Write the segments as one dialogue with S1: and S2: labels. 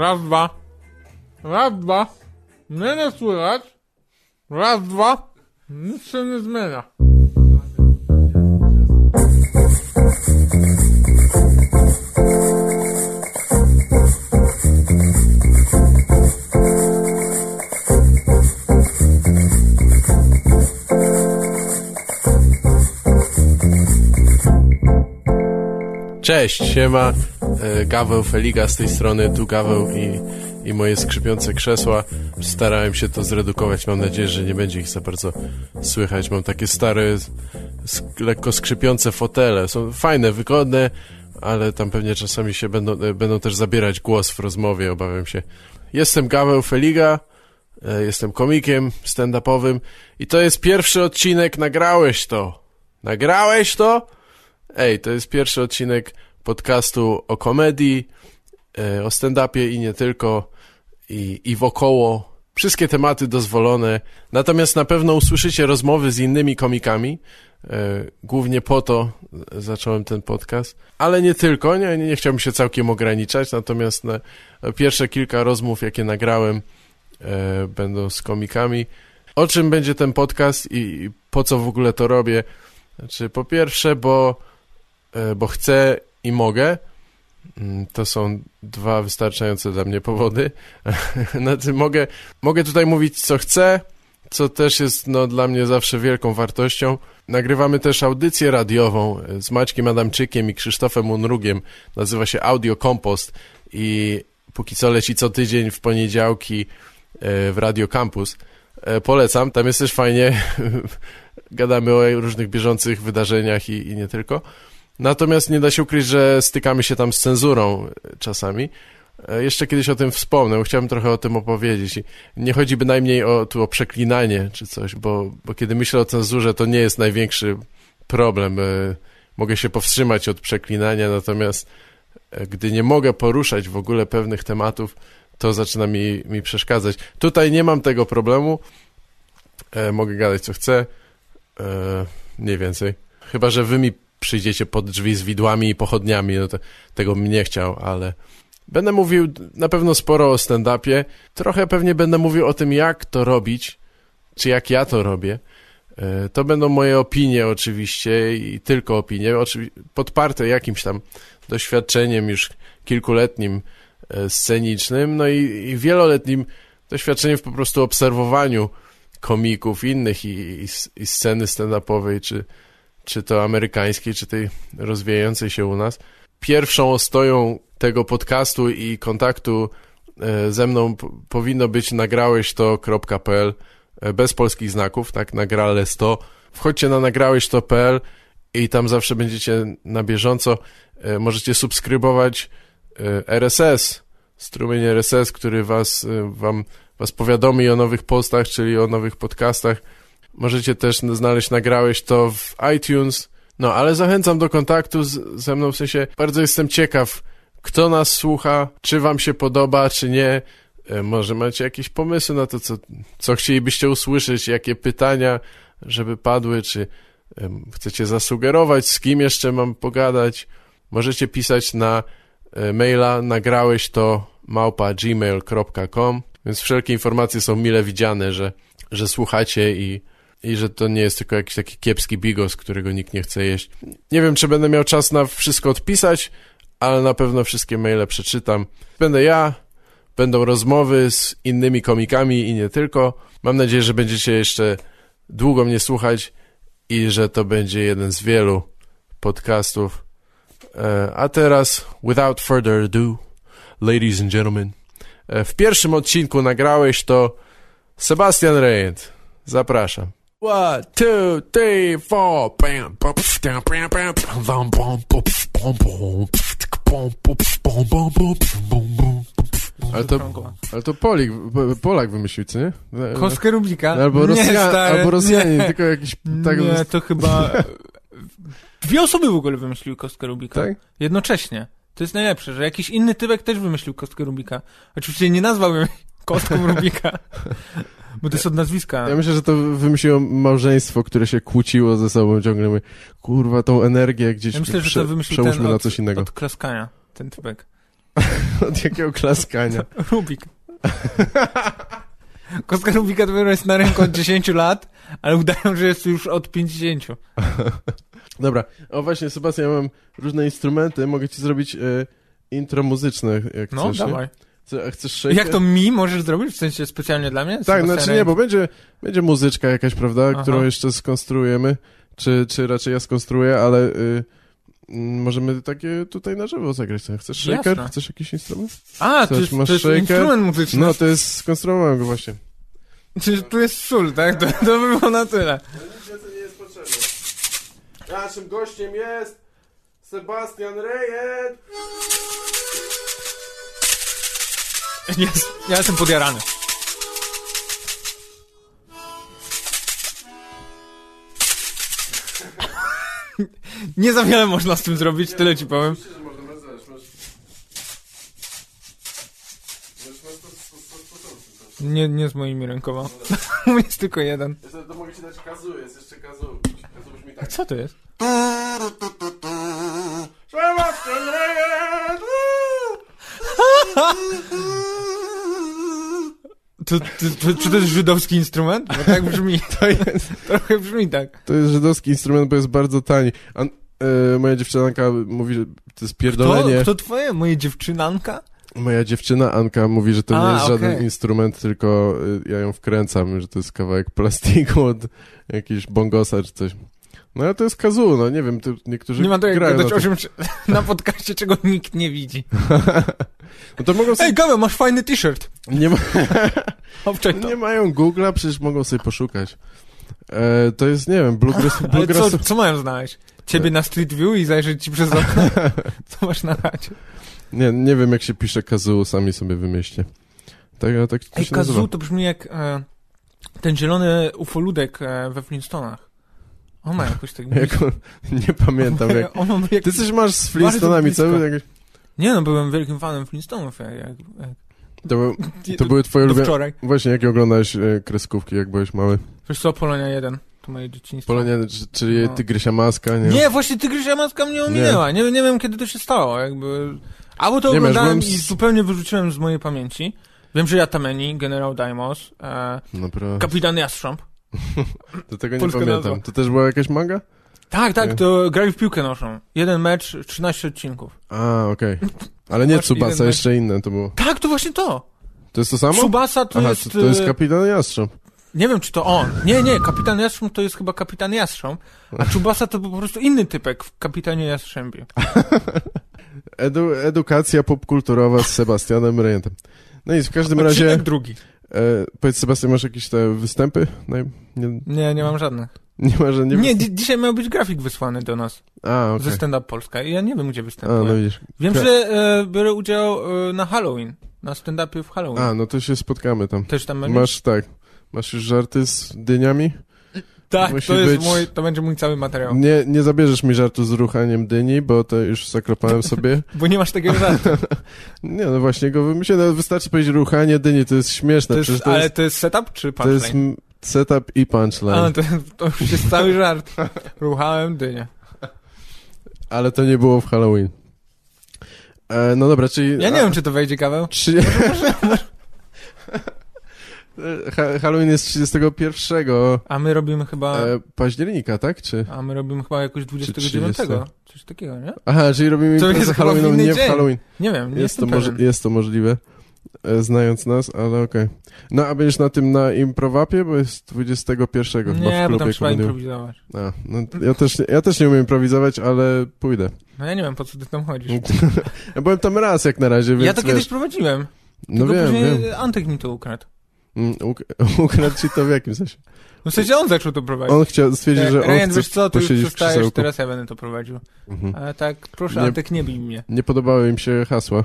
S1: Raz, dwa. Raz, dwa. Mnie nie słychać. Raz, dwa. Nic się nie zmienia.
S2: Cześć, siema, e, Gaweł Feliga z tej strony, tu Gaweł i, i moje skrzypiące krzesła. Starałem się to zredukować, mam nadzieję, że nie będzie ich za bardzo słychać. Mam takie stare, sk- lekko skrzypiące fotele, są fajne, wygodne, ale tam pewnie czasami się będą, e, będą też zabierać głos w rozmowie, obawiam się. Jestem Gaweł Feliga, e, jestem komikiem stand-upowym i to jest pierwszy odcinek, nagrałeś to! Nagrałeś to? Ej, to jest pierwszy odcinek podcastu o komedii, e, o stand-upie i nie tylko, i, i wokoło. Wszystkie tematy dozwolone. Natomiast na pewno usłyszycie rozmowy z innymi komikami. E, Głównie po to e, zacząłem ten podcast. Ale nie tylko, nie, nie chciałbym się całkiem ograniczać. Natomiast na e, pierwsze kilka rozmów, jakie nagrałem, e, będą z komikami. O czym będzie ten podcast i, i po co w ogóle to robię? Znaczy, po pierwsze, bo e, bo chcę i mogę. Mm, To są dwa wystarczające dla mnie powody. znaczy mogę, mogę tutaj mówić, co chcę, co też jest no, dla mnie zawsze wielką wartością. Nagrywamy też audycję radiową e, z Maćkiem Adamczykiem i Krzysztofem Unrugiem. Nazywa się Audio Compost i póki co leci co tydzień w poniedziałki e, w Radio Campus. E, Polecam, tam jest też fajnie. Gadamy o różnych bieżących wydarzeniach i, i nie tylko. Natomiast nie da się ukryć, że stykamy się tam z cenzurą e, czasami. E, Jeszcze kiedyś o tym wspomnę, bo chciałbym trochę o tym opowiedzieć. I nie chodzi bynajmniej o, tu o przeklinanie czy coś, bo, bo kiedy myślę o cenzurze, to nie jest największy problem. E, Mogę się powstrzymać od przeklinania, natomiast e, gdy nie mogę poruszać w ogóle pewnych tematów, to zaczyna mi, mi przeszkadzać. Tutaj nie mam tego problemu. E, Mogę gadać co chcę. E, Mniej więcej. Chyba, że wy mi przyjdziecie pod drzwi z widłami i pochodniami, no to, tego bym nie chciał, ale będę mówił na pewno sporo o stand-upie, trochę pewnie będę mówił o tym, jak to robić, czy jak ja to robię. E, To będą moje opinie oczywiście i tylko opinie, oczywi- podparte jakimś tam doświadczeniem już kilkuletnim e, scenicznym, no i, i wieloletnim doświadczeniem w po prostu obserwowaniu komików innych i, i, i sceny stand-upowej, czy, czy to amerykańskiej, czy tej rozwijającej się u nas. Pierwszą ostoją tego podcastu i kontaktu e, ze mną p- powinno być nagrałeś to.pl e, bez polskich znaków, tak, nagrales to. Wchodźcie na nagrałeś to.pl i tam zawsze będziecie na bieżąco. E, Możecie subskrybować e, RSS, strumień RSS, który was, e, wam, was powiadomi o nowych postach, czyli o nowych podcastach. Możecie też znaleźć, nagrałeś to w iTunes. No, ale zachęcam do kontaktu z, ze mną, w sensie bardzo jestem ciekaw, kto nas słucha, czy wam się podoba, czy nie. E, Może macie jakieś pomysły na to, co, co chcielibyście usłyszeć, jakie pytania, żeby padły, czy em, chcecie zasugerować, z kim jeszcze mam pogadać. Możecie pisać na e, maila nagrałeś to małpa gmail.com, więc wszelkie informacje są mile widziane, że, że słuchacie i, i że to nie jest tylko jakiś taki kiepski bigos, którego nikt nie chce jeść. Nie wiem, czy będę miał czas na wszystko odpisać, ale na pewno wszystkie maile przeczytam. Będę ja, będą rozmowy z innymi komikami i nie tylko. Mam nadzieję, że będziecie jeszcze długo mnie słuchać i że to będzie jeden z wielu podcastów. E, A teraz, without further ado, ladies and gentlemen, e, w pierwszym odcinku nagrałeś to Sebastian Rejent. Zapraszam. One, two, three, four. Bam, bum, pf, down, bam, bam, pf, bum, bum, bum, pf, bum, bum, pf, tk, bum, bum, pf, bum, bum, bum, pf, bum, bum, bum, pf. Ale to, ale to Polik, Polak wymyślił, co nie? E,
S1: Kostkę Rubika.
S2: No, Albo,
S1: nie,
S2: Rosja,
S1: stary,
S2: albo Rosjanie,
S1: nie.
S2: tylko jakiś... Tak,
S1: nie, to chyba... Dwie osoby w ogóle wymyśliły kostkę Rubika.
S2: tak?
S1: Jednocześnie. To jest najlepsze, że jakiś inny typek też wymyślił kostkę Rubika. Oczywiście nie nazwałbym jej kostką Rubika, bo to jest od nazwiska.
S2: Ja myślę, że to wymyśliło małżeństwo, które się kłóciło ze sobą ciągle. Mówię, kurwa, tą energię gdzieś
S1: Ja myślę, że
S2: prze,
S1: to wymyślił
S2: przełóżmy
S1: ten
S2: na coś innego.
S1: Od klaskania, ten typek.
S2: Od jakiego klaskania?
S1: Rubik. Kostka Rubika dopiero jest na rynku od 10 lat, ale udają, że jest już od 50.
S2: Dobra, o właśnie Sebastian, ja mam różne instrumenty, mogę ci zrobić y, intro muzyczne, jak
S1: No,
S2: chcesz. nie?
S1: dawaj.
S2: Co, a chcesz shaker?
S1: Jak to mi możesz zrobić? W sensie specjalnie dla mnie?
S2: Tak,
S1: Sebastian
S2: znaczy nie, bo będzie, będzie muzyczka jakaś, prawda,
S1: Aha.
S2: którą jeszcze skonstruujemy, czy, czy raczej ja skonstruuję, ale y, mm, możemy takie tutaj na żywo zagrać. Co, Chcesz shaker?
S1: Jasne.
S2: Chcesz jakiś instrument?
S1: A, to
S2: Coś,
S1: jest,
S2: masz
S1: to jest
S2: shaker?
S1: instrument muzyczny.
S2: No, to jest, skonstruowałem go właśnie.
S1: Czy tu jest sól, tak? To, to by było na tyle.
S2: Nic więcej nie jest potrzebne. Naszym gościem jest Sebastian Rejet.
S1: Jest, ja jestem podjarany. Nie za wiele można z tym zrobić, tyle ci powiem.
S2: Myślę, że można nazwać, masz... Masz, masz to, to, to, to, to.
S1: Nie, nie z moimi rękoma. U mnie jest tylko jeden.
S2: Jeszcze to mogę ci dać kazu, jest jeszcze kazu. Kazu brzmi tak.
S1: Co to jest?
S2: Sebastian Rejet!
S1: To, to, to, czy to jest żydowski instrument? Bo tak brzmi.
S2: To jest,
S1: Trochę brzmi tak.
S2: to jest żydowski instrument, bo jest bardzo tani. An, e, moja dziewczynanka mówi, że to jest
S1: To,
S2: pierdolenie.
S1: to twoje, moje dziewczynanka?
S2: Moja dziewczyna Anka mówi, że to
S1: A,
S2: nie jest żaden
S1: okej.
S2: instrument, tylko y, ja ją wkręcam, że to jest kawałek plastiku od jakiejś bongosa czy coś. No ale to jest kazu, no nie wiem, to niektórzy
S1: Nie ma to jak
S2: grają
S1: gadać
S2: na
S1: o czymś na podcaście, czego nikt nie widzi.
S2: No to mogą sobie...
S1: Ej, Gawe, masz fajny t-shirt.
S2: Nie, ma...
S1: Obczaj to.
S2: nie mają Google'a, przecież mogą sobie poszukać. E, to jest, nie wiem, bluegrass...
S1: Ale
S2: bluegrass...
S1: co, co mają znaleźć? Ciebie na Street View i zajrzeć ci przez okno? Co masz na chacie?
S2: Nie, nie wiem, jak się pisze kazu, sami sobie wymyślcie. Tak, ale tak to
S1: Ej,
S2: się nazywa.
S1: Kazu to brzmi jak e, ten zielony ufoludek e, we Flintstoneach. On ma jakoś tak...
S2: Jak on... Nie pamiętam, jak...
S1: On ma jak...
S2: Ty coś masz z Flintstonami, co?
S1: blisko.
S2: Jakieś-
S1: Nie no, byłem wielkim fanem Flintstonów. Jak, jak, jak...
S2: To, był... to
S1: do,
S2: były twoje
S1: do
S2: ulubione...
S1: wczoraj.
S2: Właśnie, jakie oglądałeś e, kreskówki, jak byłeś mały?
S1: Wiesz co, Polonia 1. To moje dzieciństwo.
S2: Poloniany, czy- czyli
S1: No.
S2: Tygrysia Maska, nie?
S1: Nie, właśnie Tygrysia Matka mnie ominęła. Nie. Nie, wiem, kiedy to się stało. Jakby... Albo to
S2: Nie wiem,
S1: oglądałem
S2: byłem
S1: i
S2: z-
S1: zupełnie wyrzuciłem z mojej pamięci. Wiem, że Jatameni, generał Daimos, e,
S2: Dobra,
S1: kapitan Jastrząb.
S2: No to tego nie
S1: Polska nazwa.
S2: pamiętam. To też była jakaś manga?
S1: Tak, tak,
S2: Nie.
S1: to grali w piłkę noszą. Jeden mecz, 13 odcinków.
S2: A, okej. Ale nie
S1: Masz jeden
S2: Tsubasa,
S1: mecz.
S2: jeszcze inne to było.
S1: Tak, to właśnie to.
S2: To jest to samo?
S1: Subasa to
S2: Aha,
S1: jest...
S2: to, to jest
S1: e,
S2: Kapitan Jastrząb.
S1: Nie wiem, czy to on. Nie, nie, kapitan Jastrząb to jest chyba kapitan Jastrząb, a Czubasa to był po prostu inny typek w kapitanie Jastrzębie.
S2: Edu, edukacja popkulturowa z Sebastianem Rejentem. No nic, w każdym razie...
S1: Odcinek drugi.
S2: E, powiedz Sebastian, masz jakieś te występy? Naj... Nie,
S1: Nie, nie mam żadnych.
S2: nie ma, że nie...
S1: Nie, dzi- dzisiaj miał być grafik wysłany do nas
S2: A, okej.
S1: ze Stand Up Polska i ja nie wiem, gdzie
S2: A,
S1: występuję.
S2: no widzisz.
S1: Wiem,
S2: tak.
S1: że e, biorę udział e, na Halloween, na Stand Upie w Halloween.
S2: A, no to się spotkamy tam.
S1: Też tam będziesz?
S2: Masz, tak, masz już żarty z dyniami?
S1: Tak,
S2: musi
S1: to, jest
S2: być-
S1: mój, to będzie mój cały materiał,
S2: Nie, nie zabierzesz mi żartu z ruchaniem dyni, bo to już zaklepałem sobie.
S1: bo nie masz takiego żartu.
S2: Nie, no właśnie go wymyślę. No, wystarczy powiedzieć ruchanie dyni, to jest śmieszne.
S1: To jest,
S2: przecież Znaczy, to
S1: ale
S2: jest,
S1: to jest setup czy
S2: to jest
S1: punchline?
S2: m- setup i punchline.
S1: A, to, to już jest cały żart. Ruchałem dynię.
S2: Ale to nie było w Halloween. E, no dobra, czyli...
S1: Ja nie
S2: a,
S1: wiem, czy to wejdzie kawał.
S2: Trzy... Ha- Halloween jest 31
S1: A my robimy chyba.
S2: e, października, tak? Czy...
S1: A my robimy chyba jakoś 29.
S2: 30?
S1: Coś takiego, nie?
S2: Aha, czyli robimy
S1: To
S2: imprezę
S1: jest chyba w
S2: Halloweenową,
S1: inny
S2: nie w
S1: dzień.
S2: Halloween.
S1: Nie wiem, nie
S2: Jest to,
S1: jestem
S2: może,
S1: pewien.
S2: jest to możliwe, e, znając nas, ale okej. No, a będziesz na tym na improwapie, bo jest 21 chyba w
S1: Nie, bo tam
S2: klubie
S1: trzeba
S2: komediowym.
S1: improwizować.
S2: A, no, ja, też, nie- ja też nie umiem improwizować, ale pójdę.
S1: No ja nie wiem, po co ty tam chodzisz.
S2: Ja byłem tam raz jak na razie, więc
S1: Ja to
S2: wiesz,
S1: kiedyś prowadziłem.
S2: No
S1: tylko
S2: wiem,
S1: później
S2: wiem.
S1: Antek mi to ukradł.
S2: Mm, uk- ukradł ci to w jakimś sensie.
S1: No w sensie on zaczął to prowadzić. Tak,
S2: On chciał, stwierdził, że on
S1: Ryan,
S2: chce
S1: wiesz co, ty już
S2: posiedzieć w
S1: przestajesz,
S2: krzesełku.
S1: teraz ja będę to prowadził.
S2: Mhm.
S1: Ale tak, proszę
S2: Nie-
S1: Antek, nie bij mnie.
S2: Nie podobały im się hasła.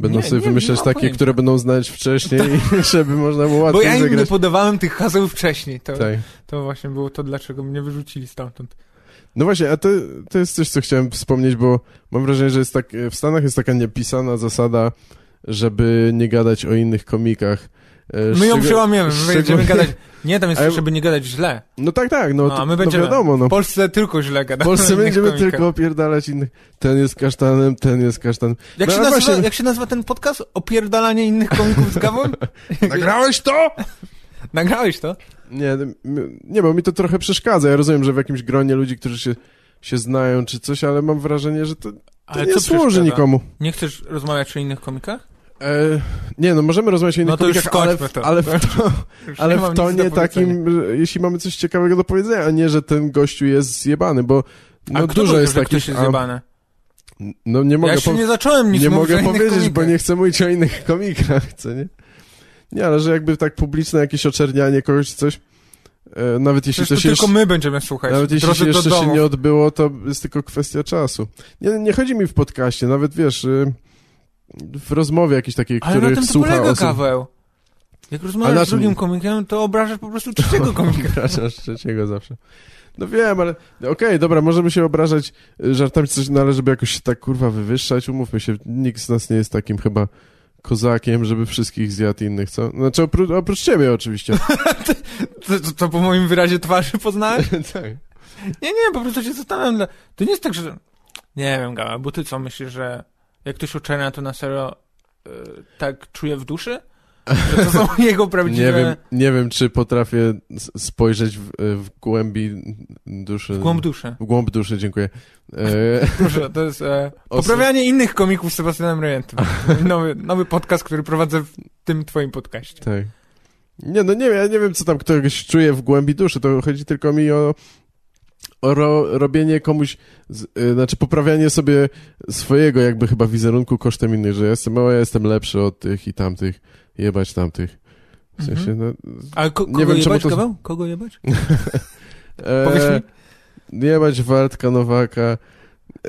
S2: Będą
S1: Nie,
S2: sobie
S1: nie,
S2: wymyślać
S1: nie mam
S2: takie,
S1: pojęcia.
S2: które będą znać wcześniej, i żeby można było
S1: Bo
S2: łatwiej
S1: ja im nie
S2: zagrać.
S1: podawałem tych haseł wcześniej. To,
S2: tak.
S1: to właśnie było to, dlaczego mnie wyrzucili stamtąd.
S2: No właśnie, a to, e, to jest coś, co chciałem wspomnieć, bo mam wrażenie, że jest tak, w Stanach jest taka niepisana zasada, żeby nie gadać o innych komikach. e,
S1: My ją
S2: szczegó-
S1: przełamiemy, my będziemy
S2: szczególnie-
S1: gadać. Nie, tam jest,
S2: A ja-
S1: żeby nie gadać źle.
S2: No tak, tak, no,
S1: No, a
S2: to,
S1: my
S2: no
S1: będziemy.
S2: wiadomo, no.
S1: W Polsce tylko źle gadamy.
S2: W Polsce
S1: o innych
S2: będziemy
S1: komikach.
S2: tylko opierdalać innych. Ten jest kasztanem, ten jest kasztanem.
S1: Jak,
S2: No,
S1: się
S2: ale
S1: nazywa,
S2: właśnie-
S1: jak się nazywa ten podcast? Opierdalanie innych komików z gawą?
S2: Nagrałeś to?
S1: Nagrałeś to?
S2: Nie, m- nie, bo mi to trochę przeszkadza. Ja rozumiem, że w jakimś gronie ludzi, którzy się, się znają czy coś, ale mam wrażenie, że to, to nie służy
S1: przeszkadza?
S2: nikomu.
S1: Nie chcesz rozmawiać o innych komikach?
S2: E, nie, no możemy rozmawiać o innych
S1: No to już
S2: komikach, ale, w-
S1: skończmy to.
S2: ale w, to,
S1: Już
S2: ale
S1: nie mam
S2: w
S1: nic do
S2: tonie
S1: powiedzenia.
S2: takim, że jeśli mamy coś ciekawego do powiedzenia, a nie, że ten gościu jest zjebany, bo
S1: A
S2: no,
S1: kto
S2: dużo
S1: powiedział,
S2: jest
S1: że ktoś
S2: takich...
S1: jest
S2: a-
S1: zjebany?
S2: no nie mogę
S1: Ja się
S2: pow-
S1: nie zacząłem nic
S2: nie
S1: mówić o
S2: mogę
S1: innych
S2: powiedzieć, bo
S1: komikach.
S2: nie chcę mówić o innych komikach, co nie? Nie, ale że jakby tak publiczne jakieś oczernianie kogoś czy coś, e, nawet jeśli
S1: Przecież to
S2: się jeszcze,
S1: tylko my będziemy słuchać.
S2: nawet jeśli
S1: Drodzy
S2: się jeszcze
S1: do
S2: się
S1: domu.
S2: nie odbyło, to jest tylko kwestia czasu. Nie, nie chodzi mi w podcaście, nawet wiesz, e, w rozmowie jakiejś takiej,
S1: Ale na
S2: których
S1: tym to
S2: słucha
S1: polega
S2: osób.
S1: Gaweł. Jak
S2: A na
S1: rozmawiasz z
S2: czym-
S1: drugim komikiem, to obrażasz po prostu trzeciego komika.
S2: Obrażasz trzeciego zawsze. No wiem, ale okej, dobra, możemy się obrażać y, żartami, czy coś, no ale żeby jakoś się tak kurwa wywyższać, umówmy się, nikt z nas nie jest takim chyba kozakiem, żeby wszystkich zjadł innych, co? Znaczy oprócz, oprócz ciebie oczywiście.
S1: To, to, to po moim wyrazie twarzy poznałeś?
S2: tak.
S1: Nie, nie, po prostu się zastanawiam. dla- To nie jest tak, że... Nie wiem, Gaweł, bo ty co, myślisz, że jak ktoś uczenia, to na serio e, tak czuje w duszy? Że to są jego prawdziwe...
S2: Nie wiem, nie wiem, czy potrafię s- spojrzeć w, y, w głębi duszy.
S1: W głąb duszy.
S2: w głąb duszy, dziękuję. E,
S1: Proszę, to jest e,
S2: Osób-
S1: poprawianie innych komików z Sebastianem Rejentym. Nowy, nowy podcast, który prowadzę w tym twoim podcaście.
S2: Tak. Nie, no nie wiem, ja nie wiem, co tam ktoś czuje w głębi duszy, to chodzi tylko mi o, o ro, robienie komuś, z, y, znaczy poprawianie sobie swojego jakby chyba wizerunku kosztem innych, że ja jestem, o, ja jestem lepszy od tych i tamtych, jebać tamtych. W
S1: Mhm.
S2: sensie, no...
S1: Ale ko-
S2: Nie
S1: kogo
S2: wiem, czemu
S1: jebać,
S2: to-
S1: Gaweł? Kogo jebać?
S2: E,
S1: Powiedz mi.
S2: Jebać Waldka Nowaka,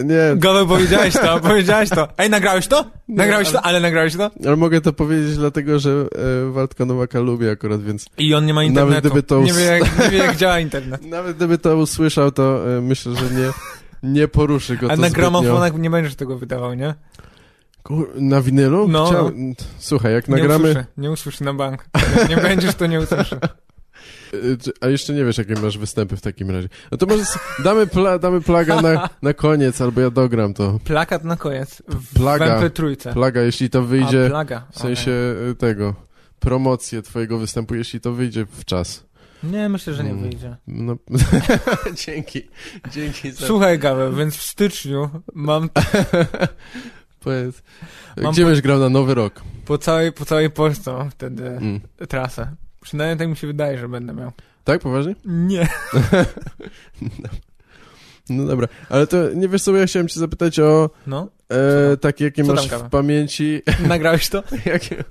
S2: nie,
S1: Gaweł, powiedziałeś to, powiedziałeś to. Ej, nagrałeś to?
S2: e, Nie,
S1: Nagrałeś
S2: ale-
S1: to? Ale nagrałeś to?
S2: ale mogę to powiedzieć dlatego, że e, Waldka Nowaka lubię akurat, więc
S1: I on nie ma
S2: Nawet
S1: internetu.
S2: gdyby to
S1: nie, wie, jak, nie wie, jak działa internet.
S2: nawet gdyby to usłyszał, to e, myślę, że nie... Nie poruszy go to
S1: A na
S2: zbytnio.
S1: gramofonach nie będziesz tego wydawał, nie?
S2: Kur- Na winylu?
S1: No.
S2: Chciał... Słuchaj, jak
S1: Nie
S2: Tak, nagramy...
S1: usłyszy, nie usłyszy na bank. Nie będziesz, to nie usłyszy.
S2: Y, czy- A jeszcze nie wiesz, jakie masz występy w takim razie. No to może s- damy, pla... damy plaga na, na koniec, albo ja dogram to.
S1: Plakat na koniec. W
S2: Plaga.
S1: MP trójce.
S2: Plaga, jeśli to
S1: A,
S2: wyjdzie,
S1: plaga.
S2: w sensie y, tego, promocję twojego występu, jeśli to wyjdzie w czas.
S1: Okej. Nie, myślę, że nie
S2: Mm.
S1: wyjdzie.
S2: No. Dzięki. Dzięki
S1: Słuchaj, Gaweł, więc w styczniu mam
S2: Powiedz.
S1: Mam
S2: Gdzie będziesz grał na Nowy Rok?
S1: po całej, po całej Polsce mam wtedy
S2: Mm.
S1: trasę. Przynajmniej tak mi się wydaje, że będę miał.
S2: Tak, poważnie?
S1: Nie.
S2: No dobra, ale to nie wiesz co, bo ja chciałem cię zapytać o
S1: No, Co
S2: e,
S1: tam?
S2: takie, jakie
S1: Co tam,
S2: masz
S1: Gawa?
S2: w pamięci
S1: nagrałeś to?
S2: Jakie,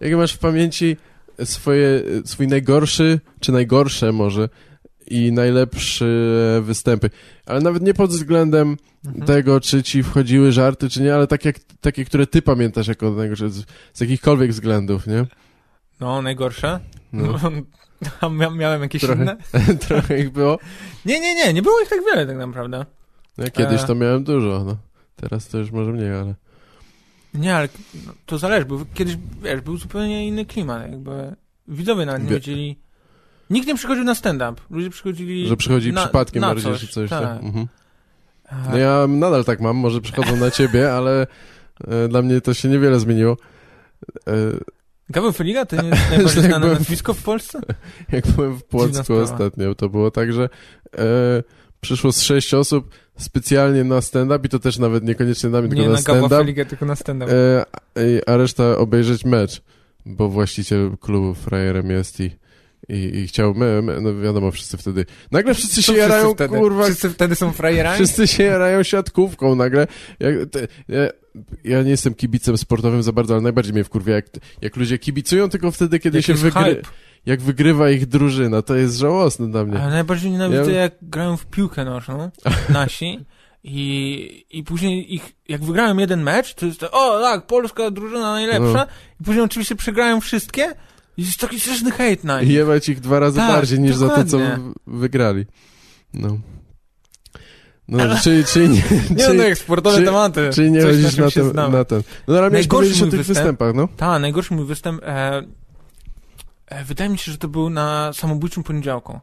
S2: jakie masz w pamięci swoje, swój najgorszy, czy najgorsze może i najlepsze występy? Ale nawet nie pod względem
S1: Mhm.
S2: tego, czy ci wchodziły żarty, czy nie, ale tak jak, takie, które ty pamiętasz jako najgorsze, z, z jakichkolwiek względów, nie?
S1: No, najgorsze.
S2: No.
S1: A mia miałem jakieś
S2: Trochę.
S1: inne?
S2: Trochę ich było.
S1: Nie, nie, nie, nie było ich tak wiele tak naprawdę.
S2: Ja kiedyś
S1: E.
S2: to miałem dużo, no. Teraz to już może mniej, ale...
S1: Nie, ale no, to zależy, bo kiedyś, wiesz, był zupełnie inny klimat, jakby widzowie nawet nie
S2: Wie-
S1: wiedzieli... Nikt nie przychodził na stand-up, ludzie przychodzili...
S2: Że przychodzi
S1: na-
S2: przypadkiem
S1: na
S2: bardziej,
S1: coś,
S2: czy coś,
S1: tak.
S2: tak? Mhm.
S1: A,
S2: No ja nadal tak mam, może przychodzą na ciebie, ale e, dla mnie to się niewiele zmieniło. E,
S1: Gaweł Feliga to nie jest najbardziej
S2: Tak
S1: znane
S2: byłem-
S1: nazwisko w Polsce?
S2: Jak byłem w Płocku
S1: sprawa.
S2: ostatnio, to było tak, że e, przyszło z sześć osób specjalnie na stand-up i to też nawet niekoniecznie na mnie,
S1: Nie
S2: tylko
S1: na
S2: na
S1: Gawa
S2: stand-up,
S1: Feligę, tylko na stand-up.
S2: e, a- i- a reszta obejrzeć mecz, bo właściciel klubu frajerem jest i, i, i chciał, my, my, no wiadomo, wszyscy wtedy, nagle wszyscy się
S1: Co wszyscy
S2: jarają,
S1: wtedy?
S2: kurwa,
S1: Wszyscy wtedy są frajerami?
S2: wszyscy się jarają siatkówką nagle. Jak, te, ja, ja nie jestem kibicem sportowym za bardzo, ale najbardziej mnie wkurwia, jak, jak ludzie kibicują tylko wtedy, kiedy
S1: Jak
S2: się
S1: jest
S2: wygry...
S1: hype.
S2: Jak wygrywa ich drużyna, to jest żałosne dla mnie.
S1: Ale najbardziej nienawidzę,
S2: Ja-
S1: jak grają w piłkę nożną nasi i, i później ich, jak wygrałem jeden mecz, to jest to, o tak, polska drużyna
S2: No.
S1: najlepsza i później oczywiście przegrają wszystkie i jest taki straszny hejt na
S2: I
S1: nich.
S2: jebać ich dwa razy
S1: Tak,
S2: bardziej niż za to, co
S1: dokładnie.
S2: w- wygrali. No. No, czy, czy nie...
S1: Nie,
S2: czy,
S1: no jak sportowe
S2: czy,
S1: tematy.
S2: Czy nie
S1: Coś,
S2: chodzisz
S1: czym
S2: na,
S1: się
S2: ten,
S1: znamy.
S2: na ten... No dobra, miałeś
S1: Najgorszy
S2: powiedzieć o
S1: mój
S2: tych
S1: występ-
S2: występach, no.
S1: Ta, najgorszy mój występ... E, e, wydaje mi się, że to był na samobójczym poniedziałku.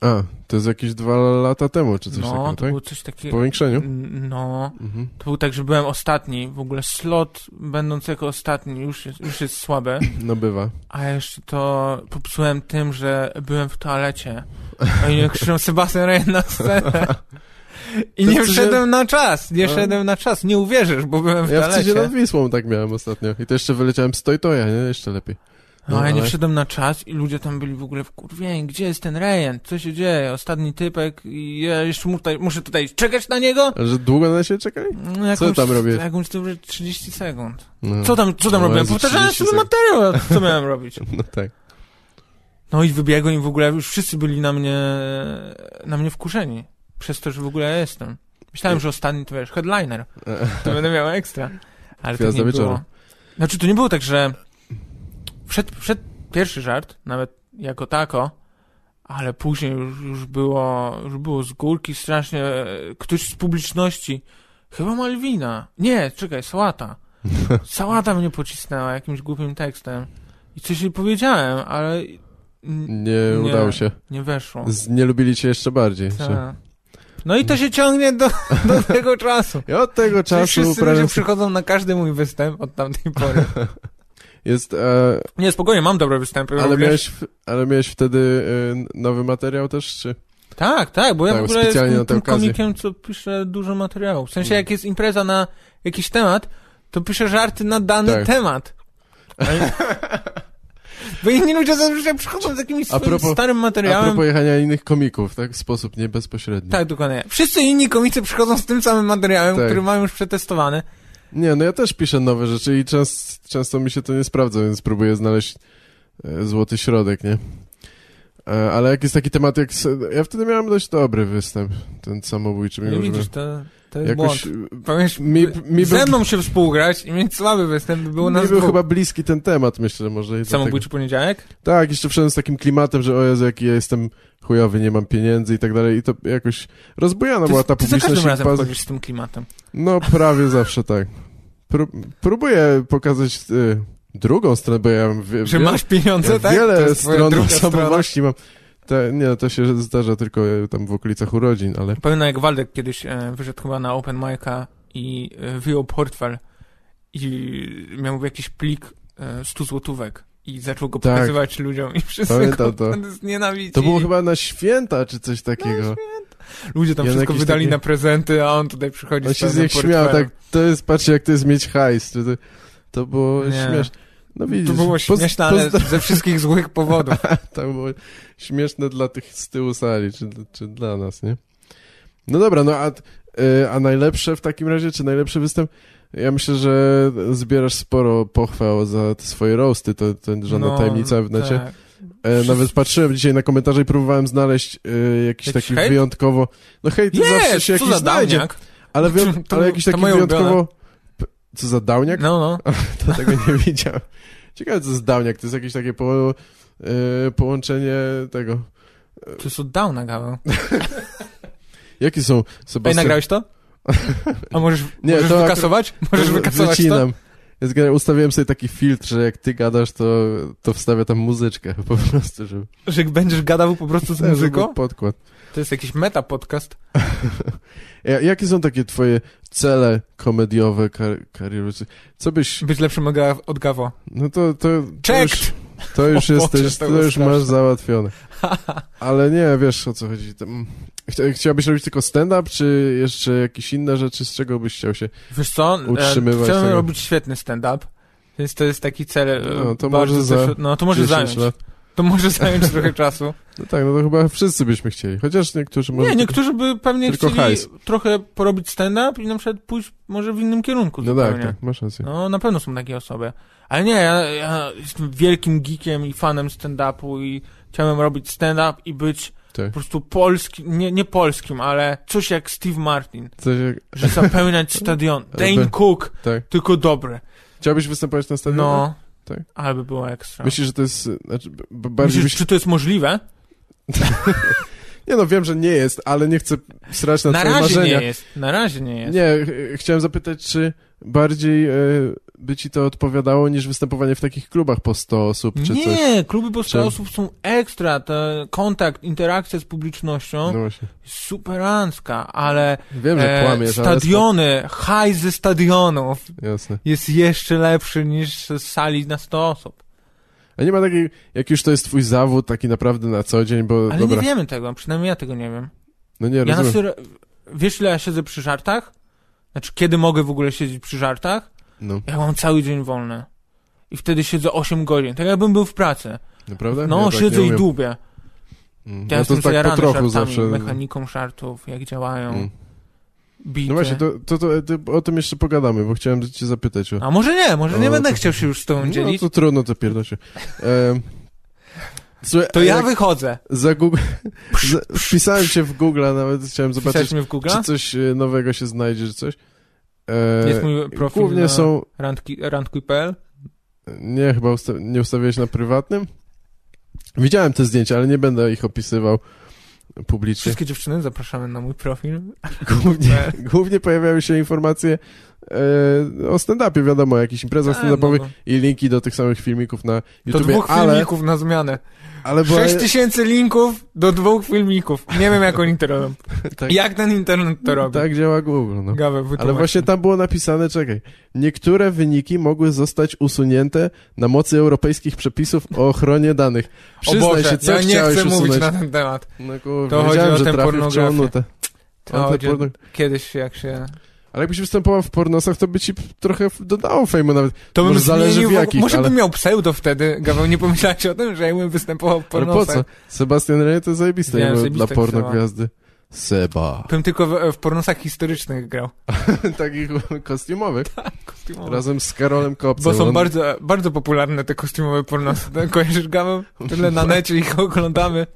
S2: A, to jest jakieś dwa lata temu, czy coś
S1: no,
S2: takiego,
S1: to
S2: tak?
S1: było coś
S2: W
S1: takiego...
S2: powiększeniu?
S1: No,
S2: Mhm.
S1: to był tak, że byłem ostatni. W ogóle slot będąc jako ostatni już jest, już jest słaby.
S2: No bywa.
S1: A jeszcze to popsułem tym, że byłem w toalecie. No Oni krzyczą Sebastian Ryan na scenę. I
S2: To
S1: nie
S2: co
S1: wszedłem na czas, nie
S2: No.
S1: wszedłem na czas. Nie uwierzysz, bo byłem w
S2: Ja w Cydzie
S1: toalecie.
S2: nad Wisłą tak miałem ostatnio. I to jeszcze wyleciałem z Toytoja, nie? Jeszcze lepiej.
S1: No, a ja
S2: ale-
S1: nie wszedłem na czas i ludzie tam byli w ogóle w kurwie, gdzie jest ten Ryan? Co się dzieje? Ostatni typek i ja jeszcze mu tutaj, muszę tutaj czekać na niego?
S2: A że długo na ciebie czekali?
S1: No, jakąś,
S2: tam robisz?
S1: Jakąś dobrze 30 sekund.
S2: No.
S1: Co tam, co tam
S2: No,
S1: robiłem?
S2: Jezu,
S1: Powtarzałem
S2: 30
S1: sobie
S2: sekund.
S1: materiał, a co miałem robić?
S2: No tak.
S1: No i wybiegłem i w ogóle już wszyscy byli na mnie, na mnie wkurzeni. Przez to, że w ogóle ja jestem. Myślałem, że ostatni to wiesz, headliner.
S2: E,
S1: To będę miał ekstra. Ale tak
S2: Gwiazda
S1: nie było.
S2: wieczoru.
S1: Znaczy, to nie było tak, że wszedł, wszedł pierwszy żart, nawet jako tako, ale później już, już, było, już było z górki strasznie. e, Ktoś z publiczności, chyba Malwina. Nie, czekaj, Sałata. Sałata mnie pocisnęła jakimś głupim tekstem. I coś jej powiedziałem, ale... mm,
S2: Nie
S1: Nie.
S2: udało się.
S1: nie weszło.
S2: Z, nie lubili cię jeszcze bardziej. Że...
S1: Tak. No i to się ciągnie do, do tego czasu.
S2: I od
S1: Czyli
S2: tego czasu
S1: Wszyscy
S2: prawie
S1: ludzie przychodzą na każdy mój występ od tamtej pory.
S2: jest... E,
S1: Nie, spokojnie, mam dobre występy.
S2: ale,
S1: również.
S2: miałeś, w- ale miałeś wtedy e, nowy materiał też, czy...
S1: Tak, tak, bo ja
S2: Tak,
S1: w ogóle
S2: specjalnie
S1: jestem
S2: na tę
S1: tym
S2: okazję.
S1: komikiem, co pisze dużo materiału. W sensie,
S2: Mm.
S1: jak jest impreza na jakiś temat, to piszę żarty na dany
S2: Tak.
S1: temat. Ale... Bo inni ludzie zazwyczaj przychodzą z jakimś swoim
S2: propos-
S1: starym
S2: A
S1: materiałem.
S2: propos jechania innych komików, tak? W sposób nie bezpośredni.
S1: Tak, dokładnie. Wszyscy inni komicy przychodzą z tym samym materiałem,
S2: Tak.
S1: który mają już przetestowany.
S2: Nie, no ja też piszę nowe rzeczy i czas, często mi się to nie sprawdza, więc próbuję znaleźć e, złoty środek, nie? E, ale jak jest taki temat jak... se- Ja wtedy miałem dość dobry występ, ten samobójczy.
S1: Nie
S2: mimo że
S1: widzisz, to, to jest błąd.
S2: Jakoś...
S1: Powiesz,
S2: Mi- mi
S1: ze
S2: był-
S1: mną się współgrać i mieć słaby występ by było
S2: Mi
S1: nas
S2: był
S1: dwóch.
S2: chyba bliski ten temat, myślę, może i dlatego.
S1: Samobójczy poniedziałek?
S2: Tak, jeszcze wszedłem z takim klimatem, że o Jezu, jaki ja jestem chujowy, nie mam pieniędzy i tak dalej i to jakoś rozbujana była No, ta
S1: ty za
S2: publiczność.
S1: każdym
S2: i
S1: razem
S2: baz-
S1: chodzisz z tym klimatem.
S2: No prawie zawsze tak. Pró próbuję pokazać y, drugą stronę, bo ja mam wie,
S1: Że
S2: wie-
S1: masz pieniądze,
S2: ja
S1: tak? To
S2: wiele
S1: jest twoja
S2: stron
S1: druga
S2: osobowości mam. Te, nie, to się zdarza tylko y, tam w okolicach urodzin, ale
S1: Pamiętam jak Waldek kiedyś e, wyszedł chyba na open mic'a i e, wyjął portfel i miał jakiś plik e, 100 złotówek i zaczął go
S2: Tak.
S1: pokazywać ludziom i wszyscy
S2: Pamiętam
S1: Pamiętam
S2: to.
S1: go to. znienawidzili.
S2: to było chyba na święta czy coś
S1: No,
S2: takiego.
S1: Ludzie tam
S2: Ja na
S1: wszystko
S2: jakieś
S1: wydali
S2: takie-
S1: na prezenty, a on tutaj przychodzi
S2: On
S1: z
S2: się z
S1: pełnym
S2: nich śmiał, tak,
S1: portfelem.
S2: to jest, patrzcie jak to jest mieć hajs, to, to, to było
S1: Nie.
S2: śmieszne. No widzisz,
S1: To było
S2: poz-
S1: śmieszne, ale
S2: pozdra-
S1: ze wszystkich złych powodów.
S2: to było śmieszne dla tych z tyłu sali, czy, czy dla nas, nie? No dobra, no a, y, a najlepsze w takim razie, czy najlepszy występ? Ja myślę, że zbierasz sporo pochwał za te swoje roasty, to, to żadna
S1: No,
S2: tajemnica w necie.
S1: tak.
S2: E, nawet patrzyłem dzisiaj na komentarze i próbowałem znaleźć y, jakiś
S1: Jakiś
S2: taki
S1: hejt?
S2: wyjątkowo... No hejt to zawsze
S1: Jest, co
S2: się jakiś
S1: za
S2: znajdzie,
S1: dawniak.
S2: ale, wyjąt...
S1: To-
S2: ale jakiś
S1: to
S2: taki
S1: moje
S2: wyjątkowo... P- Co za dałniak?
S1: No, no.
S2: To tego nie widziałem. Ciekawe, co z Downiak. To jest jakieś takie po, e, połączenie tego.
S1: To jest od downa Gaweł.
S2: No Jakie są
S1: Ej,
S2: Sebastian?
S1: nagrałeś to? A możesz,
S2: Nie,
S1: możesz
S2: to akurat-
S1: wykasować? Możesz
S2: Wy-
S1: wykasować to?
S2: Wycinam. Ja zgadam- ustawiłem sobie taki filtr, że jak ty gadasz, to, to wstawia tam muzyczkę po prostu, żeby...
S1: Że jak będziesz gadał po prostu z
S2: żeby był
S1: muzyką?
S2: podkład.
S1: To jest jakiś meta podcast.
S2: Ja- E, Jakie są takie twoje cele komediowe, kar kariery? Co byś...
S1: Być lepszym od Ga- od Gawo.
S2: No to... to to już,
S1: Checked!
S2: to już
S1: O Boże,
S2: jesteś,
S1: to
S2: to,
S1: było
S2: już
S1: straszne.
S2: masz załatwione. Ale nie, wiesz o co chodzi. Tam... chcia- Chciałabyś robić tylko stand-up, czy jeszcze jakieś inne rzeczy, z czego byś chciał się
S1: Wiesz co? e,
S2: Utrzymywać
S1: Chcemy
S2: tego.
S1: robić świetny stand-up. Więc to jest taki cel. e,
S2: No, to
S1: bardzo
S2: może za
S1: zeszły- No to może
S2: 10
S1: zająć.
S2: lat.
S1: To może zająć trochę czasu.
S2: No tak, no to chyba wszyscy byśmy chcieli. Chociaż niektórzy może...
S1: Nie, niektórzy by pewnie
S2: tylko
S1: chcieli
S2: hajs.
S1: trochę porobić stand-up i na przykład pójść może w innym kierunku
S2: No
S1: zupełnie.
S2: tak, tak, masz rację.
S1: No, na pewno są takie osoby. Ale nie, ja, ja jestem wielkim geekiem i fanem stand-upu i chciałem robić stand-up i być
S2: Tak.
S1: po prostu polskim, nie, nie polskim, ale coś jak Steve Martin,
S2: Coś jak...
S1: że zapełniać stadion. Dane
S2: Jakby-
S1: Cook,
S2: Tak.
S1: tylko dobre.
S2: Chciałbyś występować na stadionie?
S1: No,
S2: Tak.
S1: ale by było ekstra.
S2: Myślisz, że to jest... Znaczy, b- b- bardziej
S1: Myślisz,
S2: byś...
S1: czy to jest możliwe?
S2: Nie no, wiem, że nie jest, ale nie chcę srać na,
S1: Na
S2: twoje
S1: razie
S2: marzenia.
S1: nie jest, na razie nie jest.
S2: Nie, ch- chciałem zapytać, czy bardziej e, by ci to odpowiadało niż występowanie w takich klubach po 100 osób czy
S1: nie,
S2: coś?
S1: kluby po 100
S2: Czy-
S1: osób są ekstra, ten kontakt, interakcja z publicznością,
S2: No właśnie.
S1: superancka, ale
S2: Wiem, że
S1: e,
S2: kłamiesz, ale...
S1: stadiony, haj ze stadionów
S2: spo- Jasne.
S1: jest jeszcze lepszy niż z sali na 100 osób.
S2: A nie ma takiej, jak już to jest twój zawód taki naprawdę na co dzień, bo
S1: Ale
S2: E, dobra,
S1: nie wiemy tego, przynajmniej ja tego nie wiem.
S2: no nie
S1: Ja na
S2: rozumiem.
S1: serio, wiesz ile ja siedzę przy żartach? Znaczy, kiedy mogę w ogóle siedzieć przy żartach?
S2: No,
S1: Ja mam cały dzień wolny. I wtedy siedzę 8 godzin, tak jakbym był w pracy.
S2: naprawdę?
S1: No,
S2: ja tak
S1: siedzę
S2: nie
S1: i
S2: umiem.
S1: dubię.
S2: Mm,
S1: Ja
S2: no to
S1: jestem
S2: tak po
S1: zajarany
S2: trochu
S1: żartami,
S2: zawsze.
S1: mechaniką żartów, jak działają,
S2: Mm.
S1: bity.
S2: No właśnie, to, to, to, to o tym jeszcze pogadamy, bo chciałem cię zapytać o...
S1: A może nie, może nie
S2: No,
S1: będę
S2: to-
S1: chciał się już z tobą
S2: no
S1: dzielić.
S2: to trudno, to pierdolę Em, Słuchaj,
S1: To
S2: a
S1: ja
S2: jak
S1: wychodzę.
S2: za Google... za- Wpisałem cię w Google, nawet chciałem
S1: Wpisałeś
S2: zobaczyć,
S1: mnie w Google?
S2: czy coś e, nowego się znajdzie, czy coś. E,
S1: Jest mój profil
S2: Głównie
S1: na
S2: są...
S1: randki- randki.pl.
S2: Nie, chyba usta nie ustawiłeś na prywatnym? Widziałem te zdjęcia, ale nie będę ich opisywał publicznie.
S1: Wszystkie dziewczyny zapraszamy na mój profil.
S2: Głównie, głównie pojawiały się informacje e, o stand-upie, wiadomo, o jakichś imprezach
S1: A, no
S2: stand-upowych
S1: bo-
S2: i linki do tych samych filmików na
S1: Do
S2: YouTube.
S1: dwóch
S2: ale,
S1: filmików na zmianę.
S2: ale była,
S1: 6 tysięcy linków do dwóch filmików. Nie wiem, jak oni to robią.
S2: tak,
S1: Jak ten internet to robi?
S2: tak działa Google. No.
S1: Gawę,
S2: Ale
S1: wytłumacz.
S2: właśnie tam było napisane, czekaj, niektóre wyniki mogły zostać usunięte na mocy europejskich przepisów o ochronie danych.
S1: o
S2: Przyznaj
S1: Boże,
S2: się, co
S1: ja nie
S2: chciałeś
S1: chcę
S2: usunąć.
S1: mówić na ten temat.
S2: No kurwa,
S1: To chodzi
S2: wiedziałem,
S1: o
S2: że
S1: tę
S2: trafię w
S1: pornografię.
S2: ciągnutę.
S1: To
S2: O, te
S1: chodzi o-
S2: porno-
S1: Kiedyś jak się...
S2: Ale jakbyś występował w pornosach, to by ci p- trochę f- dodało fejmu nawet.
S1: To bym
S2: Może zależy
S1: zmienił
S2: w
S1: ogóle-
S2: jakich,
S1: Może
S2: ale-
S1: bym miał pseudo wtedy, Gaweł, nie pomyślałeś o tym, że jakbym występował w
S2: Ale po
S1: pornosach.
S2: co? Sebastian Rey to zajebiste
S1: Wiem,
S2: imię
S1: zajebiste no.
S2: dla porno
S1: ksywała.
S2: gwiazdy. Seba.
S1: Bym tylko w, w pornosach historycznych grał.
S2: Takich kostiumowych.
S1: Kostiumowe.
S2: Razem z Karolem Kopcem.
S1: Bo są
S2: On-
S1: bardzo, bardzo popularne te kostiumowe pornosy. Kojarzysz, Gaweł? Tyle na necie ich oglądamy.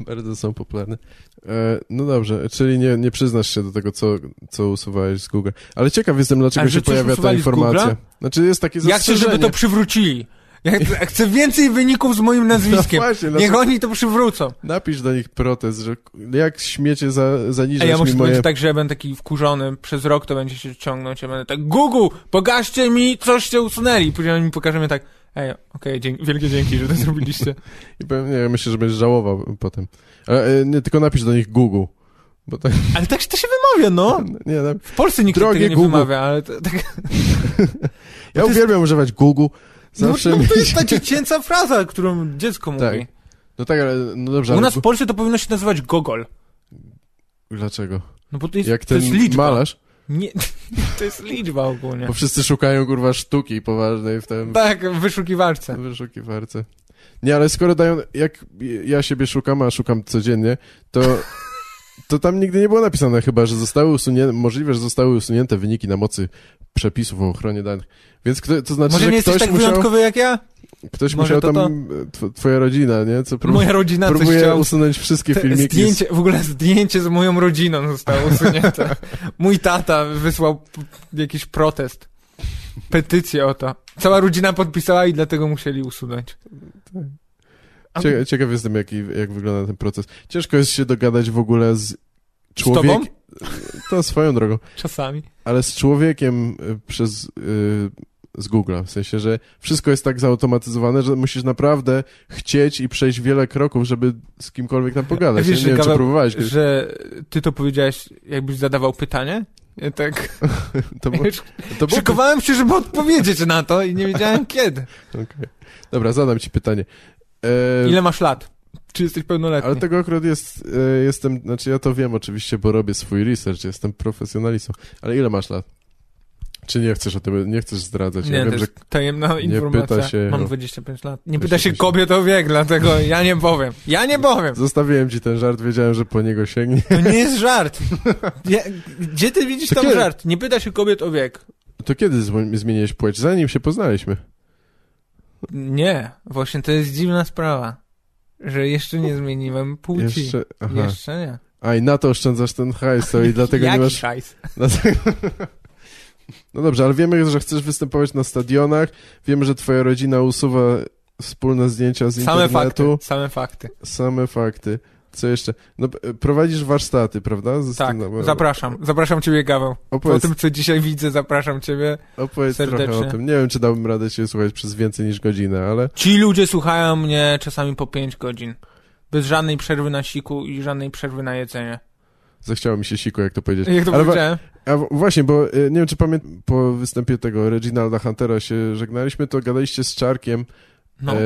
S2: Bardzo są popularne. E, no dobrze, czyli nie, nie przyznasz się do tego, co, co usuwałeś z Google. Ale ciekaw jestem,
S1: Ale
S2: dlaczego
S1: że
S2: się
S1: coś
S2: pojawia ta
S1: usuwali z
S2: informacja.
S1: Google'a?
S2: Znaczy jest takie
S1: Ja chcę,
S2: zastrzeżenie.
S1: żeby to przywrócili. Ja chcę, chcę więcej wyników z moim nazwiskiem.
S2: No właśnie,
S1: Niech
S2: dlaczego-
S1: oni to przywrócą.
S2: Napisz do nich protest, że k- jak śmiecie za, zaniżać
S1: Ej, ja muszę
S2: mi
S1: to
S2: moje...
S1: będzie tak, że ja będę taki wkurzony, przez rok to będzie się ciągnąć, ja będę tak, Google, pokażcie mi, coście usunęli. Później oni pokażą mi tak, ej, okej, dzięki, wielkie dzięki, że to zrobiliście.
S2: I powiem, nie, myślę, że będziesz żałował potem. Ale e, nie, tylko napisz do nich Google. Bo tak,
S1: Ale tak się to się wymawia, no.
S2: nie, na,
S1: W Polsce nikt
S2: Drogie
S1: tego nie
S2: Google.
S1: wymawia, ale to, tak,
S2: ja
S1: To jest-
S2: uwielbiam używać Google. Zawsze
S1: no,
S2: mi...
S1: no, to jest ta dziecięca fraza, którą dziecko mówi.
S2: Tak, No tak, ale no dobrze,
S1: U
S2: ale
S1: nas
S2: Gu-
S1: w Polsce to powinno się nazywać gogol.
S2: dlaczego?
S1: No bo to jest,
S2: Jak
S1: to jest
S2: ten
S1: liczba.
S2: malarz,
S1: Nie, to jest liczba ogólnie.
S2: bo wszyscy szukają kurwa sztuki poważnej w tym
S1: Tak, w wyszukiwarce.
S2: wyszukiwarce. Nie, ale skoro dają, jak ja siebie szukam, a szukam codziennie, to, to tam nigdy nie było napisane chyba, że zostały usunięte, możliwe, że zostały usunięte wyniki na mocy przepisów o ochronie danych. Więc kto, to znaczy,
S1: Może
S2: że
S1: nie jesteś
S2: ktoś
S1: tak
S2: musiał,
S1: wyjątkowy jak ja?
S2: ktoś
S1: może
S2: musiał
S1: to
S2: tam, tw- twoja rodzina, nie? Co prób,
S1: Moja rodzina coś
S2: próbuje
S1: chciała
S2: usunąć wszystkie
S1: Te
S2: filmiki. z-
S1: Zdjęcie, w ogóle zdjęcie z moją rodziną zostało usunięte. Mój tata wysłał p- jakiś protest, petycję o to. Cała rodzina podpisała i dlatego musieli usunąć. A-
S2: Cie, ciekaw jestem, jaki, jak wygląda ten proces. Ciężko jest się dogadać w ogóle z
S1: tobą?
S2: człowiekiem. To swoją drogą.
S1: Czasami.
S2: Ale z człowiekiem y, przez... y, z Google'a, w sensie, że wszystko jest tak zautomatyzowane, że musisz naprawdę chcieć i przejść wiele kroków, żeby z kimkolwiek tam pogadać.
S1: Wiesz,
S2: nie wiem,
S1: że
S2: czy
S1: Gaweł-
S2: próbowałeś kiedyś.
S1: Że ty to powiedziałeś, jakbyś zadawał pytanie? Ja tak.
S2: To było, to było...
S1: Szykowałem się, żeby odpowiedzieć na to i nie wiedziałem kiedy.
S2: Okej. Dobra, zadam ci pytanie. E,
S1: Ile masz lat? Czy jesteś pełnoletni?
S2: Ale tak tego akurat jest, e, jestem, znaczy ja to wiem oczywiście, bo robię swój research, jestem profesjonalistą. Ale ile masz lat? Czy nie chcesz o tym, nie chcesz zdradzać?
S1: Nie,
S2: ja
S1: to
S2: wiem, że
S1: jest tajemna informacja.
S2: pyta się-
S1: Mam 25 lat. Nie
S2: To
S1: pyta
S2: się
S1: się
S2: pyta.
S1: kobiet o wiek, dlatego ja nie powiem. Ja nie powiem.
S2: zostawiłem ci ten żart, wiedziałem, że po niego sięgnie.
S1: To nie jest żart. Ja, gdzie ty widzisz
S2: To
S1: tam
S2: kiedy?
S1: żart? Nie pyta się kobiet o wiek.
S2: To kiedy zmi- zmieniłeś płeć? Zanim się poznaliśmy.
S1: Nie, właśnie to jest dziwna sprawa, że jeszcze nie zmieniłem płci. Jeszcze,
S2: Jeszcze, aha.
S1: nie.
S2: A i na to oszczędzasz ten hajs, to i dlatego nie
S1: Jaki
S2: masz...
S1: szajs?
S2: Dlatego... No dobrze, ale wiemy, że chcesz występować na stadionach, wiemy, że twoja rodzina usuwa wspólne zdjęcia z
S1: Same
S2: internetu.
S1: fakty, same fakty.
S2: Same fakty. Co jeszcze? No, p- prowadzisz warsztaty, prawda?
S1: Tak,
S2: Zastanawiam-
S1: zapraszam. Zapraszam ciebie, Gaweł. Po
S2: Opowiedz,
S1: tym, co dzisiaj widzę, zapraszam ciebie.
S2: opowiedz trochę o
S1: serdecznie.
S2: tym. Nie wiem, czy dałbym radę cię słuchać przez więcej niż godzinę, ale
S1: Ci ludzie słuchają mnie czasami po 5 godzin. Bez żadnej przerwy na siku i żadnej przerwy na jedzenie.
S2: zechciało mi się siku, jak to powiedzieć.
S1: Jak to
S2: ale wa-
S1: powiedziałem?
S2: a w- właśnie, bo y, nie wiem, czy pamiętam, po występie tego Reginalda Huntera się żegnaliśmy, to gadaliście z Czarkiem,
S1: No.
S2: e,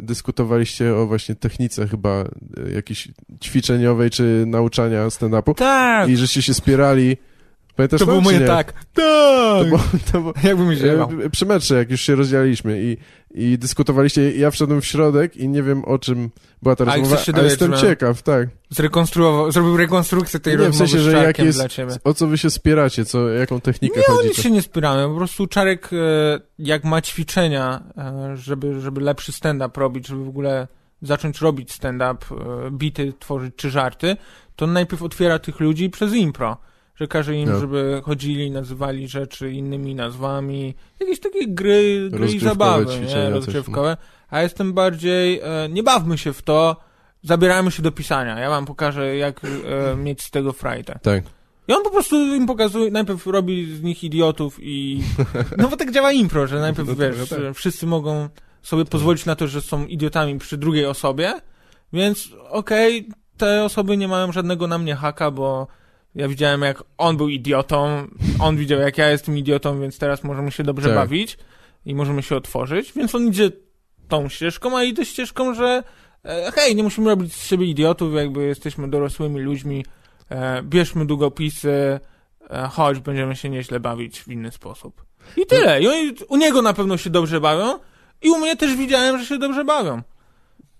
S2: dyskutowaliście o właśnie technice chyba e, jakiejś ćwiczeniowej czy nauczania stand-upu
S1: Tak!
S2: i żeście się spierali. Pamiętasz
S1: To
S2: tam,
S1: było
S2: czy
S1: moje
S2: nie?
S1: tak.
S2: To
S1: Tak!
S2: było, to było,
S1: Jakby mi ziewał.
S2: E, Przy metrze, jak już się rozdzieliliśmy i, i dyskutowaliście, ja wszedłem w środek i nie wiem o czym była ta
S1: A,
S2: rozmowa,
S1: chcesz się
S2: ale
S1: dowiedzieć, no.
S2: jestem
S1: że-
S2: ciekaw, tak.
S1: Zrekonstruował, zrobił rekonstrukcję tej
S2: Nie, w
S1: rozmowy
S2: sensie,
S1: z
S2: że jak
S1: Czarkiem
S2: jest-
S1: dla ciebie.
S2: O co wy się spieracie, co, jaką technikę
S1: Nie,
S2: chodzi?
S1: Nic się nie spieramy, po prostu Czarek e, jak ma ćwiczenia, e, żeby, żeby lepszy stand-up robić, żeby w ogóle zacząć robić stand-up, e, bity tworzyć czy żarty, to on najpierw otwiera tych ludzi przez impro, że każe im,
S2: No.
S1: żeby chodzili, nazywali rzeczy innymi nazwami, jakieś takie gry, gry i
S2: Rozgrywkowe
S1: zabawy,
S2: ćwiczenia,
S1: nie?
S2: coś, no.
S1: rozgrywkowe, a jestem bardziej, e, nie bawmy się w to, zabierajmy się do pisania, ja wam pokażę jak e, mieć z tego frajdę.
S2: Tak.
S1: I on po prostu im pokazuje, najpierw robi z nich idiotów i... No bo tak działa impro, że najpierw,
S2: No tak,
S1: wiesz,
S2: no tak.
S1: że wszyscy mogą sobie pozwolić na to, że są idiotami przy drugiej osobie, więc okej, te osoby nie mają żadnego na mnie haka, bo ja widziałem jak on był idiotą, on widział jak ja jestem idiotą, więc teraz możemy się dobrze
S2: Tak.
S1: bawić i możemy się otworzyć, więc on idzie tą ścieżką, a idę ścieżką, że e, hej, nie musimy robić z siebie idiotów, jakby jesteśmy dorosłymi ludźmi, e, bierzmy długopisy, e, chodź, będziemy się nieźle bawić w inny sposób. I tyle. I oni, u niego na pewno się dobrze bawią i u mnie też widziałem, że się dobrze bawią.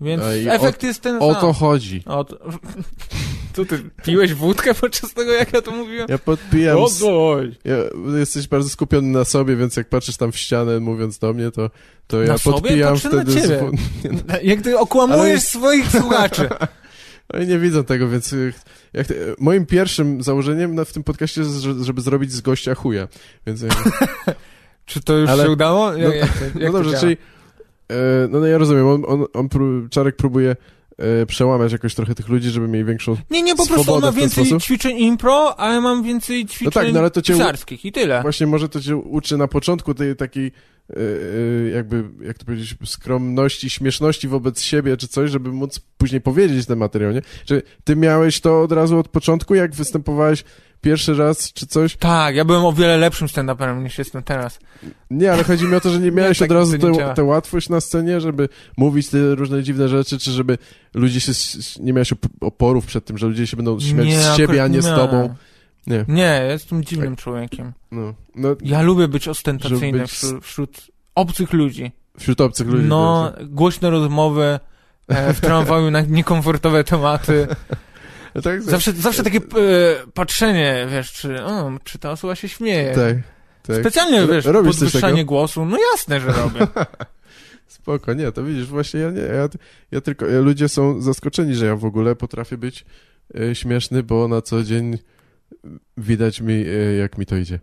S1: Więc
S2: A No i
S1: efekt jest ten
S2: O
S1: sam.
S2: to chodzi.
S1: O to... Co ty, piłeś wódkę podczas tego, jak ja to mówiłem?
S2: Ja podpijam,
S1: O,
S2: s-
S1: dość.
S2: ja, jesteś bardzo skupiony na sobie, więc jak patrzysz tam w ścianę mówiąc do mnie, to, to ja
S1: Na sobie?
S2: podpijam
S1: Patrzę na
S2: wtedy...
S1: ciebie.
S2: zupeł-
S1: Jak ty okłamujesz
S2: Ale-
S1: swoich słuchaczy.
S2: Oni No nie widzą tego, więc y, jak, y, moim pierwszym założeniem na, w tym podcaście jest, że- żeby zrobić z gościa chuja. Więc y,
S1: Czy to już
S2: Ale-
S1: się udało? Jak,
S2: no-
S1: jak, to- jak
S2: No
S1: to
S2: dobrze,
S1: działa?
S2: czyli... e, No, no ja rozumiem, on, on, on pró- Czarek próbuje e, przełamać jakoś trochę tych ludzi, żeby mieli większą...
S1: Nie, nie, po prostu on
S2: swobodę
S1: ma
S2: w ten
S1: więcej
S2: sposób?
S1: ćwiczeń impro, a ja mam więcej ćwiczeń
S2: No tak, no ale to cię u-
S1: pisarskich i tyle.
S2: Właśnie może to cię uczy na początku tej takiej e, e, jakby, jak to powiedzieć, skromności, śmieszności wobec siebie czy coś, żeby móc później powiedzieć ten materiał, nie? Czy ty miałeś to od razu od początku, jak występowałeś pierwszy raz czy coś?
S1: Tak, ja byłem o wiele lepszym stand-uperem niż jestem teraz.
S2: Nie, ale chodzi mi o to, że nie miałeś
S1: Nie,
S2: od
S1: tak
S2: razu
S1: to nie
S2: tę
S1: działa.
S2: tę łatwość na scenie, żeby mówić te różne dziwne rzeczy, czy żeby ludzie się, s- nie miałeś op- oporów przed tym, że ludzie się będą śmiać
S1: nie,
S2: z ciebie, a
S1: akurat
S2: nie z tobą. Nie.
S1: Nie, jestem dziwnym człowiekiem.
S2: No, no
S1: Ja lubię być ostentacyjny
S2: Żeby być- Tak,
S1: wśród, wśród obcych ludzi.
S2: wśród obcych ludzi.
S1: No, głośne rozmowy, e, w tramwaju na niekomfortowe tematy.
S2: tak, tak,
S1: Zawsze, zawsze takie e, patrzenie, wiesz, czy, o, czy ta osoba się śmieje.
S2: tak, tak.
S1: Specjalnie,
S2: Ro-
S1: wiesz,
S2: robisz coś
S1: podwyższanie
S2: takiego?
S1: głosu, no jasne, że robię.
S2: Spoko, nie, to widzisz, właśnie ja nie, ja, ja tylko, ja, ludzie są zaskoczeni, że ja w ogóle potrafię być e, śmieszny, bo na co dzień widać mi, e, jak mi to idzie.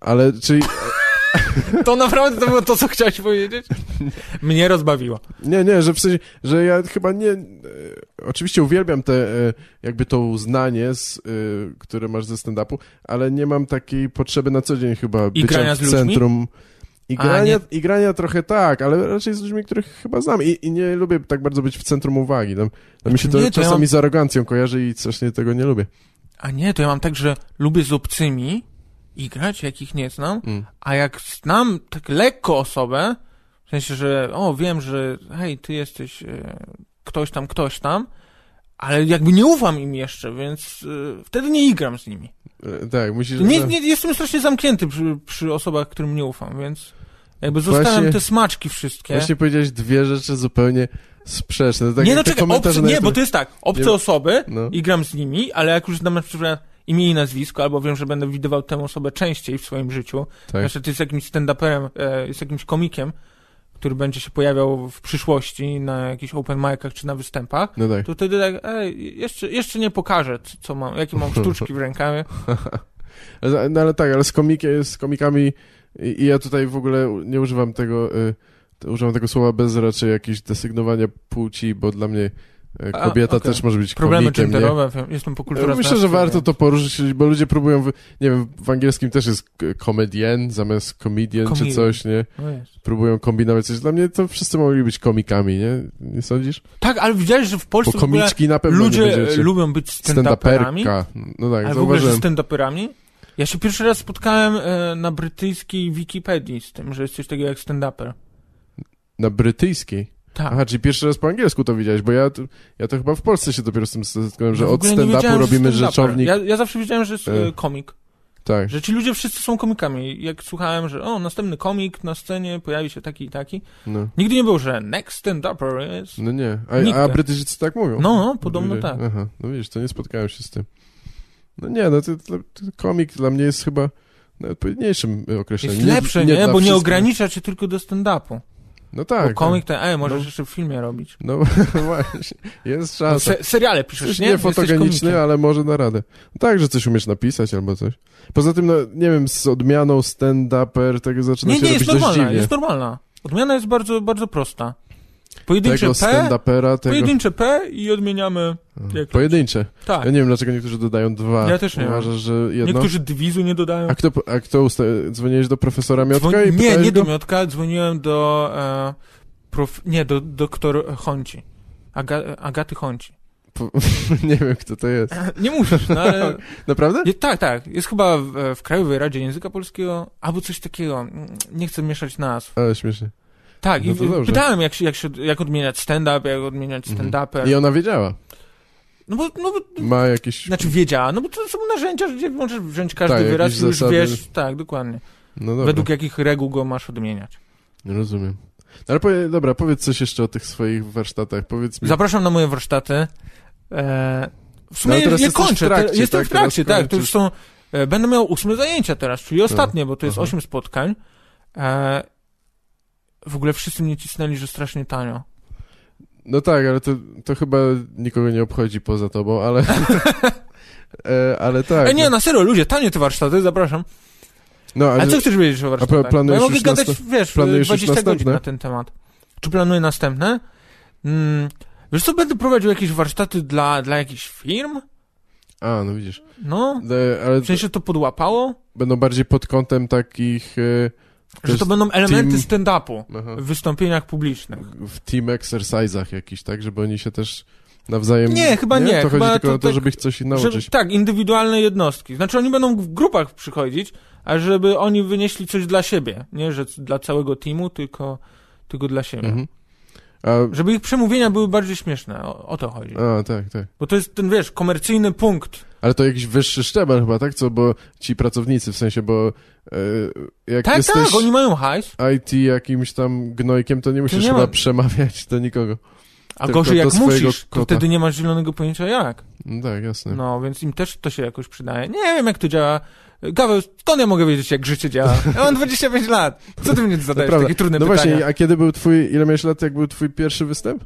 S2: Ale, czyli,
S1: To naprawdę to było to, co chciałeś powiedzieć? Mnie rozbawiło.
S2: Nie, nie, że w sensie, że ja chyba nie... E, oczywiście uwielbiam te, e, jakby to uznanie, z, e, które masz ze stand-upu, ale nie mam takiej potrzeby na co dzień chyba
S1: I grania
S2: bycia
S1: z
S2: w
S1: ludźmi?
S2: centrum. I
S1: A,
S2: grania, I grania trochę tak, ale raczej z ludźmi, których chyba znam I, i nie lubię tak bardzo być w centrum uwagi. Tam, tam mi się to
S1: Nie, to ja
S2: czasami
S1: mam-
S2: z arogancją kojarzy i strasznie tego nie lubię.
S1: A nie, to ja mam tak, że lubię z obcymi grać, jakich nie znam,
S2: Mm.
S1: a jak znam tak lekko osobę, w sensie, że o, wiem, że hej, ty jesteś e, ktoś tam, ktoś tam, ale jakby nie ufam im jeszcze, więc e, wtedy nie igram z nimi.
S2: E, tak, musisz...
S1: Nie,
S2: no,
S1: nie, jestem strasznie zamknięty przy, przy osobach, którym nie ufam, więc jakby zostawiam
S2: Właśnie-
S1: te smaczki wszystkie.
S2: Właśnie powiedziałeś dwie rzeczy zupełnie sprzeczne. Tak
S1: nie,
S2: jak
S1: no
S2: te
S1: czekaj,
S2: komentarze
S1: obcy,
S2: na
S1: nie,
S2: YouTube.
S1: bo to jest tak, obce
S2: Nie-
S1: osoby
S2: No.
S1: i gram z nimi, ale jak już znam na przykład imię i nazwisko, albo wiem, że będę widywał tę osobę częściej w swoim życiu,
S2: Tak.
S1: znaczy ty jest jakimś stand-uperem, e, jest jakimś komikiem, który będzie się pojawiał w przyszłości na jakichś open micach czy na występach,
S2: No tak.
S1: to wtedy tak, ej, jeszcze, jeszcze nie pokażę, c- co mam, jakie mam sztuczki w rękawie.
S2: Ale- No ale tak, ale z, komikie, z komikami i, i ja tutaj w ogóle u- nie używam tego, y, to- używam tego słowa bez raczej jakieś desygnowania płci, bo dla mnie E, Kobieta
S1: A, okej.
S2: też może być
S1: Problemy
S2: komikiem, nie? E, Y,
S1: genderowe, wiem, jestem po kulturze.
S2: Myślę, że warto to poruszyć, bo ludzie próbują, wy- nie wiem, w angielskim też jest k- comedian zamiast comedian czy
S1: Comedian.
S2: coś, nie?
S1: No jest.
S2: Próbują kombinować coś. Dla mnie to wszyscy mogli być komikami, nie? Nie sądzisz?
S1: Tak, ale widziałeś, że w
S2: Bo
S1: Polsce w ogóle
S2: komiczki na pewno nie
S1: ludzie e,
S2: będziecie.
S1: lubią być stand-uperami,
S2: Stand-uperka. No tak,
S1: ale w ogóle że
S2: zauważyłem.
S1: stand-uperami. Ja się pierwszy raz spotkałem e, na brytyjskiej Wikipedii z tym, że jest coś takiego jak stand-uper.
S2: Na brytyjskiej.
S1: Tak.
S2: Aha, czyli pierwszy raz po angielsku to widziałeś, bo ja, t- ja to chyba w Polsce się dopiero z tym zetknąłem, że
S1: Ja No w
S2: od
S1: ogóle nie
S2: stand-upu
S1: wiedziałem, że
S2: robimy
S1: stand-uper.
S2: rzeczownik.
S1: Ja, ja zawsze wiedziałem, że jest
S2: E.
S1: e, komik.
S2: Tak.
S1: Że ci ludzie wszyscy są komikami. Jak słuchałem, że o, następny komik na scenie pojawi się taki i taki.
S2: No.
S1: Nigdy nie było, że next stand-upper jest...
S2: No nie,
S1: Nigdy.
S2: a, a Brytyjczycy tak mówią.
S1: No, no, podobno
S2: Ludzie.
S1: tak.
S2: Aha, no widzisz, to nie spotkałem się z tym. No nie, no to, to, to komik dla mnie jest chyba najodpowiedniejszym określeniem.
S1: Jest lepsze, nie?
S2: dla
S1: Bo nie
S2: wszystkich.
S1: ogranicza cię tylko do stand-upu.
S2: No
S1: Tak,
S2: tak.
S1: bo komik ten, ej, możesz
S2: No. tak.
S1: jeszcze w filmie robić.
S2: No właśnie, jest
S1: No,
S2: szansa.
S1: se, seriale piszesz,
S2: Przecież
S1: nie?
S2: nie
S1: Jesteś komikiem.
S2: fotogeniczny, ale może na radę. No tak, że coś umiesz napisać albo coś. Poza tym, no nie wiem, z odmianą stand-uper tego zaczyna
S1: Nie,
S2: się
S1: nie,
S2: robić
S1: jest
S2: dość
S1: normalna,
S2: dziwnie.
S1: jest normalna. Odmiana jest bardzo, bardzo prosta. Pojedyncze
S2: Tego
S1: P,
S2: stand-upera, tego...
S1: pojedyncze P i odmieniamy... jak-
S2: Pojedyncze.
S1: Tak.
S2: Ja nie wiem, dlaczego niektórzy dodają dwa.
S1: Ja też nie wiem.
S2: Uważasz, że jedno?
S1: Niektórzy dywizu nie dodają.
S2: A kto, a kto usta... dzwoniłeś do profesora Miotka
S1: Dzwoni-
S2: i
S1: nie,
S2: pytałeś
S1: nie
S2: go?
S1: do Miotka, dzwoniłem do... E, prof... Nie, do doktor Honci. Aga, Agaty Honci.
S2: Po- nie wiem, kto to jest.
S1: Nie musisz, no ale...
S2: Naprawdę?
S1: Je, tak, tak. Jest chyba w, w Krajowej Radzie Języka Polskiego albo coś takiego. Mm, Nie chcę mieszać nazw.
S2: Ale śmiesznie.
S1: Tak,
S2: No
S1: i
S2: to dobrze. Mhm.
S1: pytałem, jak, się, jak, się, jak odmieniać stand-up, jak odmieniać stand-upę.
S2: I ona wiedziała.
S1: No bo, no bo
S2: Ma jakieś...
S1: znaczy wiedziała, no bo to są narzędzia, gdzie możesz wziąć każdy
S2: Tak,
S1: wyraz
S2: jakieś
S1: i już
S2: zasady.
S1: wiesz, tak, dokładnie.
S2: No dobra,
S1: Według jakich reguł go masz odmieniać.
S2: rozumiem. No Ale powie... dobra, powiedz coś jeszcze o tych swoich warsztatach. Powiedz mi...
S1: Zapraszam na moje warsztaty. E, w
S2: No,
S1: sumie
S2: ale teraz
S1: je
S2: jesteś w
S1: kończę,
S2: trakcie,
S1: te- jestem
S2: tak?
S1: w trakcie,
S2: Teraz
S1: tak, to już są, e, będę miał ósme zajęcia teraz, czyli ostatnie, bo to jest
S2: Tak. Aha.
S1: osiem spotkań. E, w ogóle wszyscy mnie cisnęli, że strasznie tanio.
S2: No tak, ale to, to chyba nikogo nie obchodzi poza tobą, ale... E, ale tak.
S1: Ej, nie, na serio, ludzie, tanie te warsztaty, zapraszam.
S2: No,
S1: Ale
S2: ale...
S1: co chcesz wiedzieć o warsztatach?
S2: planujesz
S1: Bo ja mogę
S2: już
S1: gadać,
S2: nasta-
S1: wiesz,
S2: planujesz już
S1: 20 godzin
S2: następne?
S1: na ten temat. Czy planuję następne? Mm, wiesz co, będę prowadził jakieś warsztaty dla, dla jakichś firm?
S2: A, no widzisz.
S1: No,
S2: E, ale
S1: w sensie to podłapało,
S2: będą bardziej pod kątem takich... E...
S1: że to
S2: jest
S1: będą elementy
S2: team-
S1: stand-upu
S2: Aha.
S1: w wystąpieniach publicznych.
S2: w team exercise'ach jakichś, tak? Żeby oni się też nawzajem...
S1: Nie, chyba nie,
S2: To
S1: chyba
S2: chodzi tylko
S1: to
S2: o to,
S1: tak-
S2: żeby ich coś
S1: Że,
S2: nauczyć.
S1: tak, indywidualne jednostki. Znaczy oni będą w grupach przychodzić, a żeby oni wynieśli coś dla siebie. Nie, że c- dla całego teamu, tylko, tylko dla siebie.
S2: Mhm. A,
S1: Żeby ich przemówienia były bardziej śmieszne, o, o to chodzi.
S2: a, tak, tak.
S1: Bo to jest ten, wiesz, komercyjny punkt.
S2: Ale to jakiś wyższy szczebel chyba, tak? Co, bo ci pracownicy, w sensie, bo e, jak
S1: Tak,
S2: jesteś
S1: tak, oni mają hajs,
S2: IT jakimś tam gnojkiem, to nie musisz
S1: nie
S2: chyba
S1: ma-
S2: przemawiać do nikogo.
S1: a
S2: Tylko
S1: gorzej
S2: do
S1: jak
S2: swojego
S1: musisz, to
S2: kota.
S1: wtedy nie masz zielonego pojęcia jak.
S2: No tak, jasne.
S1: No, więc im też to się jakoś przydaje. Nie wiem, jak to działa. Gaweł, skąd ja mogę wiedzieć, jak życie działa? Ja mam 25 lat. Co ty mnie zadajesz
S2: Naprawdę.
S1: takie trudne
S2: no
S1: pytania?
S2: właśnie, a kiedy był twój, ile miałeś lat, jak był twój pierwszy występ?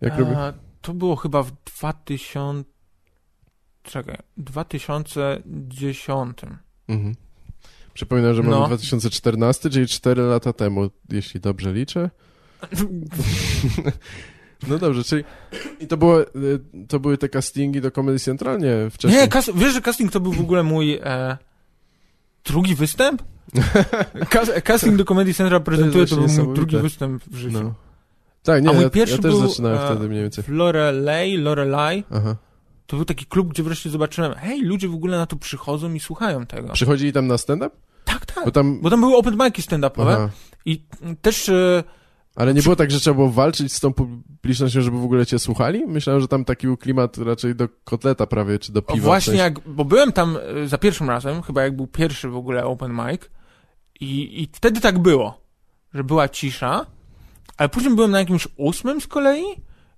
S2: Jak robił?
S1: A, To było chyba w 2000... Czekaj, 2010.
S2: Mhm. Przypominam, że mamy
S1: No.
S2: 2014, czyli 4 lata temu, jeśli dobrze liczę. No dobrze, czyli i to, było, y, to były te castingi do Comedy Central? Nie, wcześniej.
S1: Nie, kas... wiesz, że casting to był w ogóle mój e... drugi występ? Kas... Casting do Comedy Central prezentuje, to,
S2: właśnie
S1: był mój
S2: niesamowite.
S1: drugi występ w życiu.
S2: No. Tak, nie,
S1: A mój
S2: ja,
S1: pierwszy
S2: ja też
S1: był,
S2: zaczynałem
S1: e,
S2: wtedy mniej więcej.
S1: w Lorelei, Lorelei,
S2: Aha.
S1: to był taki klub, gdzie wreszcie zobaczyłem, hej, ludzie w ogóle na to przychodzą i słuchają tego.
S2: Przychodzili tam na stand-up?
S1: tak, tak.
S2: Bo tam...
S1: Bo tam były open mic'i stand-upowe
S2: Aha.
S1: i mm, też e,
S2: Ale nie było tak, że trzeba było walczyć z tą publicznością, żeby w ogóle cię słuchali? Myślałem, że tam taki był klimat raczej do kotleta prawie, czy do
S1: o,
S2: piwa.
S1: właśnie
S2: w sensie.
S1: jak, bo byłem tam e, za pierwszym razem, chyba jak był pierwszy w ogóle open mic i, i wtedy tak było, że była cisza, ale później byłem na jakimś ósmym z kolei,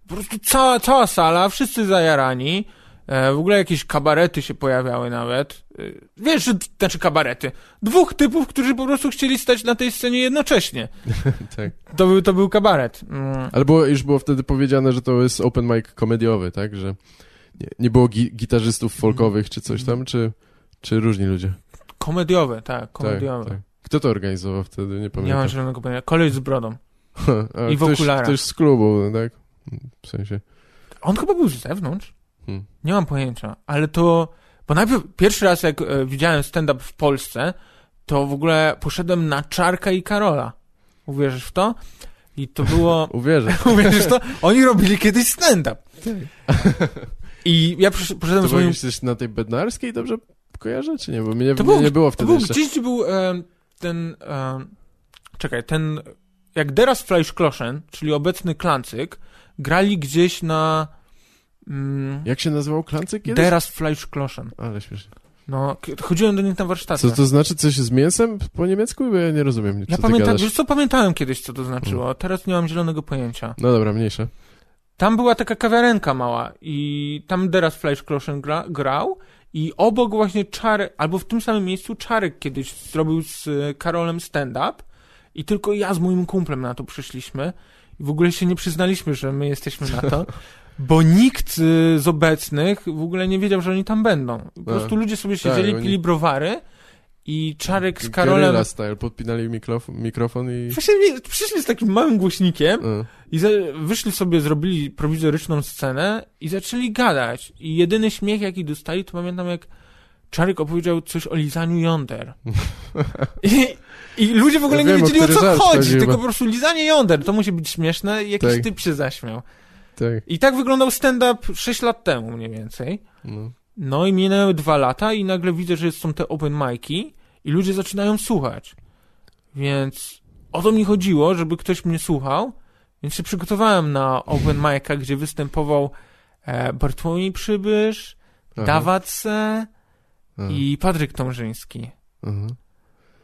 S1: po prostu cała, cała sala, wszyscy zajarani, e, w ogóle jakieś kabarety się pojawiały nawet, e, wiesz, że, znaczy kabarety, dwóch typów, którzy po prostu chcieli stać na tej scenie jednocześnie.
S2: Tak.
S1: To był, to był kabaret. Mm.
S2: Ale było, już było wtedy powiedziane, że to jest open mic komediowy, tak? Że nie, nie było gi gitarzystów folkowych czy coś tam, czy, czy różni ludzie?
S1: Komediowy, tak,
S2: Tak,
S1: komediowy.
S2: tak. Kto to organizował wtedy? Nie
S1: Nie
S2: pamiętam.
S1: mam żadnego pojęcia. Koleś z brodą.
S2: Ha, a
S1: I w
S2: ktoś,
S1: okularach.
S2: Ktoś z klubu, tak? W sensie.
S1: On chyba był z zewnątrz.
S2: Hmm.
S1: Nie mam pojęcia, ale to. Bo najpierw pierwszy raz, jak e, widziałem stand-up w Polsce, to w ogóle poszedłem na Czarka i Karola. Uwierzysz w to? I to było.
S2: Uwierzę.
S1: Uwierzysz w to? Oni robili kiedyś stand-up. I ja przysz-
S2: Tak. To
S1: poszedłem z
S2: było
S1: moim.
S2: jakieś coś na tej bednarskiej, dobrze kojarzę, czy nie? Bo mnie,
S1: To
S2: mnie
S1: był-
S2: nie było
S1: To
S2: wtedy
S1: był
S2: jeszcze.
S1: gdzieś gdzie był em, ten. em, czekaj, ten. Jak Deras Fleischkloschen, czyli obecny klancyk, grali gdzieś na. Mm,
S2: Jak się nazywał klancyk kiedyś?
S1: Deras Fleischkloschen.
S2: Ale śmiesznie.
S1: No, k- chodziłem do nich na warsztaty.
S2: Co to znaczy coś z mięsem po niemiecku? Bo ja nie rozumiem, co
S1: ja
S2: ty
S1: pamiętam,
S2: gadasz. Mm.
S1: wiesz co, pamiętałem kiedyś, co to znaczyło. Teraz nie mam zielonego pojęcia.
S2: No dobra, mniejsze.
S1: Tam była taka kawiarenka mała i tam Deras Fleischkloschen gra, grał i obok właśnie Czarek, albo w tym samym miejscu Czarek kiedyś zrobił z e, Karolem stand-up i tylko ja z moim kumplem na to przyszliśmy i w ogóle się nie przyznaliśmy, że my jesteśmy na to, bo nikt e, z obecnych w ogóle nie wiedział, że oni tam będą. Po prostu ludzie sobie siedzieli,
S2: E, tak, oni-
S1: pili browary i Czarek z Karolem...
S2: Guerrilla style, podpinali mikrof mikrofon i...
S1: Właśnie mi- przyszli z takim małym głośnikiem
S2: E.
S1: i za, wyszli sobie, zrobili prowizoryczną scenę i zaczęli gadać. I jedyny śmiech, jaki dostali, to pamiętam jak Czarek opowiedział coś o lizaniu jąder. I, i ludzie w ogóle
S2: Ja
S1: nie
S2: wiem, o
S1: wiedzieli o
S2: który
S1: co
S2: żart
S1: chodzi,
S2: chodzi,
S1: tylko
S2: bo-
S1: po prostu lizanie jąder, to musi być śmieszne i jakiś
S2: Tak.
S1: typ się zaśmiał.
S2: Tak,
S1: I tak wyglądał stand-up 6 lat temu mniej więcej.
S2: no.
S1: No i minęły dwa lata i nagle widzę, że są te open mic'i i ludzie zaczynają słuchać. Więc o to mi chodziło, żeby ktoś mnie słuchał, więc się przygotowałem na open mic'a, gdzie występował e, Bartłomiej Przybysz,
S2: Aha,
S1: Dawace
S2: aha,
S1: i Patryk Tomrzyński.
S2: aha.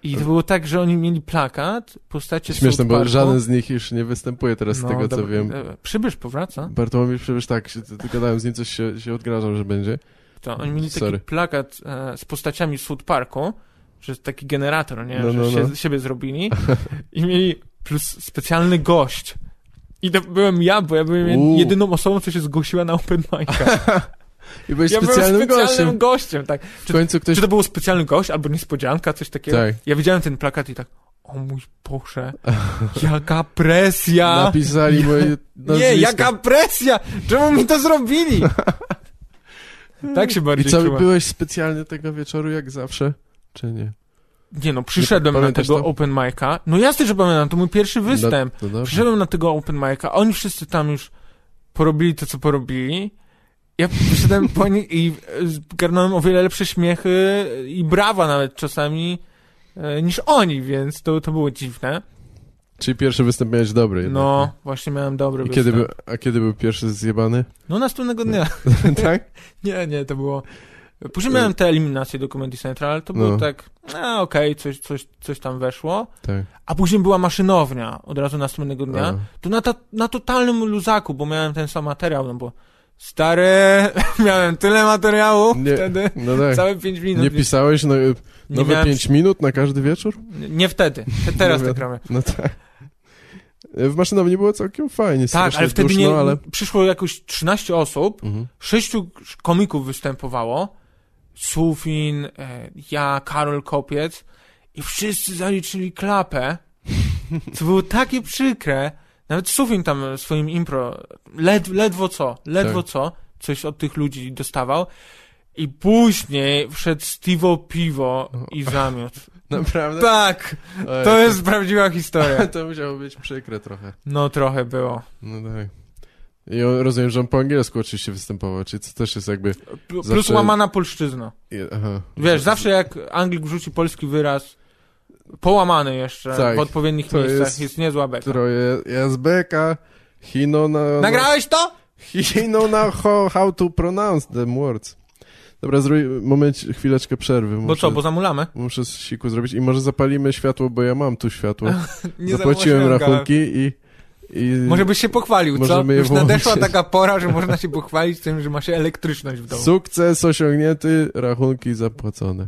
S1: I to było tak, że oni mieli plakat, postacie z
S2: Śmieszne,
S1: South
S2: bo
S1: Parku.
S2: żaden z nich już nie występuje teraz
S1: No,
S2: z tego, co
S1: dobra,
S2: wiem.
S1: e, Przybysz powraca.
S2: Bartłomiej przecież tak, się, t- gadałem z nim, coś się, się odgrażał, że będzie.
S1: To oni mieli taki
S2: Sorry.
S1: plakat e, z postaciami z South Parku, że taki generator, nie?
S2: No,
S1: że
S2: no,
S1: się,
S2: no.
S1: siebie zrobili i mieli plus specjalny gość. I to byłem ja, bo ja byłem
S2: Uuu.
S1: jedyną osobą, co się zgłosiła na open mic'a.
S2: I byłeś
S1: Ja byłem
S2: specjalnym
S1: specjalnym
S2: gościem.
S1: gościem, tak.
S2: W końcu ktoś...
S1: Czy to był specjalny gość albo niespodzianka, coś takiego?
S2: Tak.
S1: Ja widziałem ten plakat i tak, o mój Boże, jaka presja!
S2: Napisali moje nazwisko.
S1: Nie, jaka presja! Czemu mi to zrobili? tak się
S2: I
S1: bardziej
S2: co,
S1: czułem.
S2: byłeś specjalny tego wieczoru, jak zawsze? Czy nie?
S1: Nie no, przyszedłem
S2: Nie pa-
S1: na
S2: pamiętasz
S1: tego
S2: to?
S1: open mic'a. No jasne, że pamiętam, to mój pierwszy występ.
S2: No, no dobrze.
S1: Przyszedłem na tego open mic'a, oni wszyscy tam już porobili to, co porobili. Ja przyszedłem po nich i e, zgarnąłem o wiele lepsze śmiechy i brawa nawet czasami e, niż oni, więc to, to było dziwne.
S2: Czyli pierwszy występ miałeś dobry jednak,
S1: No, właśnie miałem dobry
S2: nie? I
S1: występ.
S2: kiedy był, a kiedy był pierwszy zjebany?
S1: No następnego dnia.
S2: tak?
S1: nie, nie, to było... Później miałem te eliminacje do Comedy Central, ale to było
S2: No.
S1: tak, a okej, coś, coś, coś tam weszło.
S2: Tak.
S1: A później była maszynownia od razu następnego dnia.
S2: A.
S1: To na, ta, na totalnym luzaku, bo miałem ten sam materiał, no bo stary, miałem tyle materiału
S2: Nie.
S1: wtedy,
S2: No tak.
S1: całe 5 minut.
S2: Nie
S1: więc
S2: pisałeś no, y,
S1: nie
S2: nowe
S1: miałem-
S2: pięć minut na każdy wieczór?
S1: Nie, nie wtedy, Te- teraz
S2: Nie
S1: tak
S2: wiem.
S1: robię.
S2: No tak. Y, W maszynowni było całkiem fajnie,
S1: Tak,
S2: strasznie
S1: ale wtedy
S2: duszno,
S1: nie,
S2: ale...
S1: przyszło jakoś 13 osób,
S2: Mhm.
S1: sześciu komików występowało, Sufin, e, ja, Karol Kopiec i wszyscy zaliczyli klapę, co było takie przykre. Nawet Sufin tam e, swoim impro, led, ledwo co, ledwo co, coś od tych ludzi dostawał. I później wszedł Steve'o Piwo i zamiot.
S2: Naprawdę?
S1: Tak,
S2: Oj,
S1: to jest prawdziwa historia.
S2: To musiało być przykre trochę.
S1: No trochę było.
S2: No tak. I on, rozumiem, że on po angielsku oczywiście występował, czyli to też jest jakby...
S1: Plus
S2: Zawsze-
S1: łamana polszczyzna.
S2: je- Aha.
S1: Wiesz, zawsze jak Anglik wrzuci polski wyraz połamany jeszcze
S2: Tak,
S1: w odpowiednich
S2: to
S1: miejscach,
S2: jest-
S1: jest, niezła beka.
S2: Troje jazbeka, Hino na...
S1: Nagrałeś to?
S2: Hino na how, how to pronounce them words. Dobra, zrób moment, chwileczkę przerwy.
S1: Bo
S2: muszę-
S1: co, bo zamulamy?
S2: Muszę z siku zrobić i może zapalimy światło, bo ja mam tu światło.
S1: Nie
S2: Zapłaciłem
S1: zamówiłem
S2: rachunki i... i...
S1: Może byś się pochwalił, co?
S2: Możemy je
S1: Już nadeszła
S2: włączyć.
S1: taka pora, że można się pochwalić tym, że ma się elektryczność w domu.
S2: Sukces osiągnięty, rachunki zapłacone.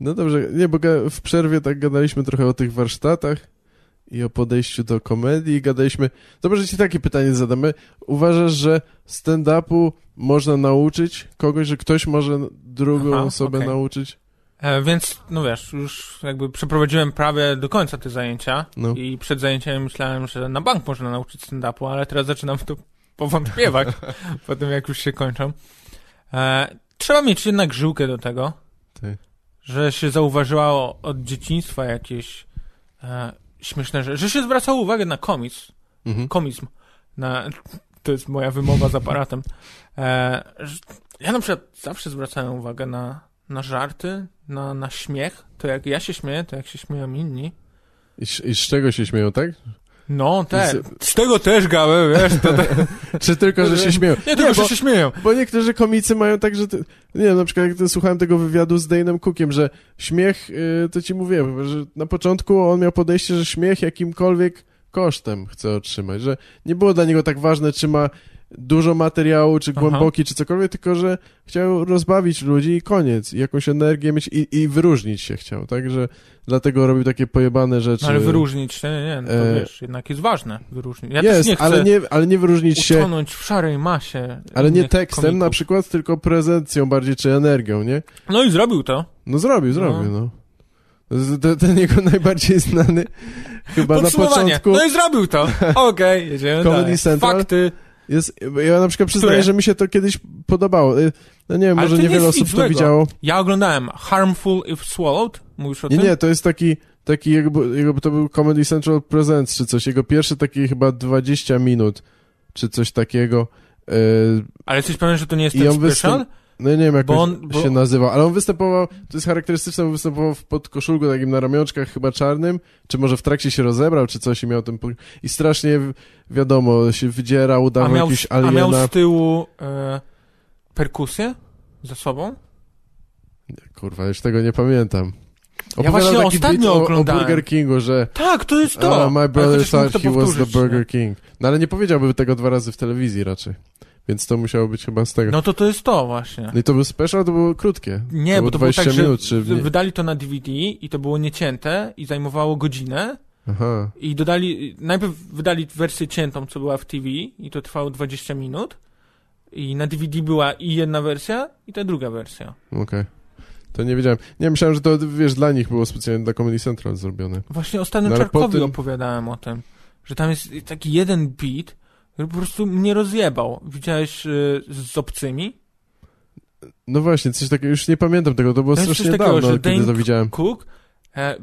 S2: No dobrze, nie, bo ga- w przerwie tak gadaliśmy trochę o tych warsztatach i o podejściu do komedii, gadaliśmy... Dobrze, że ci takie pytanie zadamy. Uważasz, że stand-upu można nauczyć kogoś, że ktoś może drugą
S1: Aha,
S2: osobę
S1: okej.
S2: nauczyć?
S1: E, więc, no wiesz, już jakby przeprowadziłem prawie do końca te zajęcia
S2: No.
S1: i przed zajęciami myślałem, że na bank można nauczyć stand-upu, ale teraz zaczynam w to powątpiewać po tym, jak już się kończą. E, trzeba mieć jednak żyłkę do tego,
S2: Ty.
S1: że się zauważyło od dzieciństwa jakieś e, śmieszne rzeczy, że się zwracało uwagę na komiks,
S2: Mhm.
S1: komizm. Na, to jest moja wymowa z aparatem. E, że- ja na przykład zawsze zwracałem uwagę na, na żarty, na, na śmiech. To jak ja się śmieję, to jak się śmieją inni.
S2: I, sz- I z czego się śmieją, tak?
S1: No, te,
S2: Z-
S1: z tego też gałem, wiesz, to, to,
S2: Czy tylko, że się śmieją?
S1: nie, tylko,
S2: bo,
S1: że się śmieją.
S2: bo niektórzy komicy mają tak, że... Ty, nie wiem, na przykład jak ty słuchałem tego wywiadu z Dane'em Cookiem, że śmiech, y, to ci mówiłem, chyba, że na początku on miał podejście, że śmiech jakimkolwiek kosztem chce otrzymać, że nie było dla niego tak ważne, czy ma dużo materiału, czy
S1: Aha.
S2: głęboki, czy cokolwiek, tylko że chciał rozbawić ludzi i koniec, i jakąś energię mieć i, i wyróżnić się chciał, tak, że dlatego robił takie pojebane rzeczy.
S1: No, ale wyróżnić się, nie, nie, no to
S2: Znaczy- E,
S1: wiesz, jednak jest ważne wyróżnić. Ja
S2: jest,
S1: też nie chcę
S2: ale nie, ale nie wyróżnić się,
S1: utonąć w szarej masie.
S2: ale nie
S1: innych
S2: tekstem
S1: komików.
S2: na przykład, tylko prezencją bardziej, czy energią, nie?
S1: No i zrobił to.
S2: No zrobił, zrobił, no. Z- te- Ten jego najbardziej znany chyba na
S1: Podsumowanie.
S2: początku
S1: No i zrobił to. Okej, jedziemy
S2: Comedy
S1: dalej.
S2: Central?
S1: Fakty.
S2: jest, ja na przykład przyznaję,
S1: Które?
S2: że mi się to kiedyś podobało. Y, No nie wiem,
S1: Ale
S2: może
S1: to nie
S2: niewiele
S1: jest
S2: osób
S1: nic
S2: to
S1: złego.
S2: widziało.
S1: Ja oglądałem Harmful If Swallowed. Mówisz o
S2: Nie,
S1: tym?
S2: nie, to jest taki, taki jakby, jakby to był Comedy Central Presents czy coś, jego pierwszy taki chyba 20 minut, czy coś takiego. Y,
S1: Ale jesteś pewien, że to nie jest
S2: I
S1: ten
S2: on występ-
S1: special?
S2: No ja nie wiem, jak
S1: Bo
S2: on,
S1: on- bo-
S2: się nazywał, ale on występował, to jest charakterystyczne, on występował w podkoszulku takim na ramionczkach chyba czarnym, czy może w trakcie się rozebrał, czy coś i miał ten... po- I strasznie, wi- wiadomo, się wydzierał,
S1: A
S2: udawał
S1: miał,
S2: jakiś
S1: a
S2: aliena.
S1: miał z tyłu e, perkusję ze sobą?
S2: Kurwa, już tego nie pamiętam. Opowiadał
S1: właśnie
S2: taki
S1: ostatnio
S2: bit o, o
S1: oglądałem.
S2: Burger Kingu, że
S1: Tak, to jest to.
S2: "Ah, my
S1: Ale
S2: brother
S1: chociaż mógł
S2: thought
S1: to
S2: he was the
S1: powtórzyć,
S2: Burger King. No ale nie powiedziałby tego dwa razy w telewizji raczej, więc to musiało być chyba z
S1: nie?
S2: tego. No.
S1: No to to jest to właśnie.
S2: I to był special, to było krótkie.
S1: Nie, bo to było
S2: 20
S1: tak,
S2: minut,
S1: że
S2: czy...
S1: w-
S2: mniej.
S1: wydali to na DVD i to było niecięte i zajmowało godzinę
S2: Aha.
S1: i dodali, najpierw wydali wersję ciętą, co była w TV i to trwało 20 minut i na DVD była i jedna wersja i ta druga wersja.
S2: Okej. To nie wiedziałem. Nie, myślałem, że to, wiesz, dla nich było specjalnie dla Comedy Central zrobione.
S1: Właśnie ostatnio
S2: No, ale po
S1: Czarkowi
S2: tym-
S1: opowiadałem o tym, że tam jest taki jeden beat, który po prostu mnie rozjebał. Widziałeś y, z obcymi?
S2: No właśnie, coś takiego, już nie pamiętam tego, to było
S1: To jest coś
S2: strasznie
S1: takiego,
S2: dawno,
S1: że
S2: kiedy
S1: Dane
S2: to widziałem.
S1: Cook e,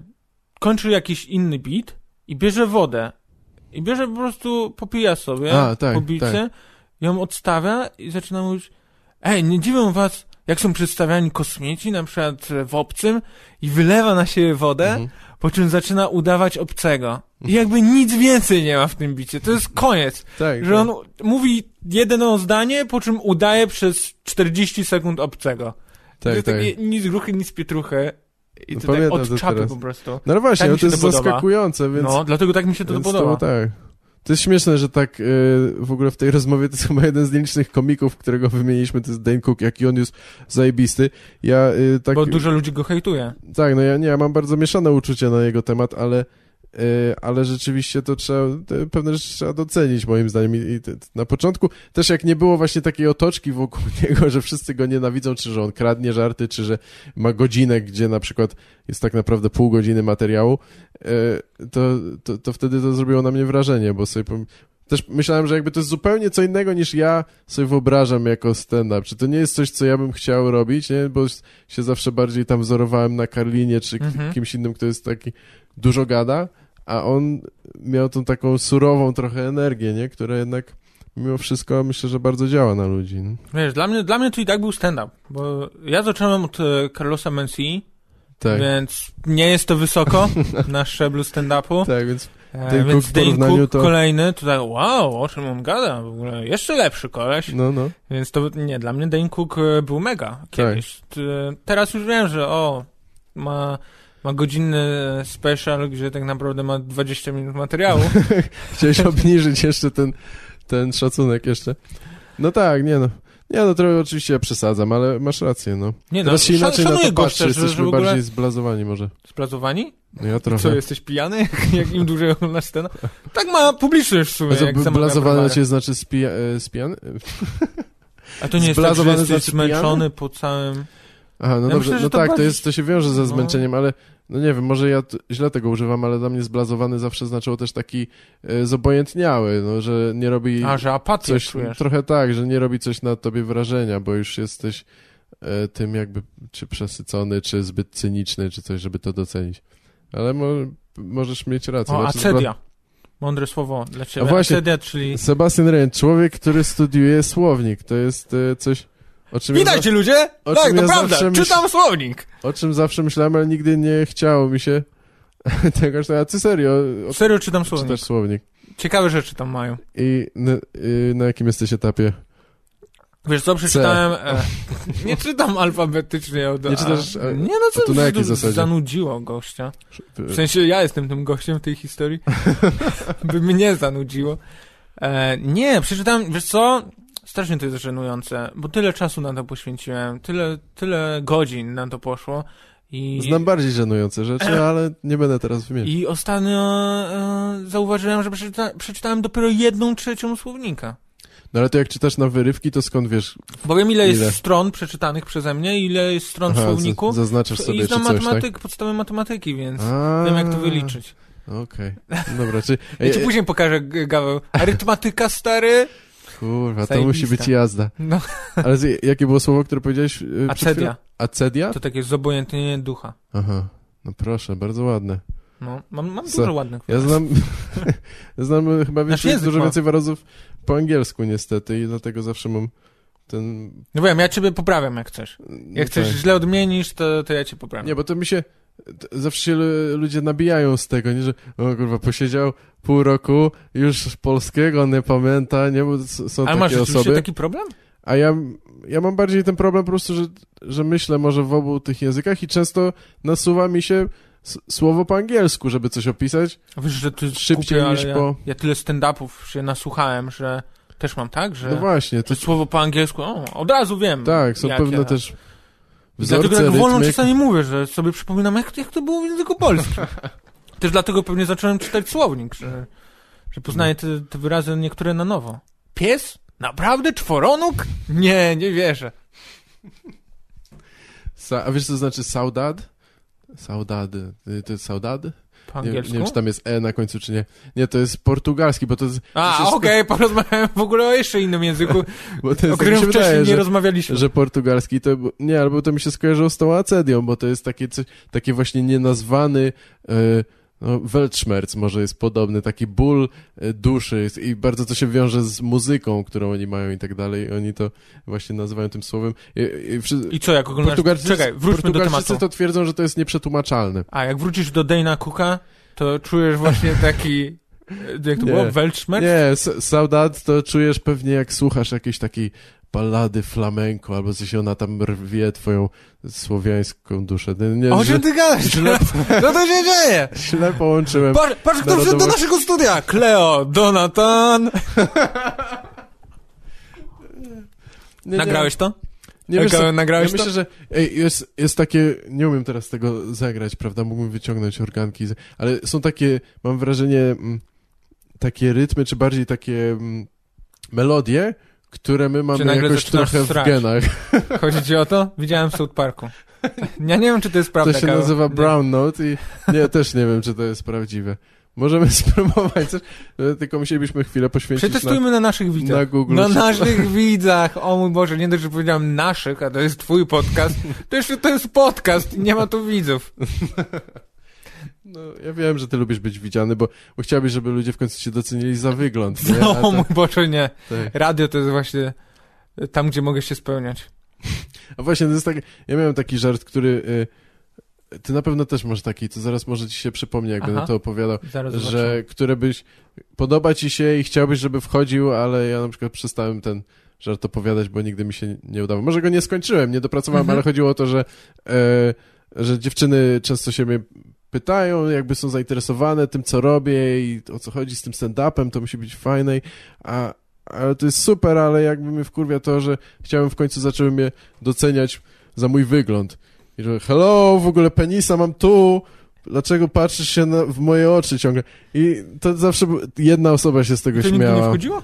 S1: kończy jakiś inny beat i bierze wodę. I bierze po prostu, popija sobie
S2: A, tak,
S1: po bicie, ją odstawia i zaczyna mówić Ej, nie dziwią was, jak są przedstawiani kosmici, na przykład e, w obcym i wylewa na siebie wodę,
S2: Mhm.
S1: po czym zaczyna udawać obcego. I jakby nic więcej nie ma w tym bicie. To jest koniec.
S2: Tak,
S1: Że on mówi jedno zdanie, po czym udaje przez 40 sekund obcego.
S2: tak,
S1: To
S2: tak.
S1: takie nic gruchy, nic pietruchy. I
S2: No
S1: to tak
S2: pamiętam
S1: od
S2: to
S1: czapy
S2: teraz.
S1: po prostu.
S2: No ale właśnie,
S1: tak mi
S2: no to
S1: się
S2: jest
S1: to podoba.
S2: zaskakujące, więc...
S1: no, dlatego tak mi się to
S2: więc
S1: podoba.
S2: To, tak. To jest śmieszne, że tak y, w ogóle w tej rozmowie to jest chyba jeden z nielicznych komików, którego wymieniliśmy, to jest Dane Cook, jaki on jest zajebisty. Ja y, tak...
S1: Bo dużo ludzi go hejtuje.
S2: Tak, no ja nie, ja mam bardzo mieszane uczucia na jego temat, ale, yy, ale rzeczywiście to trzeba, te pewne rzeczy trzeba docenić moim zdaniem. I, i te, na początku też jak nie było właśnie takiej otoczki wokół niego, że wszyscy go nienawidzą, czy że on kradnie żarty, czy że ma godzinę, gdzie na przykład jest tak naprawdę pół godziny materiału, yy, to, to, to wtedy to zrobiło na mnie wrażenie, bo sobie pom- też myślałem, że jakby to jest zupełnie co innego niż ja sobie wyobrażam jako stand-up. Czy to nie jest coś, co ja bym chciał robić, nie? Bo się zawsze bardziej tam wzorowałem na Karlinie czy ki-
S1: Mhm.
S2: kimś innym, kto jest taki dużo gada, a on miał tą taką surową trochę energię, nie? Która jednak mimo wszystko myślę, że bardzo działa na ludzi. No.
S1: Wiesz, dla mnie, dla mnie to i tak był stand-up. Bo ja zacząłem od e, Carlosa Mencii,
S2: Tak.
S1: więc nie jest to wysoko na szczeblu stand-upu.
S2: Tak, więc Dane
S1: E,
S2: Cook
S1: więc
S2: w
S1: Dane
S2: porównaniu
S1: Cook
S2: to-
S1: kolejny, tutaj wow, o czym on gada w ogóle, jeszcze lepszy koleś.
S2: no, no.
S1: Więc to nie, dla mnie Dane Cook e, był mega kiedyś.
S2: Tak.
S1: T- Teraz już wiem, że o, ma, ma godzinny e, special, gdzie tak naprawdę ma 20 minut materiału.
S2: Chciałeś obniżyć jeszcze ten, ten szacunek jeszcze. No tak, nie no. Nie no, trochę oczywiście ja przesadzam, ale masz rację, no.
S1: Nie no,
S2: Teraz się
S1: szan-
S2: inaczej na
S1: szanuję
S2: to patrzy,
S1: gościa, że, że
S2: jesteśmy
S1: w ogóle...
S2: bardziej zblazowani może.
S1: Splazowani?
S2: No ja trochę.
S1: Co, jesteś pijany? jak- Jak im dłużej oglądasz scenę? Tak ma publiczność w sumie,
S2: A co,
S1: jak
S2: b-
S1: zamawia
S2: blazowany
S1: browara.
S2: na ciebie znaczy spija, e, spijany? E,
S1: A to nie jest tak, że
S2: zblazowany
S1: jesteś
S2: znaczy pijany?
S1: zmęczony po całym...
S2: Aha, no
S1: Ja
S2: dobrze,
S1: myślę, że
S2: no
S1: to
S2: tak, to,
S1: bardziej-
S2: jest, to się wiąże ze
S1: no.
S2: zmęczeniem, ale No nie wiem, może ja t- źle tego używam, ale dla mnie zblazowany zawsze znaczyło też taki e, zobojętniały, no, że nie robi
S1: A, że apatię
S2: coś,
S1: czujesz.
S2: trochę tak, że nie robi coś na tobie wrażenia, bo już jesteś e, tym jakby czy przesycony, czy zbyt cyniczny, czy coś, żeby to docenić. Ale mo możesz mieć rację.
S1: O,
S2: Znaczy, zbla-
S1: acedia. Mądre słowo dla ciebie.
S2: A właśnie-
S1: Acedia, czyli...
S2: Sebastian Rent, człowiek, który studiuje słownik, to jest e, coś, o czym, ja,
S1: Witajcie ludzie!
S2: o
S1: tak,
S2: czym
S1: to
S2: ja
S1: prawda,
S2: zawsze myśl-
S1: czytam słownik.
S2: za- o czym zawsze myślałem, ale nigdy nie chciało mi się tego, że a ty serio, o,
S1: Serio czytam słownik.
S2: czytasz słownik.
S1: Ciekawe rzeczy tam mają.
S2: I na, y, na jakim jesteś etapie?
S1: Wiesz co, przeczytałem... E, nie czytam alfabetycznie od
S2: Nie
S1: A.
S2: czytasz, e,
S1: Nie, no co,
S2: to na jakiej
S1: z-
S2: zasadzie? y,
S1: zanudziło gościa. W sensie ja jestem tym gościem w tej historii. By mnie zanudziło. E, nie, przeczytałem, wiesz co? Strasznie to jest żenujące, bo tyle czasu na to poświęciłem, tyle, tyle godzin na to poszło i...
S2: Znam bardziej żenujące rzeczy, ale nie będę teraz wymieniał.
S1: I ostatnio e, zauważyłem, że przeczyta, przeczytałem dopiero jedną trzecią słownika.
S2: No ale to jak czytasz na wyrywki, to skąd wiesz?
S1: Powiem, ile,
S2: Ile?
S1: jest stron przeczytanych przeze mnie, ile jest stron w
S2: Aha,
S1: słowniku.
S2: z- zaznaczysz
S1: I
S2: sobie, czy
S1: znam
S2: coś, tak?
S1: matematyk, podstawy matematyki, więc
S2: A,
S1: wiem, jak to wyliczyć.
S2: Okej, dobra, czy...
S1: Ja ci później pokażę, G- Gaweł. Arytmatyka, stary?
S2: kurwa, to
S1: Zajebista.
S2: musi być jazda.
S1: No,
S2: Ale z, jakie było słowo, które powiedziałeś y, przed chwilą?
S1: acedia.
S2: Acedia?
S1: To takie zobojętnienie ducha.
S2: Aha, no proszę, bardzo ładne.
S1: No, mam, mam
S2: Co?
S1: dużo ładnych.
S2: Ja znam, znam e, chyba
S1: Nasz
S2: więcej,
S1: język
S2: dużo
S1: ma.
S2: więcej wyrazów po angielsku niestety i dlatego zawsze mam ten...
S1: No wiem, ja ciebie poprawiam, jak chcesz. Jak chcesz
S2: tak.
S1: źle odmienisz, to, to ja cię poprawiam.
S2: Nie, bo to mi się... t- Zawsze się lu- ludzie nabijają z tego, nie, że o kurwa, posiedział pół roku, już polskiego nie pamięta, nie, bo s- są
S1: Ale masz
S2: takie
S1: rzeczywiście
S2: osoby.
S1: taki problem?
S2: A ja, ja mam bardziej ten problem po prostu, że, że myślę może w obu tych językach i często nasuwa mi się s- słowo po angielsku, żeby coś opisać.
S1: A Wiesz, że ty
S2: Szybciej
S1: kupię, ale
S2: niż
S1: ja,
S2: po-
S1: ja tyle stand-upów się nasłuchałem, że też mam tak, że
S2: No właśnie, to
S1: to słowo po angielsku, o, od razu wiem.
S2: tak, są
S1: Mm. jak
S2: pewne
S1: ja-
S2: też
S1: I
S2: wzorce,
S1: Dlatego tak wolno
S2: rytmy.
S1: czasami mówię, że sobie przypominam, jak, jak to było w języku polskim. też dlatego pewnie zacząłem czytać słownik, że, że poznaję te, te wyrazy niektóre na nowo. Pies? Naprawdę? Czworonóg? Nie, nie wierzę.
S2: Sa, a wiesz co znaczy saudad? Saudady. Y, To jest saudady?
S1: Po
S2: Nie, nie
S1: angielsku?
S2: wiem, czy tam jest e na końcu, czy nie. Nie, to jest portugalski, bo to jest...
S1: A,
S2: wszystko-
S1: okej, porozmawiałem w ogóle o jeszcze innym języku,
S2: Bo to
S1: o
S2: jest tak mi
S1: którym
S2: się
S1: wcześniej
S2: wydaje,
S1: nie
S2: że,
S1: rozmawialiśmy.
S2: że portugalski to... bu- Nie, albo to mi się skojarzyło z tą acedią, bo to jest takie, coś, takie właśnie nienazwany... Y, no, Weltschmerz może jest podobny, taki ból y, duszy jest, i bardzo to się wiąże z muzyką, którą oni mają i tak dalej. Oni to właśnie nazywają tym słowem. I, i, wszy-
S1: I co, jak oglądasz...
S2: Portugalczycy,
S1: Czekaj, wróćmy do tematu.
S2: Portugalczycy to twierdzą, że to jest nieprzetłumaczalne.
S1: A jak wrócisz do Dana Cooka, to czujesz właśnie taki... Jak to
S2: Nie.
S1: było? Weltschmerz?
S2: Nie, s- saudade to czujesz pewnie jak słuchasz jakiejś takiej ballady flamenko, albo coś ona tam rwie twoją słowiańską duszę. Nie, Nie,
S1: O
S2: źle,
S1: czym ty gadasz? Co to się dzieje?
S2: źle połączyłem.
S1: Patrz, patrz kto wszedł do
S2: Narodowość.
S1: naszego studia! Cleo, Donatan!
S2: Nie, nie,
S1: Nagrałeś to?
S2: Nie, wiesz, co,
S1: Gaweł, nagrałeś
S2: ja myślę, że ej, jest, jest takie, nie umiem teraz tego zagrać, prawda, mógłbym wyciągnąć organki, z- ale są takie, mam wrażenie, mm, takie rytmy, czy bardziej takie mm, melodie, które my mamy
S1: nagle
S2: jakoś
S1: zaczynasz
S2: trochę
S1: srać.
S2: w genach.
S1: to? Chodzi ci o to? Widziałem w South Parku. Ja nie wiem, czy to jest prawda,
S2: To się
S1: Karol.
S2: nazywa
S1: Nie.
S2: brown note i nie, też nie wiem, czy to jest prawdziwe. Możemy spróbować, coś, e, tylko musielibyśmy chwilę poświęcić na,
S1: Przetestujmy na naszych widzach.
S2: na Google.
S1: Na naszych widzach, o mój Boże, nie dość, że powiedziałem naszych, a to jest twój podcast, to jeszcze to jest podcast i nie ma tu widzów.
S2: No, ja wiem, że ty lubisz być widziany, bo, bo chciałbyś, żeby ludzie w końcu cię docenili za wygląd. Nie? A
S1: No,
S2: to-
S1: mój Boże, nie.
S2: tak.
S1: Radio to jest właśnie tam, gdzie mogę się spełniać.
S2: A właśnie, to jest tak, ja miałem taki żart, który... y, Ty na pewno też masz taki, to zaraz może ci się przypomnie, jak
S1: Aha.
S2: będę to opowiadał,
S1: Zaraz zobaczymy.
S2: że które byś... Podoba ci się i chciałbyś, żeby wchodził, ale ja na przykład przestałem ten żart opowiadać, bo nigdy mi się nie udało. Może go nie skończyłem, nie dopracowałem,
S1: Mhm.
S2: ale chodziło o to, że, e, że dziewczyny często się mnie pytają, jakby są zainteresowane tym, co robię i o co chodzi z tym stand-upem, to musi być fajne, i- a, ale to jest super, ale jakby mnie wkurwia to, że chciałem w końcu zaczęły mnie doceniać za mój wygląd. I że hello, w ogóle penisa mam tu, dlaczego patrzysz się na, w moje oczy ciągle? I to zawsze bu- jedna osoba się z tego
S1: To nigdy nie
S2: śmiała.
S1: wchodziło?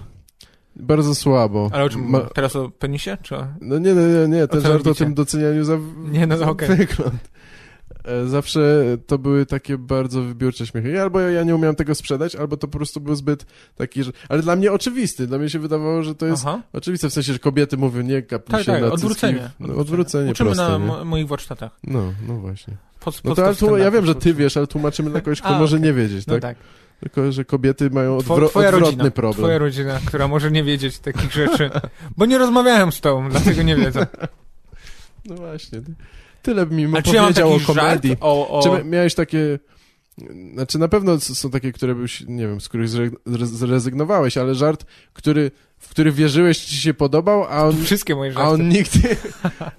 S2: Bardzo słabo.
S1: Ale o czym?
S2: Ma-
S1: Teraz o penisie? Czy o...
S2: no nie, nie, nie, nie. ten
S1: co
S2: żart o
S1: robicie?
S2: tym docenianiu za,
S1: Nie, no,
S2: za
S1: okej.
S2: wygląd. e, zawsze to były takie bardzo wybiórcze śmiechy. Albo ja nie umiałem tego sprzedać, albo to po prostu był zbyt taki, że... Ale dla mnie oczywisty. Dla mnie się wydawało, że to jest
S1: Aha.
S2: oczywiste. W sensie, że kobiety mówią nie kapli
S1: Tak,
S2: się
S1: tak,
S2: na cycki.
S1: odwrócenie.
S2: No, odwrócenie
S1: Uczymy
S2: proste,
S1: na
S2: nie?
S1: mo- moich warsztatach.
S2: No, no właśnie.
S1: Pod,
S2: No to, ale
S1: podstaw
S2: tu, ja
S1: standardu
S2: wiem, że ty
S1: społecznego.
S2: wiesz, ale tłumaczymy dla kogoś, kto
S1: A,
S2: może
S1: okej.
S2: nie wiedzieć,
S1: No
S2: tak?
S1: tak.
S2: Tylko, że kobiety mają
S1: Two-
S2: odwro-
S1: twoja
S2: odwrotny
S1: rodzina,
S2: problem.
S1: Twoja rodzina, która może nie wiedzieć takich rzeczy. Bo nie rozmawiałem z tobą, dlatego nie wiedzą.
S2: No właśnie. ty- Tyle mi
S1: A czy ja mam
S2: powiedział
S1: taki
S2: o komedii.
S1: żart o, o...
S2: Czy miałeś takie... Znaczy na pewno s- są takie, które byś, nie wiem, z których zre- zre- zrezygnowałeś, ale żart, który, w który wierzyłeś, ci się podobał, a on,
S1: Wszystkie moje
S2: a
S1: żarty.
S2: on nigdy,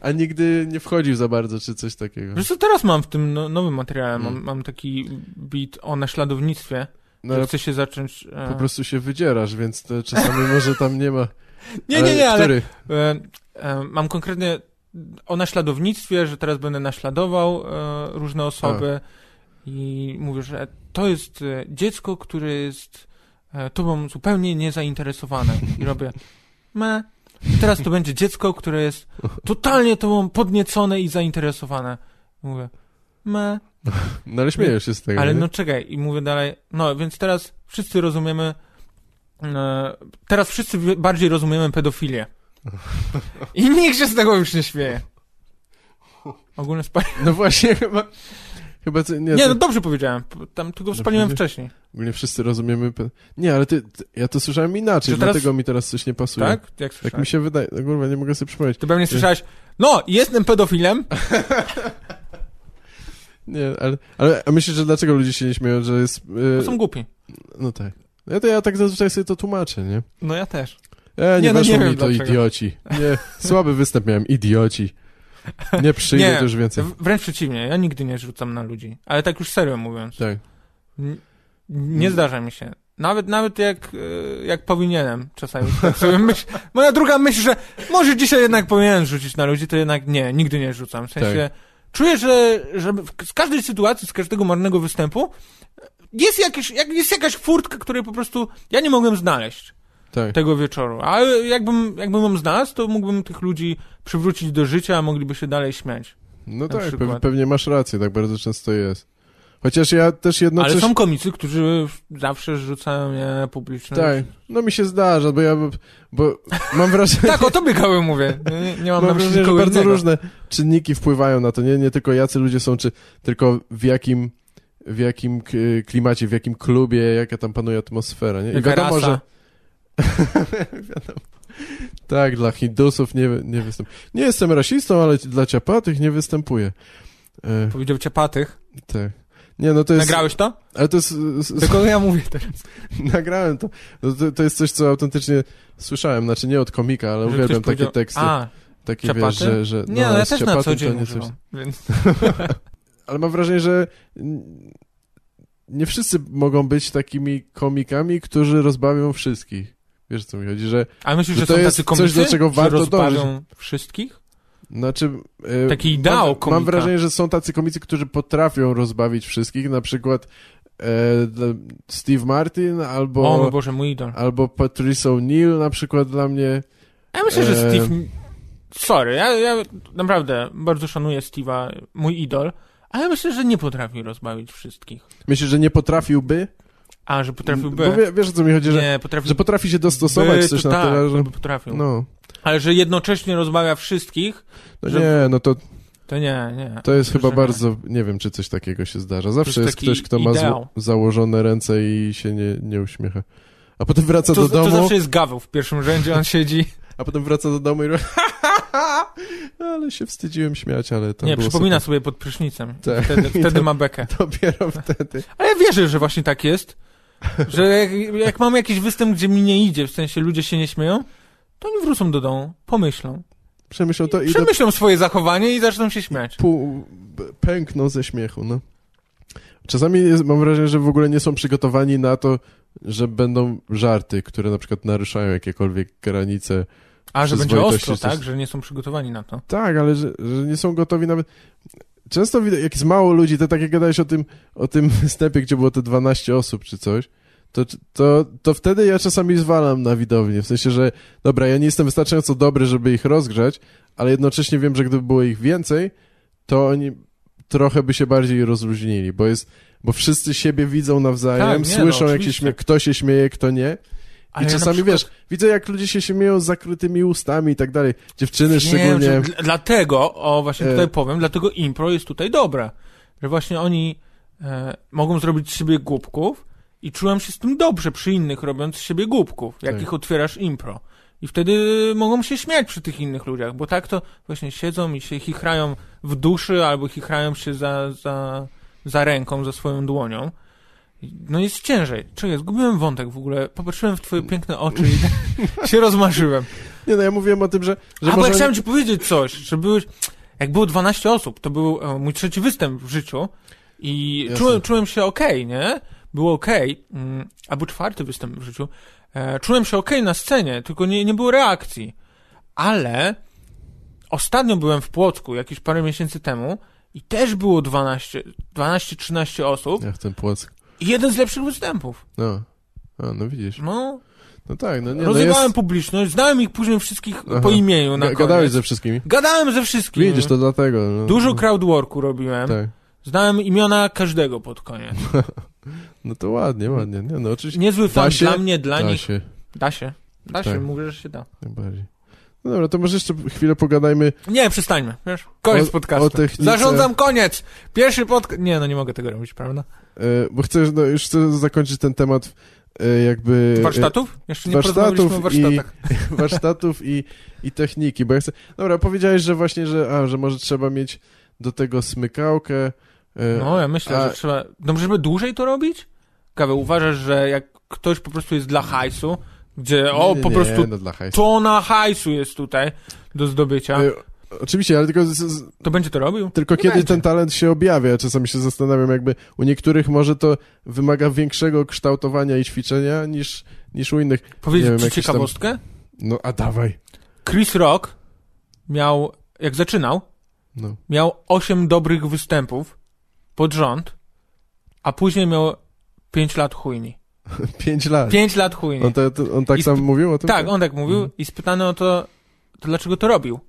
S2: a nigdy nie wchodził za bardzo, czy coś takiego.
S1: Wiesz co, teraz mam w tym no, nowym materiale, mam,
S2: Mm.
S1: mam taki bit o naśladownictwie,
S2: No,
S1: że
S2: ale
S1: chcę się zacząć... E...
S2: po prostu się wydzierasz, więc to czasami może tam nie ma...
S1: Nie, nie, nie, ale
S2: Który?
S1: E, e, mam konkretnie o naśladownictwie, że teraz będę naśladował e, różne osoby i mówię, że to jest e, dziecko, które jest e, tobą zupełnie niezainteresowane i robię me. I Teraz to będzie dziecko, które jest totalnie tobą podniecone i zainteresowane. Mówię me.
S2: No ale śmiejesz się z tego,
S1: Ale
S2: nie?
S1: no czekaj, i mówię dalej, no więc teraz wszyscy rozumiemy, e, teraz wszyscy wie- bardziej rozumiemy pedofilię. I nikt się z tego już nie śmieje. Ogólne spalenie.
S2: No właśnie, chyba... Chyba co, nie,
S1: Nie,
S2: to-
S1: no dobrze powiedziałem, p- tam tylko
S2: Dobrze
S1: spaliłem
S2: powiedziałeś.
S1: wcześniej.
S2: Ogólnie wszyscy rozumiemy. pe- Nie, ale ty, ty, ja to słyszałem inaczej,
S1: Że teraz-
S2: dlatego mi teraz coś nie pasuje.
S1: Tak? Jak
S2: Tak
S1: słyszałeś?
S2: mi się wydaje. No, kurwa, nie mogę sobie przypomnieć.
S1: Ty pewnie słyszałeś, no jestem pedofilem,
S2: Nie, ale, ale a myślisz, że dlaczego ludzie się nie śmieją, że jest.
S1: to
S2: Yy,
S1: są głupi.
S2: No tak. Ja to ja tak zazwyczaj sobie to tłumaczę, nie?
S1: No ja też.
S2: E, nie,
S1: Nie, no
S2: weszło
S1: nie
S2: mi
S1: wiem
S2: to
S1: dlaczego.
S2: idioci. Nie, słaby występ miałem, idioci. Nie przyjdę
S1: Nie,
S2: to już więcej.
S1: W- Wręcz przeciwnie, ja nigdy nie rzucam na ludzi, ale tak już serio mówiąc.
S2: Tak.
S1: N- Nie zdarza mi się. Nawet, nawet jak, e, jak powinienem czasami. Tak sobie myśl, moja druga myśl, że może dzisiaj jednak powinienem rzucić na ludzi, to jednak nie, nigdy nie rzucam. W sensie czuję, że, że w- z każdej sytuacji, z każdego marnego występu e, jest, jakieś, jak, jest jakaś furtka, której po prostu ja nie mogłem znaleźć
S2: Tak.
S1: tego wieczoru. A jakbym, jakbym ją znalazł, to mógłbym tych ludzi przywrócić do życia, a mogliby się dalej śmiać.
S2: No
S1: na
S2: tak,
S1: przykład.
S2: pe- pewnie masz rację, tak bardzo często jest. Chociaż ja też jednocześnie.
S1: Ale są komicy, którzy zawsze rzucają mnie publicznie.
S2: Tak. No mi się zdarza, bo ja. Bo mam wrażenie.
S1: Tak, o tobie gały mówię. Nie, nie, nie mam na myśli
S2: Mam wrażenie, No, że
S1: nikogo
S2: bardzo
S1: innego.
S2: różne czynniki wpływają na to. Nie, nie tylko jacy ludzie są, czy tylko w jakim, w jakim k- klimacie, w jakim klubie, jaka tam panuje atmosfera. Nie? I
S1: Jaka
S2: wiadomo,
S1: rasa.
S2: że. wiadomo. Tak, dla Hindusów nie, nie występuję. Nie jestem rasistą, ale dla ciapatych nie występuję. E,
S1: Powiedział ciapatych.
S2: tak. Nie, no to jest.
S1: Nagrałeś to?
S2: Ale to jest. s- s-
S1: Tylko ja mówię tak, teraz.
S2: Nagrałem to. No to. To jest coś, co autentycznie słyszałem. Znaczy nie od komika, ale
S1: Że ktoś
S2: uwielbiam takie
S1: powiedział-
S2: teksty.
S1: A,
S2: takie
S1: ciapaty?
S2: wiesz, że, że
S1: nie, no, ja
S2: z
S1: też na
S2: ciapatym
S1: co
S2: to
S1: dzień
S2: nie coś-
S1: używam. Więc...
S2: ale mam wrażenie, że n- nie wszyscy mogą być takimi komikami, którzy rozbawią wszystkich. Wiesz, o co mi chodzi, że
S1: A myślisz,
S2: Że
S1: że
S2: to
S1: są
S2: jest
S1: tacy komicy,
S2: coś, do czego
S1: że
S2: warto
S1: rozbawią wszystkich?
S2: znaczy... e,
S1: Taki ideał
S2: mam,
S1: komika.
S2: mam wrażenie, że są tacy komicy, którzy potrafią rozbawić wszystkich, na przykład e, dla- Steve Martin
S1: O mój
S2: albo,
S1: Boże, mój idol.
S2: albo Patrice O'Neill na przykład dla mnie.
S1: Ja myślę, że
S2: Eee.
S1: Steve... Sorry, ja, ja naprawdę bardzo szanuję Steve'a, mój idol, ale myślę, że nie potrafi rozbawić wszystkich.
S2: Myślę, że nie potrafiłby.
S1: A, że potrafiłby...
S2: Bo wie, wiesz o co mi chodzi, że,
S1: nie, potrafiłby...
S2: że potrafi się dostosować
S1: by,
S2: coś
S1: to
S2: na
S1: tak,
S2: tyle, że...
S1: to by potrafił.
S2: No,
S1: Ale że jednocześnie rozbawia wszystkich,
S2: no
S1: Że-
S2: nie, no to
S1: to nie, nie.
S2: To jest chyba
S1: Że-
S2: bardzo, nie wiem, czy coś takiego się zdarza. Zawsze
S1: To
S2: jest
S1: jest
S2: ktoś,
S1: taki
S2: kto ma
S1: ideał.
S2: zło- założone ręce i się nie, nie uśmiecha. A potem
S1: to,
S2: wraca
S1: znaczy,
S2: do domu,
S1: to zawsze jest Gaweł w pierwszym rzędzie, on siedzi.
S2: a potem wraca do domu i robi ale się wstydziłem śmiać, ale to
S1: nie,
S2: było
S1: przypomina sobie pod prysznicem.
S2: Tak.
S1: Wtedy,
S2: I
S1: wtedy
S2: to-
S1: ma bekę.
S2: super. Dopiero wtedy.
S1: Ale ja wierzę, że właśnie tak jest, że jak, jak mam jakiś występ, gdzie mi nie idzie, w sensie ludzie się nie śmieją, to oni wrócą do domu, pomyślą.
S2: Przemyślał to i do
S1: Przemyślą swoje zachowanie i zaczną się śmiać.
S2: pół, b- pęknął ze śmiechu, no. Czasami jest, mam wrażenie, że w ogóle nie są przygotowani na to, że będą żarty, które na przykład naruszają jakiekolwiek granice
S1: A, że będzie
S2: Przyzwoitości
S1: ostro,
S2: to jest-
S1: tak? Że nie są przygotowani na to.
S2: Tak, ale że, że nie są gotowi nawet. Często widać, jak jest mało ludzi, to tak jak gadałeś o tym, o tym występie, gdzie było te 12 osób czy coś, to, to, to wtedy ja czasami zwalam na widownię. W sensie, że dobra, ja nie jestem wystarczająco dobry, żeby ich rozgrzać, ale jednocześnie wiem, że gdyby było ich więcej, to oni trochę by się bardziej rozluźnili, bo jest, bo wszyscy siebie widzą nawzajem,
S1: Tak, nie, no,
S2: słyszą jak się
S1: oczywiście.
S2: śmie- kto się śmieje, kto nie. I
S1: Ale ja na
S2: czasami,
S1: przykład-
S2: wiesz, widzę jak ludzie się śmieją z zakrytymi ustami i tak dalej. Dziewczyny
S1: Nie,
S2: szczególnie.
S1: wiem, czy- dl- dlatego, o właśnie
S2: E.
S1: tutaj powiem, dlatego impro jest tutaj dobre. Że właśnie oni e, mogą zrobić z siebie głupków i czułem się z tym dobrze przy innych robiąc z siebie głupków, jak
S2: Tak.
S1: ich otwierasz impro. I wtedy mogą się śmiać przy tych innych ludziach, bo tak to właśnie siedzą i się chichrają w duszy albo chichrają się za, za, za ręką, za swoją dłonią. No jest ciężej. Czekaj, zgubiłem wątek w ogóle. Popatrzyłem w twoje piękne oczy i się rozmarzyłem.
S2: Nie no, ja mówiłem o tym, że, że
S1: A bo
S2: może
S1: ja
S2: oni-
S1: chciałem ci powiedzieć coś, że byłeś, jak było 12 osób, to był e, mój trzeci występ w życiu i
S2: Jasne.
S1: czułem, czułem się okej, nie? Było okej, mm, albo czwarty występ w życiu, e, czułem się okej na scenie, tylko nie, nie było reakcji, ale ostatnio byłem w Płocku, jakieś parę miesięcy temu i też było 12, 12-13 osób
S2: Ja w ten płock.
S1: i jeden z lepszych występów,
S2: No. A, no widzisz.
S1: no,
S2: No tak, no nie, no
S1: rozjebałem
S2: jest...
S1: publiczność, znałem ich później wszystkich
S2: Aha.
S1: po imieniu no na
S2: Ga-
S1: koniec.
S2: Gadałeś ze wszystkimi.
S1: Gadałem ze wszystkimi.
S2: Widzisz, to dlatego. No.
S1: Dużo crowdworku robiłem.
S2: Tak.
S1: Znałem imiona każdego pod koniec.
S2: No to ładnie, ładnie. Nie, no oczywiście
S1: Niezły fan
S2: się?
S1: dla mnie, dla
S2: da
S1: nich.
S2: się.
S1: Da się. Da się,
S2: Tak.
S1: mówię, że się da.
S2: Najbardziej. No dobra, to może jeszcze chwilę pogadajmy.
S1: Nie, przestańmy, wiesz? Koniec
S2: O-
S1: podcastu.
S2: o technice.
S1: Zarządzam koniec! Pierwszy podcast... Nie, no nie mogę tego robić, prawda?
S2: E, bo chcę, no, już chcę zakończyć ten temat e, jakby... e,
S1: Warsztatów? Jeszcze nie
S2: warsztatów
S1: porozmawialiśmy o warsztatach.
S2: warsztatów i, i techniki, bo ja chcę... Dobra, powiedziałeś, że właśnie, że, a, że może trzeba mieć do tego smykałkę. e,
S1: No, ja myślę,
S2: a-
S1: że trzeba... No, żeby dłużej to robić? Kawe, uważasz, że jak ktoś po prostu jest dla hajsu, gdzie E, o,
S2: nie, nie,
S1: po
S2: nie,
S1: prostu
S2: No, dla hajsu.
S1: tona hajsu jest tutaj do zdobycia,
S2: E, Oczywiście, ale tylko, z, z,
S1: to będzie to robił?
S2: tylko
S1: Nie
S2: kiedy
S1: będzie.
S2: ten talent się objawia. Ja Czasami się zastanawiam, jakby u niektórych może to wymaga większego kształtowania i ćwiczenia niż, niż u innych. nie wiem,
S1: Powiedzieć ci
S2: jakiś tam-
S1: ciekawostkę?
S2: No, a dawaj.
S1: Chris Rock miał, jak zaczynał,
S2: No.
S1: miał 8 dobrych występów pod rząd, a później miał 5 lat chujni.
S2: Pięć lat.
S1: 5 lat chujni.
S2: On, to, to, on tak
S1: I
S2: sam
S1: sp-
S2: mówił o tym?
S1: Tak, on tak mówił
S2: Mhm.
S1: i spytany o to, to dlaczego to robił.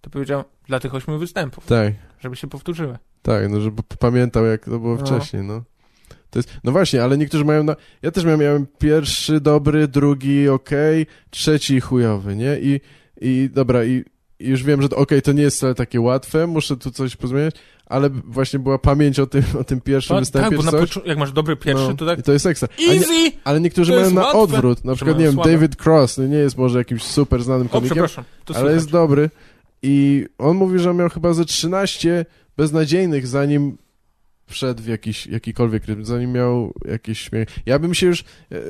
S1: To powiedział, dla tych 8 występów,
S2: Tak,
S1: żeby się powtórzyły.
S2: tak, no żeby p- pamiętał, jak to było
S1: No.
S2: wcześniej, no. To jest, no właśnie, ale niektórzy mają, na, ja też miałem, miałem pierwszy dobry, drugi okej, trzeci chujowy, nie? I, i dobra, i, i już wiem, że to okej, to nie jest wcale takie łatwe, muszę tu coś pozmieniać, ale właśnie była pamięć o tym, o tym pierwszym
S1: To,
S2: występie,
S1: tak, bo
S2: czy
S1: na
S2: coś.
S1: poczu- jak masz dobry pierwszy,
S2: No,
S1: to tak
S2: I to jest ekstra. A nie,
S1: easy!
S2: ale niektórzy
S1: to
S2: mają
S1: jest
S2: na
S1: łatwe.
S2: odwrót, na przykład,
S1: mają
S2: nie wiem,
S1: słabe.
S2: David Cross, no nie jest może jakimś super znanym
S1: O,
S2: komikiem,
S1: przepraszam, to
S2: ale jest
S1: słychać.
S2: dobry. I on mówi, że miał chyba ze 13 beznadziejnych, zanim wszedł w jakiś, jakikolwiek rytm, zanim miał jakiś śmiech. Ja bym się już... e, e,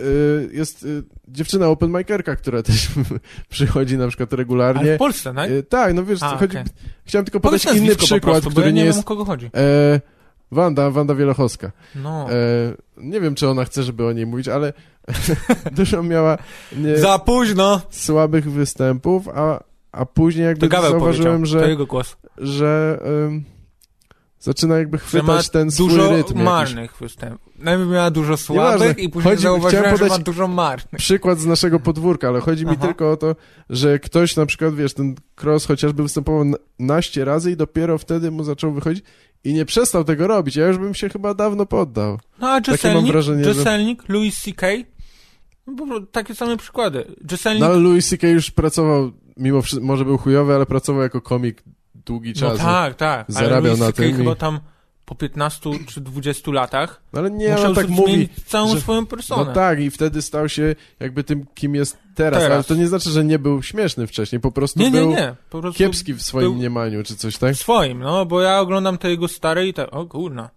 S2: Jest e, dziewczyna open micerka, która też przychodzi na przykład
S1: Ale
S2: regularnie.
S1: w Polsce, tak?
S2: E, Tak, no wiesz,
S1: A,
S2: co chodzi,
S1: okej.
S2: chciałem tylko podać
S1: Powiedz
S2: inny
S1: nazwisko po
S2: przykład,
S1: prostu, bo
S2: który
S1: ja
S2: nie
S1: nie wiem, o
S2: jest...
S1: kogo chodzi.
S2: E, Wanda, Wanda Wielochowska.
S1: No.
S2: E, nie wiem, czy ona chce, żeby o niej mówić, ale dużo miała... Nie,
S1: Za późno!
S2: słabych występów, a, a później
S1: To
S2: jakby
S1: Gaweł
S2: zauważyłem,
S1: powiedział, to
S2: że,
S1: jego głos.
S2: że ym, zaczyna jakby
S1: że ma
S2: chwytać ten swój
S1: dużo
S2: rytm. jakiś.
S1: marnych występów. Najpierw miała dużo słabych
S2: Nieważne.
S1: i później
S2: Chodzi-
S1: zauważyłem,
S2: chciałem
S1: że ma
S2: podać-
S1: dużo marnych.
S2: Przykład z naszego podwórka, ale chodzi mi
S1: Aha.
S2: tylko o to, że ktoś na przykład, wiesz, ten cross chociażby występował na- naście razy i dopiero wtedy mu zaczął wychodzić i nie przestał tego robić. Ja już bym się chyba dawno poddał.
S1: No a Jesselnik,
S2: wrażenie, że-
S1: Jesselnik Louis C.K., no, po prostu takie same przykłady. Jesselnik,
S2: No ale Louis C.K. już pracował, mimo wszystko, może był chujowy, ale pracował jako komik długi
S1: no
S2: czas.
S1: tak, tak, ale
S2: zarabiał
S1: Louis
S2: na
S1: C.K.
S2: tym i-
S1: chyba tam po 15 czy 20 latach
S2: No ale nie,
S1: musiał
S2: on tak
S1: sobie
S2: mówi.
S1: zmienić całą
S2: że-
S1: swoją personę.
S2: No tak, i wtedy stał się jakby tym, kim jest teraz.
S1: Teraz.
S2: Ale to nie znaczy, że nie był śmieszny wcześniej, po prostu
S1: nie, nie,
S2: był
S1: nie, po prostu
S2: kiepski w swoim
S1: był-
S2: mniemaniu, czy coś, tak?
S1: swoim, no, bo ja oglądam te jego stare i tak, o kurna.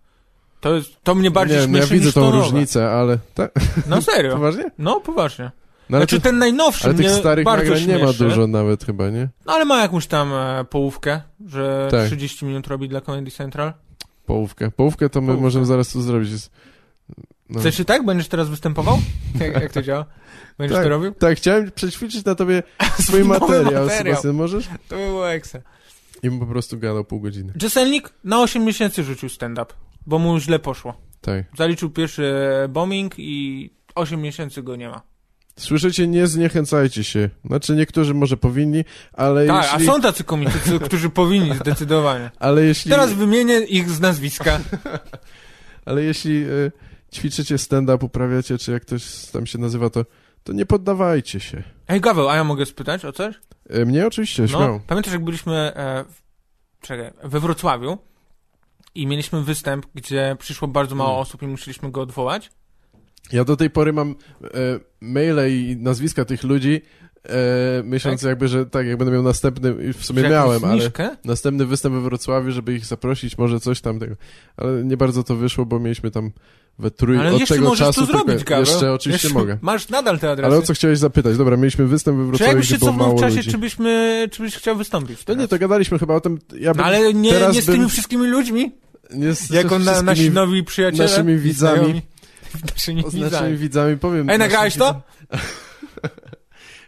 S1: To, jest, to mnie bardziej
S2: nie, no
S1: śmieszy
S2: ja widzę
S1: niż
S2: tą
S1: to nowe.
S2: różnicę, ale... Tak?
S1: No serio,
S2: Poważnie?
S1: no poważnie.
S2: No, ale,
S1: znaczy
S2: to-
S1: ten najnowszy
S2: ale
S1: mnie
S2: tych starych
S1: bardzo
S2: nagrań nie ma
S1: śmieszy.
S2: dużo nawet chyba, nie?
S1: No ale ma jakąś tam e, połówkę, że
S2: Tak.
S1: 30 minut robi dla Comedy Central.
S2: Połówkę. Połówkę to my
S1: Połówkę.
S2: możemy zaraz tu zrobić. Jest- No.
S1: Chcesz i tak? Będziesz teraz występował? Jak, jak to działa? Będziesz
S2: Tak.
S1: to robił?
S2: Tak, chciałem przećwiczyć na tobie swój
S1: Nowy
S2: materiał, Sebastian, możesz?
S1: To by było ekstra.
S2: I bym po prostu gadał pół godziny.
S1: Jesselnik na 8 miesięcy rzucił stand-up, bo mu źle poszło.
S2: Tak.
S1: Zaliczył pierwszy bombing i 8 miesięcy go nie ma.
S2: Słyszycie, nie zniechęcajcie się. Znaczy niektórzy może powinni, ale
S1: Tak,
S2: jeśli...
S1: a są tacy komicy, którzy powinni zdecydowanie.
S2: Ale jeśli,
S1: Teraz wymienię ich z nazwiska.
S2: ale jeśli y, ćwiczycie stand-up, uprawiacie, czy jak ktoś tam się nazywa, to, to nie poddawajcie się.
S1: Ej, Gaweł, a ja mogę spytać o coś?
S2: Y, mnie
S1: No.
S2: oczywiście, śmiało.
S1: pamiętasz, jak byliśmy e, w, czekaj, we Wrocławiu i mieliśmy występ, gdzie przyszło bardzo mało
S2: Mm.
S1: osób i musieliśmy go odwołać?
S2: Ja do tej pory mam e, maile i nazwiska tych ludzi, e, myśląc jakby, że tak, jak będę miał następny, i w sumie
S1: Że
S2: miałem,
S1: jakąś
S2: ale
S1: zniżkę?
S2: następny występ we Wrocławiu, żeby ich zaprosić, może coś tam tego. Ale nie bardzo to wyszło, bo mieliśmy tam we trój...
S1: Ale
S2: od
S1: jeszcze
S2: tego
S1: możesz
S2: czasu
S1: to zrobić,
S2: tylko,
S1: Gaweł.
S2: Jeszcze oczywiście
S1: Jeszcze-
S2: mogę.
S1: Masz nadal te adresy.
S2: Ale o co chciałeś zapytać? Dobra, mieliśmy występ we
S1: Czy
S2: Wrocławiu,
S1: jakbyś
S2: gdzie
S1: się
S2: było
S1: cofnął
S2: mało
S1: w czasie,
S2: ludzi.
S1: czy, byśmy, czy byś chciał wystąpić?
S2: No nie, to gadaliśmy chyba o tym... Ja bym
S1: No ale nie,
S2: teraz
S1: nie z tymi
S2: bym-
S1: wszystkimi ludźmi,
S2: nie z,
S1: jako na, nasi
S2: wszystkimi
S1: nowi przyjaciele.
S2: naszymi
S1: i
S2: widzami.
S1: znajomi. Naszymi
S2: z naszymi
S1: widzami.
S2: widzami powiem.
S1: Ej, nagrałeś
S2: naszym
S1: to?
S2: widzom-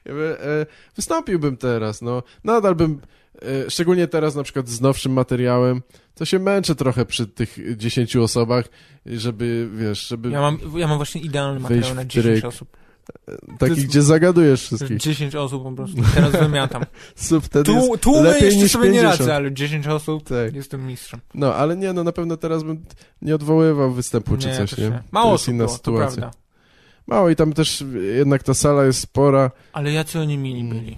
S2: Jakby, e, Wystąpiłbym teraz, no. Nadal bym, e, szczególnie teraz na przykład z nowszym materiałem, to się męczę trochę przy tych 10 osobach, żeby, wiesz, żeby
S1: Ja mam, ja mam właśnie idealny
S2: Wejść
S1: materiał na
S2: w
S1: 10
S2: tryk.
S1: osób.
S2: takich,
S1: to jest-
S2: gdzie zagadujesz wszystkich.
S1: 10 osób po prostu. Teraz wymiatam.
S2: Co wtedy jest
S1: Tu, tu
S2: lepiej
S1: jeszcze
S2: niż
S1: sobie nie
S2: 50.
S1: radzę, ale 10 osób
S2: Tak.
S1: jestem mistrzem.
S2: No, ale nie, no na pewno teraz bym nie odwoływał występu czy
S1: Nie,
S2: coś,
S1: też
S2: nie?
S1: nie. Mało
S2: to jest
S1: osób
S2: inna
S1: było, to
S2: sytuacja.
S1: prawda.
S2: Mało i tam też jednak ta sala jest spora.
S1: Ale jacy oni mili
S2: Mm.
S1: byli.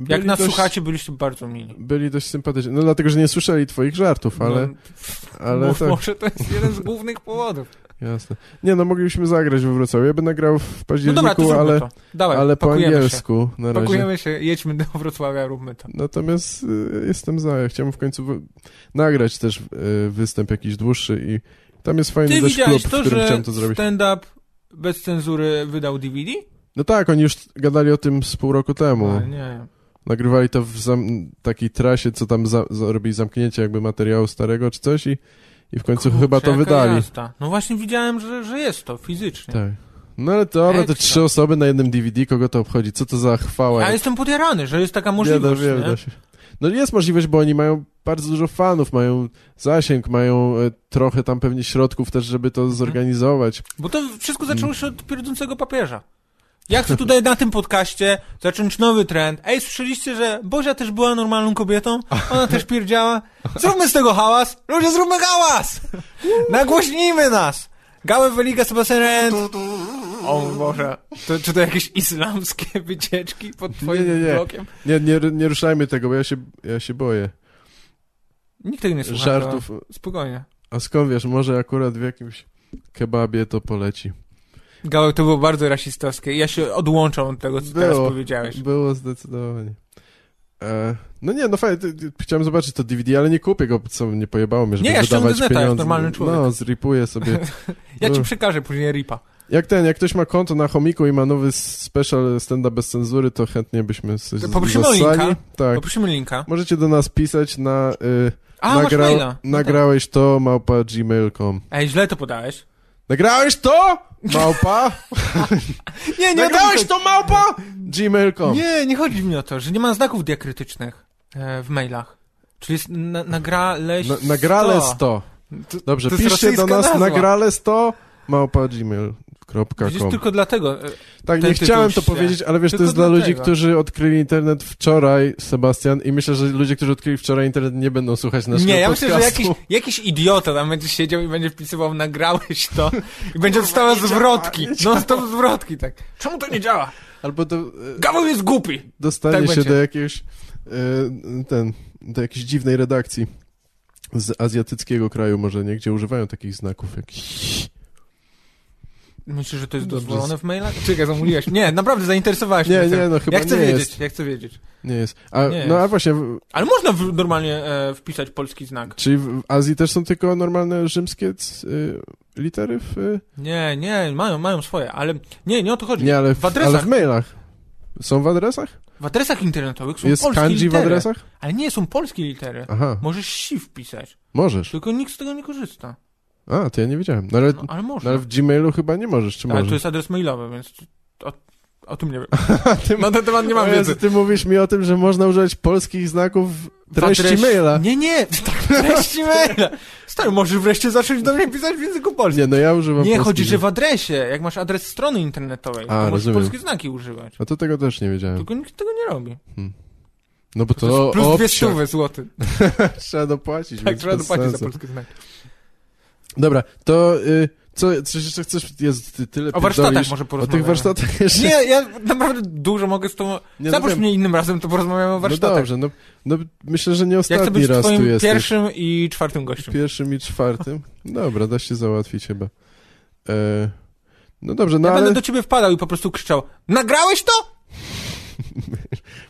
S1: Jak
S2: Byli
S1: nas
S2: dość-
S1: słuchacie, byliście bardzo mili.
S2: Byli dość sympatyczni. No dlatego, że nie słyszeli twoich żartów, ale,
S1: No,
S2: ale
S1: mo-
S2: tak,
S1: Może to jest jeden z głównych powodów.
S2: jasne. Nie no, mogliśmy zagrać we Wrocławiu. Ja bym nagrał w
S1: No
S2: październiku,
S1: dobra, to zróbmy
S2: ale,
S1: to. Dawaj,
S2: ale po
S1: pakujemy
S2: angielsku na
S1: się.
S2: razie.
S1: Pakujemy się, jedźmy do Wrocławia, róbmy to.
S2: Natomiast y, jestem za. Ja chciałbym w końcu wy- nagrać też y, występ jakiś dłuższy i tam jest fajny
S1: Ty
S2: dość klub,
S1: widziałeś
S2: w
S1: to,
S2: którym
S1: że
S2: chciałem to zrobić.
S1: stand-up bez cenzury wydał DVD?
S2: No tak, oni już gadali o tym z pół roku temu.
S1: A, nie.
S2: Nagrywali to w zam- takiej trasie, co tam za- za- robili zamknięcie jakby materiału starego czy coś i, i w końcu
S1: Kurczę,
S2: chyba to
S1: jaka
S2: wydali.
S1: jazda. No właśnie widziałem, że, że jest to fizycznie.
S2: Tak. No ale dobra, te
S1: Ekstra.
S2: trzy osoby na jednym DVD, kogo to obchodzi? Co to za chwała?
S1: Ja
S2: jak-
S1: jestem podjarany, że jest taka
S2: Nie da-
S1: możliwość,
S2: nie da
S1: nie?
S2: się. No jest możliwość, bo oni mają bardzo dużo fanów, mają zasięg, mają e, trochę tam pewnie środków też, żeby to
S1: Mhm.
S2: zorganizować.
S1: Bo to wszystko zaczęło się od pierdzącego papieża. Ja chcę tutaj na tym podcaście zacząć nowy trend. Ej, słyszeliście, że Bozia też była normalną kobietą? Ona też pierdziała? Zróbmy z tego hałas! Ludzie, zróbmy hałas! Nagłośnijmy nas! Gałę Weliga Sebastian Rent. O mój Boże, to, czy to jakieś islamskie wycieczki pod twoim
S2: nie, nie.
S1: blokiem?
S2: Nie, nie, nie ruszajmy tego, bo ja się, ja się boję.
S1: Nikt tego nie słucha.
S2: Żartów.
S1: to Spokojnie.
S2: A skąd wiesz, może akurat w jakimś kebabie to poleci.
S1: Gałek, to było bardzo rasistowskie. Ja się odłączam od tego, co teraz
S2: Było.
S1: powiedziałeś.
S2: Było zdecydowanie. E, no nie, no fajnie, ty- ty- chciałem zobaczyć to DVD, ale nie kupię go, co mnie pojebało mnie, żeby
S1: Nie, ja ściągnę
S2: wydawać
S1: z neta, jak
S2: pieniądze.
S1: normalny człowiek.
S2: No, zripuję sobie.
S1: Ja ci
S2: Było.
S1: przekażę później ripa.
S2: Jak ten, jak ktoś ma konto na chomiku i ma nowy special stand-up bez cenzury, to chętnie byśmy coś
S1: To
S2: z-
S1: poprosimy o
S2: zassali.
S1: linka.
S2: Tak.
S1: Poprosimy linka.
S2: Możecie do nas pisać na y,
S1: A,
S2: nagra-
S1: masz maila. No
S2: nagrałeś to małpa gmail.com.
S1: tak. Ej, źle to podałeś.
S2: Nagrałeś to małpa?
S1: Nie,
S2: nagrałeś to małpa? Gmail.com.
S1: Nie, nie chodzi mi o to, że nie ma znaków diakrytycznych e, w mailach. Czyli jest na, nagraleś
S2: Na, nagrale 100.
S1: To-
S2: Dobrze,
S1: to jest
S2: piszcie do
S1: rosyjska
S2: nas
S1: nazwa.
S2: nagrale 100 małpa gmail.com.
S1: Widzisz, tylko dlatego. e,
S2: Tak,
S1: ten
S2: nie
S1: tytuł
S2: chciałem to
S1: się-
S2: powiedzieć, ale wiesz, to
S1: Tylko
S2: jest dla ludzi,
S1: dlatego.
S2: którzy odkryli internet wczoraj, Sebastian, i myślę, że ludzie, którzy odkryli wczoraj internet, nie będą słuchać naszego
S1: Nie, ja myślę,
S2: podcastu.
S1: że jakiś, jakiś idiota tam będzie siedział i będzie wpisywał nagrałeś to i będzie dostawał zwrotki. No, to zwrotki, tak. Czemu to nie działa?
S2: Albo do, e,
S1: Gaweł jest głupi.
S2: dostanie
S1: tak
S2: się
S1: będzie.
S2: do jakiejś e, ten, do jakiejś dziwnej redakcji z azjatyckiego kraju może, nie? Gdzie używają takich znaków jak
S1: Myślisz, że to jest
S2: Dobrze.
S1: dozwolone w mailach? Czekaj, zamuliłeś. Nie, naprawdę zainteresowałeś
S2: No, Nie,
S1: mnie tym.
S2: nie, no chyba
S1: ja chcę
S2: nie
S1: wiedzieć,
S2: jest.
S1: ja chcę wiedzieć.
S2: Nie jest. A,
S1: Nie
S2: no a
S1: jest.
S2: właśnie, w-
S1: Ale można w, normalnie e, wpisać polski znak.
S2: czyli w Azji też są tylko normalne rzymskie c, y, litery w... Y,
S1: Nie, nie, mają, mają swoje, ale nie, nie o to chodzi.
S2: nie, ale w,
S1: Znaczy, W adresach.
S2: ale w mailach. Są w adresach?
S1: W adresach internetowych są
S2: Jest
S1: polskie
S2: kanji w
S1: litery.
S2: adresach?
S1: Ale nie, są polskie litery.
S2: Aha,
S1: Możesz si wpisać,
S2: możesz.
S1: tylko nikt z tego nie korzysta.
S2: A, to ja nie wiedziałem. No ale,
S1: No, ale
S2: no,
S1: można.
S2: ale w Gmailu chyba nie możesz, czy
S1: ale to
S2: możesz?
S1: jest adres mailowy, więc o, o tym nie wiem.
S2: ty,
S1: Na ten temat nie mam
S2: o Jezu,
S1: wiedzy.
S2: ty mówisz mi o tym, że można używać polskich znaków w
S1: W
S2: treści
S1: adres-
S2: maila.
S1: Nie, nie, w treści maila. Stary, możesz wreszcie zacząć do mnie pisać w języku polskim.
S2: Nie, no ja używam
S1: Nie,
S2: polskiego.
S1: chodzi, że w adresie. Jak masz adres strony internetowej, to możesz
S2: rozumiem.
S1: polskie znaki używać.
S2: A to tego też nie wiedziałem.
S1: Tylko nikt tego nie robi.
S2: No bo to,
S1: To jest plus dwie
S2: obciach.
S1: stówy złoty.
S2: trzeba dopłacić.
S1: Tak,
S2: więc
S1: trzeba
S2: bez
S1: dopłacić za
S2: sensu.
S1: polskie znaki.
S2: Dobra, to y, co, coś jeszcze chcesz, jest ty, tyle
S1: O warsztatach
S2: pierdolisz.
S1: może
S2: O
S1: porozmawiamy.
S2: tych warsztatach jeszcze...
S1: Nie, ja naprawdę dużo mogę z tą...
S2: Nie, no
S1: Zaprosz
S2: wiem.
S1: mnie innym razem, to porozmawiamy o
S2: No
S1: warsztatach.
S2: dobrze, no, no myślę, że nie
S1: Ja chcę
S2: ostatni
S1: być
S2: raz tu
S1: twoim
S2: jesteś.
S1: pierwszym i czwartym gościem.
S2: Pierwszym i czwartym. Dobra, da się załatwić chyba. E, no dobrze, no
S1: ja
S2: ale
S1: będę do ciebie wpadał i po prostu krzyczał Nagrałeś to?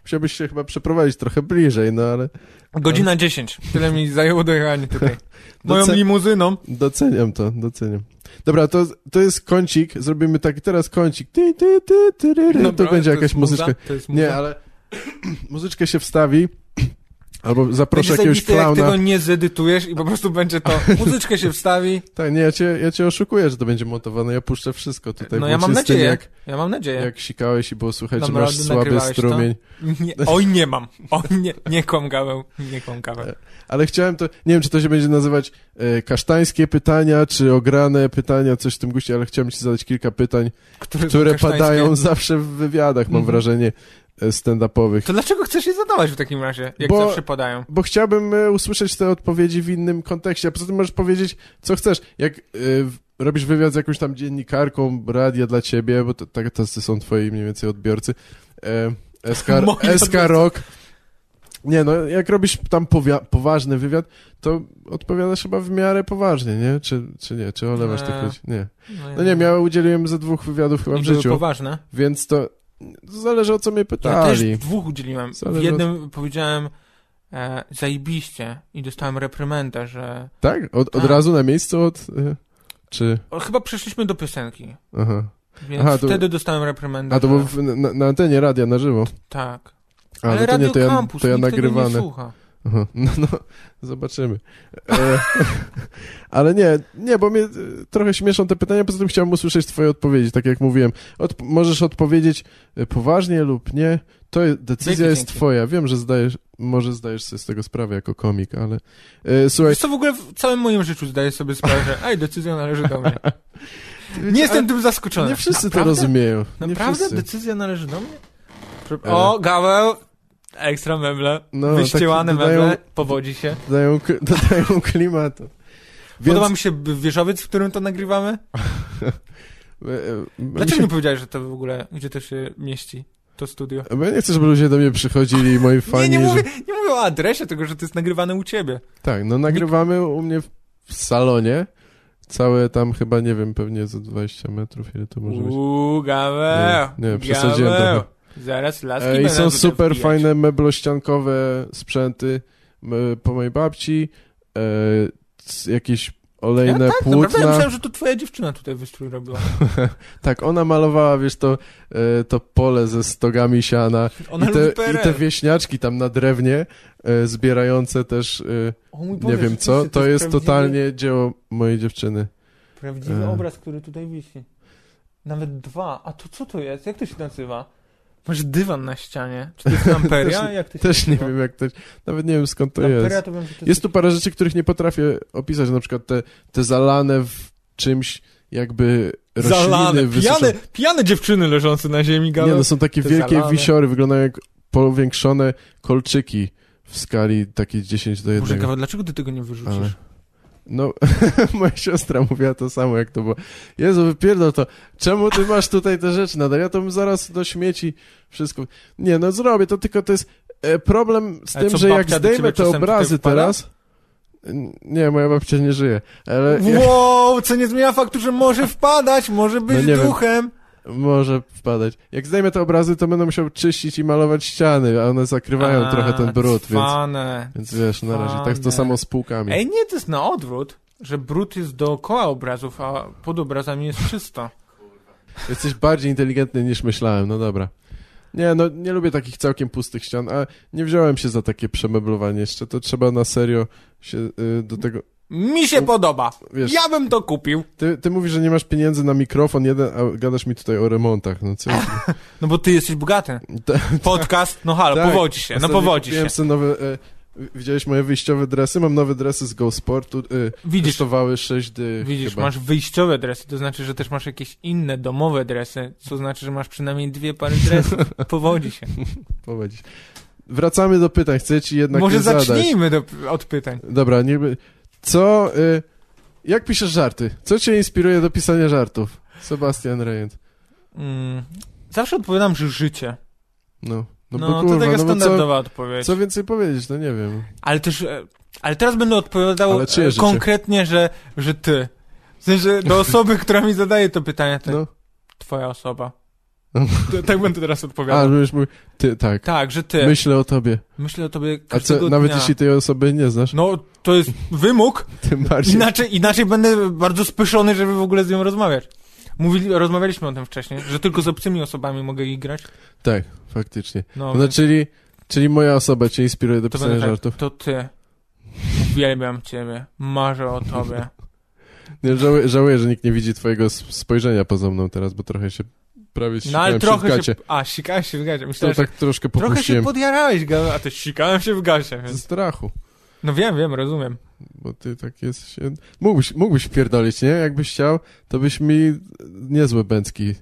S2: musiałbyś się chyba przeprowadzić trochę bliżej, no ale No.
S1: Godzina 10. Tyle mi zajęło dojechanie tutaj. Moją
S2: Docen-
S1: limuzyną.
S2: doceniam to, doceniam. Dobra, to, to jest kącik, zrobimy taki teraz kącik. Ty, ty, ty, ty, ty, ty.
S1: Dobra,
S2: to będzie
S1: jest
S2: jakaś muzyczka.
S1: muza, To jest muza.
S2: Nie, ale muzyczkę się wstawi albo
S1: Będzie
S2: zaproszę jakiegoś
S1: zajebiste, jak
S2: klauna.
S1: tego nie zedytujesz i po prostu będzie to, muzyczkę się wstawi.
S2: Tak, nie, ja cię, ja cię oszukuję, że to będzie montowane. Ja puszczę wszystko tutaj.
S1: No ja mam
S2: włącznie z tym,
S1: nadzieję,
S2: Jak,
S1: ja mam nadzieję.
S2: jak sikałeś i było słychać, że
S1: Dobra,
S2: masz słaby
S1: nagrywałeś to?
S2: strumień.
S1: Nie, oj, nie mam. Oj, nie, nie kłam Gaweł, nie kłam Gaweł.
S2: Ale chciałem to, nie wiem, czy to się będzie nazywać e, kasztańskie pytania, czy ograne pytania, coś w tym guście, ale chciałem ci zadać kilka pytań,
S1: Które,
S2: które
S1: kasztańskie.
S2: padają zawsze w wywiadach, mam
S1: Mhm.
S2: wrażenie, e, stand-upowych.
S1: To dlaczego chcesz je zadawać w takim razie, jak
S2: Bo-
S1: zawsze padają?
S2: Bo chciałbym e, usłyszeć te odpowiedzi w innym kontekście, a poza tym możesz powiedzieć, co chcesz. Jak e, w- robisz wywiad z jakąś tam dziennikarką, radia dla ciebie, bo to, tak, tacy są twoi mniej więcej odbiorcy, e, SK,
S1: Moi
S2: SK Rock. Nie no, jak robisz tam powia- poważny wywiad, to odpowiadasz chyba w miarę poważnie, nie? Czy, czy nie? Czy olewasz
S1: Nie.
S2: tych ludzi? Nie.
S1: ja
S2: No nie, ja udzieliłem ze dwóch wywiadów chyba
S1: I
S2: w
S1: były
S2: życiu,
S1: poważne.
S2: więc to, to zależy o co mnie
S1: no Ja też
S2: pytali.
S1: dwóch udzieliłem. W
S2: Zależy
S1: jednym powiedziałem e, zajebiście i dostałem reprymendę, że...
S2: Tak? Od, od
S1: Tak.
S2: razu na miejscu od... e, Czy...
S1: O, chyba przeszliśmy do piosenki,
S2: Aha.
S1: więc
S2: Aha, to-
S1: wtedy dostałem reprymendę.
S2: A to
S1: że...
S2: było w, na, na antenie radia na żywo.
S1: Tak.
S2: A,
S1: Ale
S2: no to
S1: Radio
S2: nie, to ja,
S1: Campus,
S2: to ja
S1: nikt tego
S2: nagrywane.
S1: nie słucha.
S2: Aha, no, no, zobaczymy. E, ale nie, nie, bo mnie e, trochę śmieszą te pytania, poza tym chciałem usłyszeć twoje odpowiedzi, tak jak mówiłem. Odp- możesz odpowiedzieć e, poważnie lub nie, to je- decyzja
S1: Dzięki,
S2: jest
S1: dzięki.
S2: twoja. Wiem, że zdajesz, może zdajesz sobie z tego sprawę jako komik, ale... E, słuchaj,
S1: Wiesz co, w ogóle w całym moim życiu zdaję sobie sprawę, że ej, decyzja należy do mnie. Nie jestem tym zaskoczony.
S2: nie wszyscy
S1: Naprawdę?
S2: to rozumieją. Nie
S1: Naprawdę?
S2: wszyscy.
S1: Decyzja należy do mnie? Prze-
S2: E.
S1: O, Gaweł, ekstra meble,
S2: No,
S1: wyściełane
S2: tak dodają-
S1: meble, powodzi się.
S2: Dają, k- dodają klimatu. Więc,
S1: Podoba mi się b- wieżowiec, w którym to nagrywamy.
S2: e, e, mi
S1: Dlaczego
S2: się
S1: nie powiedziałeś, że to w ogóle, gdzie to się mieści, to studio?
S2: Bo ja nie chcę, żeby ludzie do mnie przychodzili i moi fani.
S1: nie, nie mówię,
S2: Że...
S1: nie mówię o adresie tego, że to jest nagrywane u ciebie.
S2: Tak, no nagrywamy u mnie w- w salonie. Całe tam chyba, nie wiem, pewnie za 20 metrów, ile to może być.
S1: Uuu, Gaweł,
S2: Nie, nie, przesadziłem
S1: Gaweł.
S2: trochę.
S1: Zaraz laski
S2: E, I
S1: będą
S2: są
S1: tutaj
S2: super
S1: wbijać. tak,
S2: fajne meblościankowe sprzęty m, po mojej babci, e, c- jakieś olejne
S1: Ja tak, naprawdę ja
S2: płótna.
S1: myślałem, że to twoja dziewczyna tutaj wystrój robiła.
S2: Tak, ona malowała, wiesz, to, e, to pole ze stogami siana
S1: Ona
S2: i, te,
S1: lubi PRL.
S2: i te wieśniaczki tam na drewnie, e, zbierające też, e,
S1: o mój Boże,
S2: nie wiem
S1: rzeczywiście,
S2: co, to jest
S1: prawdziwy-
S2: totalnie dzieło mojej dziewczyny.
S1: Prawdziwy
S2: E.
S1: obraz, który tutaj wisi. Nawet dwa. A to co to jest? Jak to się nazywa? Masz dywan na ścianie. Czy to jest lamperia?
S2: Też-
S1: Jak to się
S2: Też nie
S1: nazywa?
S2: wiem jak to, nawet nie wiem skąd to
S1: Lamperia
S2: jest.
S1: to wiem, że to jest...
S2: Jest tu parę rzeczy, których nie potrafię opisać, na przykład te, te zalane w czymś jakby rośliny
S1: Zalane,
S2: wysuszone.
S1: pijane, pijane dziewczyny leżące na ziemi,
S2: Nie,
S1: galo.
S2: no są takie
S1: te
S2: wielkie
S1: zalane.
S2: wisiory, wyglądają jak powiększone kolczyki w skali takiej 10 do 1.
S1: Boże, Gawa, dlaczego ty tego nie wyrzucisz?
S2: Ale- No, moja siostra mówiła to samo, jak to było. Jezu, wypierdol to. Czemu ty masz tutaj te rzeczy nadal? Ja to bym zaraz do śmieci wszystko... Nie, no zrobię to, tylko to jest e, problem z
S1: Ale
S2: tym,
S1: co,
S2: że jak
S1: babcia do ciebie
S2: zdejmę te
S1: czasem
S2: obrazy
S1: tutaj wpada?
S2: teraz... N- Nie, moja babcia E, nie żyje, ale ja,
S1: Wow, co nie zmienia faktu, że może wpadać, może być
S2: nie wiem.
S1: duchem.
S2: może wpadać. Jak zdejmę te obrazy, to będę musiał czyścić i malować ściany, a one zakrywają
S1: A,
S2: trochę ten brud, więc,
S1: cwane.
S2: więc wiesz, na razie tak to
S1: Fajne.
S2: samo z półkami.
S1: Ej, nie, to jest na odwrót, że brud jest dookoła obrazów, a pod obrazami jest czysto.
S2: Jesteś bardziej inteligentny niż myślałem, no dobra. Nie, no nie lubię takich całkiem pustych ścian, a nie wziąłem się za takie przemeblowanie jeszcze, to trzeba na serio się y, do tego...
S1: Mi się
S2: U-
S1: podoba.
S2: Wiesz,
S1: Ja bym to kupił.
S2: ty, ty mówisz, że nie masz pieniędzy na mikrofon jeden, a gadasz mi tutaj o remontach, no co?
S1: No bo ty jesteś bogaty.
S2: Ta-
S1: Podcast, no halo,
S2: Tak.
S1: powodzi się, no
S2: Ostatnio
S1: powodzi się.
S2: Kupiłem sobie nowe e, Widziałeś moje wyjściowe dresy? Mam nowe dresy z Go Sportu. Y,
S1: Widzisz.
S2: Kosztowały 6 dych
S1: Widzisz,
S2: chyba.
S1: masz wyjściowe dresy, to znaczy, że też masz jakieś inne domowe dresy, co znaczy, że masz przynajmniej dwie pary dresów. Powodzi się.
S2: Powodzić. Wracamy do pytań. Chcę ci jednak
S1: Może
S2: je zadać.
S1: zacznijmy do, od pytań.
S2: Dobra, niby... Co... Y, jak piszesz żarty? Co cię inspiruje do pisania żartów? Sebastian Rejent.
S1: Mm, zawsze odpowiadam, że życie.
S2: No. No,
S1: No,
S2: bo kurwa,
S1: to taka
S2: no bo co,
S1: standardowa odpowiedź.
S2: co więcej powiedzieć? No nie wiem.
S1: Ale też, e, ale teraz będę odpowiadał
S2: Ale czyje
S1: e,
S2: życie?
S1: konkretnie, że, że ty. W sensie do osoby, która mi zadaje to pytanie, to
S2: No.
S1: twoja osoba.
S2: No.
S1: To, tak będę teraz
S2: A,
S1: odpowiadał.
S2: już mówi... Ty, tak.
S1: Tak, że ty.
S2: Myślę o tobie.
S1: Myślę o tobie
S2: A
S1: każdego
S2: co, nawet
S1: dnia.
S2: jeśli tej osoby nie znasz,
S1: No, to jest wymóg.
S2: tym bardziej...
S1: Inaczej, inaczej będę bardzo spyszony, żeby w ogóle z nią rozmawiać. Mówili, rozmawialiśmy o tym wcześniej, że tylko z obcymi osobami mogę jej grać.
S2: Tak, faktycznie.
S1: No,
S2: No, czyli, czyli moja osoba cię inspiruje do
S1: to
S2: pisania
S1: będę tak,
S2: żartów.
S1: to ty. Uwielbiam ciebie. Marzę o tobie.
S2: Nie, żałuję, żałuję, że nikt nie widzi twojego s- spojrzenia poza mną teraz, bo trochę się prawie
S1: No ale
S2: sikałem przy
S1: trochę się...
S2: gacie.
S1: A, sikałeś się w gacie. Myślałem,
S2: To
S1: że
S2: tak troszkę
S1: trochę się
S2: popuściłem
S1: podjarałeś, Gaweł, a ty sikałem się w gacie.
S2: ze
S1: Więc...
S2: strachu,
S1: No wiem, wiem, rozumiem.
S2: bo ty tak jesteś... Mógłbyś, mógłbyś pierdolić, nie? Jakbyś chciał, to byś mi niezłe bęcki...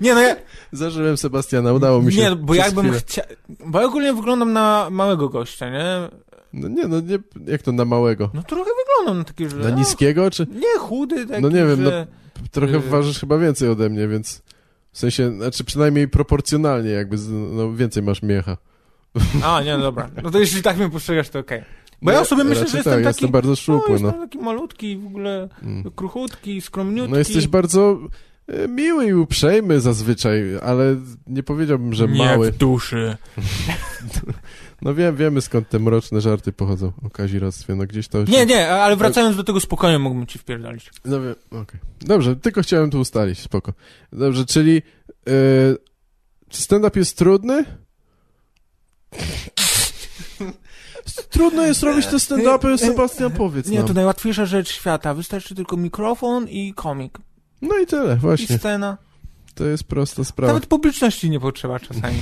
S1: Nie, no ja...
S2: Zażyłem Sebastiana, udało mi się
S1: nie, bo
S2: przez
S1: jakbym
S2: chwilę.
S1: chciał... Bo ja ogólnie wyglądam na małego gościa, nie?
S2: No nie, no nie, jak to na małego?
S1: No trochę wyglądam na taki, że... no,
S2: Na niskiego, czy...
S1: Nie, chudy taki,
S2: No nie wiem,
S1: że...
S2: Trochę
S1: Yy.
S2: ważysz chyba więcej ode mnie, więc... W sensie, znaczy przynajmniej proporcjonalnie jakby, z- no więcej masz miecha.
S1: A, nie, no dobra. No to jeśli tak mnie postrzegasz, to okej. Bo ja
S2: No,
S1: o sobie myślę, że
S2: raczej
S1: jestem
S2: tak,
S1: taki...
S2: jestem bardzo szczupły,
S1: no,
S2: no.
S1: jestem taki malutki, w ogóle
S2: Mm.
S1: kruchutki, skromniutki.
S2: No jesteś bardzo e, miły i uprzejmy zazwyczaj, ale nie powiedziałbym, że
S1: Nie
S2: mały.
S1: w duszy.
S2: No wiem, wiemy skąd te mroczne żarty pochodzą o kaziractwie, no gdzieś to... się-
S1: Nie, nie, ale wracając do tego spokoju, mógłbym ci wpierdolić.
S2: No wiem, okej. Dobrze, tylko chciałem tu ustalić, spoko. Dobrze, czyli e, czy stand-up jest trudny? Trudno jest robić te stand-upy, Sebastian, powiedz
S1: Nie,
S2: nam.
S1: to najłatwiejsza rzecz świata. Wystarczy tylko mikrofon i komik.
S2: No i tyle,
S1: I
S2: właśnie.
S1: scena.
S2: To jest prosta sprawa.
S1: Nawet publiczności nie potrzeba czasami.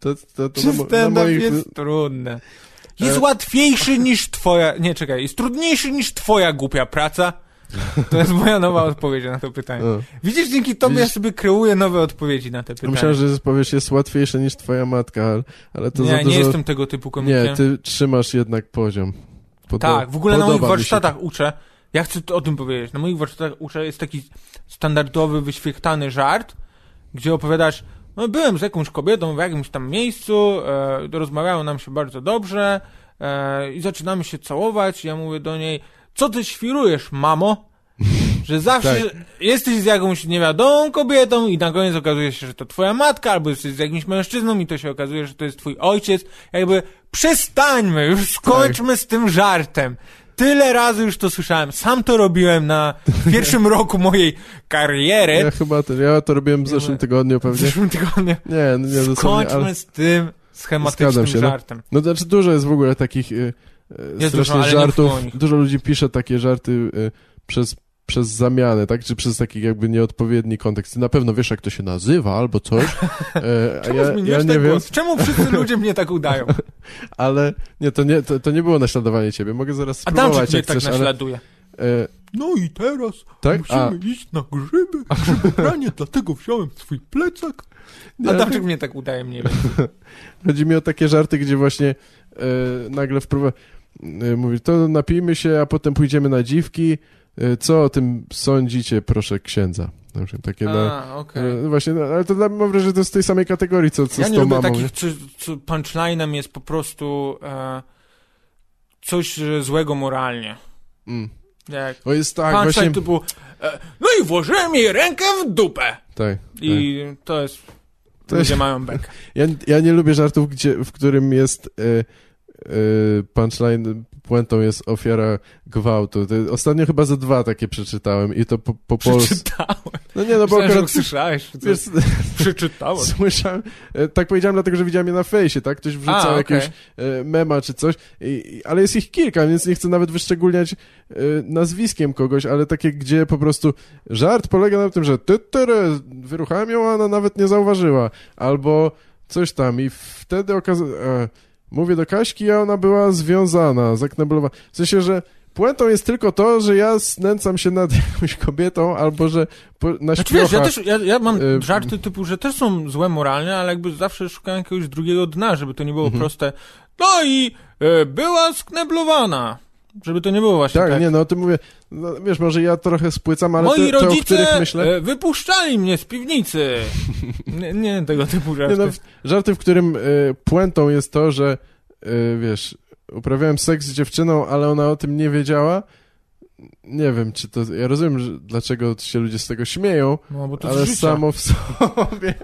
S2: To, to, to
S1: Czy
S2: na, mo- na
S1: stand
S2: moich...
S1: jest trudne? Jest
S2: E.
S1: łatwiejszy niż twoja... Nie, czekaj. Jest trudniejszy niż twoja głupia praca? To jest moja nowa odpowiedź na to pytanie.
S2: O.
S1: Widzisz, dzięki tobie
S2: Widzisz?
S1: ja sobie kreuję nowe odpowiedzi na te pytania.
S2: Myślałem, że powiesz, jest łatwiejsze niż twoja matka, ale, ale to
S1: nie,
S2: za dużo...
S1: nie jestem tego typu komikiem.
S2: Nie, ty trzymasz jednak poziom. Podo-
S1: tak, w ogóle na
S2: podoba
S1: moich
S2: mi się
S1: warsztatach uczę. Ja chcę tu o tym powiedzieć. Na moich warsztatach uczę jest taki standardowy, wyświechtany żart, gdzie opowiadasz, no byłem z jakąś kobietą w jakimś tam miejscu, e, rozmawiało nam się bardzo dobrze e, i zaczynamy się całować. Ja mówię do niej, co ty świrujesz, mamo? Że zawsze
S2: Tak.
S1: że jesteś z jakąś niewiadomą kobietą i na koniec okazuje się, że to twoja matka, albo jesteś z jakimś mężczyzną i to się okazuje, że to jest twój ojciec. Jakby przestańmy, już skończmy z tym żartem. Tyle razy już to słyszałem. Sam to robiłem na pierwszym roku mojej
S2: tak.
S1: kariery.
S2: Ja chyba to, ja to robiłem w zeszłym
S1: Jakby-
S2: tygodniu
S1: E? no, W
S2: pewnie.
S1: zeszłym tygodniu.
S2: Nie, no nie dosłownie,
S1: Skończmy
S2: ale...
S1: z tym schematycznym
S2: Zgadzam się, no.
S1: żartem.
S2: No to znaczy dużo jest w ogóle takich y, y,
S1: Jest dużo,
S2: strasznych
S1: ale nie
S2: żartów.
S1: mówmy o nich.
S2: Dużo ludzi pisze takie żarty y, przez, przez zamianę, tak? Czy przez taki jakby nieodpowiedni kontekst. Ty na pewno wiesz, jak to się nazywa albo coś. Y, a
S1: Czemu
S2: ja,
S1: zmieniłeś
S2: ja
S1: ten
S2: nie wiem,
S1: głos? Czemu wszyscy ludzie mnie tak udają?
S2: ale nie, to nie, to, to nie było naśladowanie ciebie. Mogę zaraz
S1: Adamczyk
S2: spróbować,
S1: mnie
S2: jak
S1: tak
S2: chcesz, ale...
S1: naśladuje.
S2: y,
S1: No i teraz
S2: Tak?
S1: musimy
S2: A.
S1: iść na grzyby, grzybobranie, dlatego wziąłem swój plecak.
S2: Nie.
S1: Adamczyk mnie tak udaje mniej więcej.
S2: Chodzi mi o takie żarty, gdzie właśnie e, nagle wpływa. E, mówi, to napijmy się, a potem pójdziemy na dziwki. E, co o tym sądzicie, proszę księdza? Na przykład takie na,
S1: A, okej.
S2: e, no właśnie, no, ale to dla, mam wrażenie, że to jest z tej samej kategorii, co, co
S1: Ja
S2: z
S1: nie
S2: tą
S1: lubię
S2: mamą. nie?
S1: takich, co, co punchline'em jest po prostu e, coś e, złego moralnie.
S2: Mm.
S1: Jak
S2: O jest tak,
S1: punchline
S2: właśnie.
S1: typu e, no i włożyłem jej rękę w dupę.
S2: Tak, tak.
S1: I to jest...
S2: To
S1: ludzie
S2: jest-
S1: mają bekę.
S2: Ja, ja nie lubię żartów, gdzie, w którym jest e, e, punchline, puentą jest ofiara gwałtu. To, ostatnio chyba ze dwa takie przeczytałem i to po, po polsku.
S1: Przeczytałeś.
S2: No nie, no bo
S1: Myślałem, że
S2: akurat...
S1: usłyszałeś. czy coś.
S2: Wiesz,
S1: Przeczytałeś.
S2: Słyszałem, e, tak powiedziałem dlatego, że widziałem je na fejsie, tak? Ktoś wrzucał
S1: A, okej.
S2: jakiegoś e, mema czy coś, i, i- ale jest ich kilka, więc nie chcę nawet wyszczególniać e, nazwiskiem kogoś, ale takie, gdzie po prostu żart polega na tym, że ty, ty, wyruchałem ją, a ona nawet nie zauważyła, albo coś tam i wtedy okazało... E, mówię do Kaśki, a ona była związana, zakneblowana. W sensie, że puentą jest tylko to, że ja snęcam się nad jakąś kobietą, albo że po, na
S1: Znaczy wiesz, ja
S2: śpiochach...
S1: też, ja, ja mam
S2: y,
S1: żarty typu, że też są złe moralnie, ale jakby zawsze szukałem jakiegoś drugiego dna, żeby to nie było
S2: Mhm.
S1: proste. No i e, była skneblowana. Żeby to nie było właśnie tak.
S2: Tak, nie, no o tym mówię, no, wiesz, może ja trochę spłycam, ale
S1: Moi
S2: te, te, o
S1: rodzice
S2: których myślę...
S1: e, wypuszczali mnie z piwnicy. nie, nie tego typu
S2: Nie,
S1: żarty.
S2: no, w- żarty, w którym y, puentą jest to, że y, wiesz, uprawiałem seks z dziewczyną, ale ona o tym nie wiedziała. Nie wiem, czy to. Ja rozumiem, że, dlaczego się ludzie z tego śmieją,
S1: No, bo to
S2: ale
S1: z życia.
S2: samo w sobie.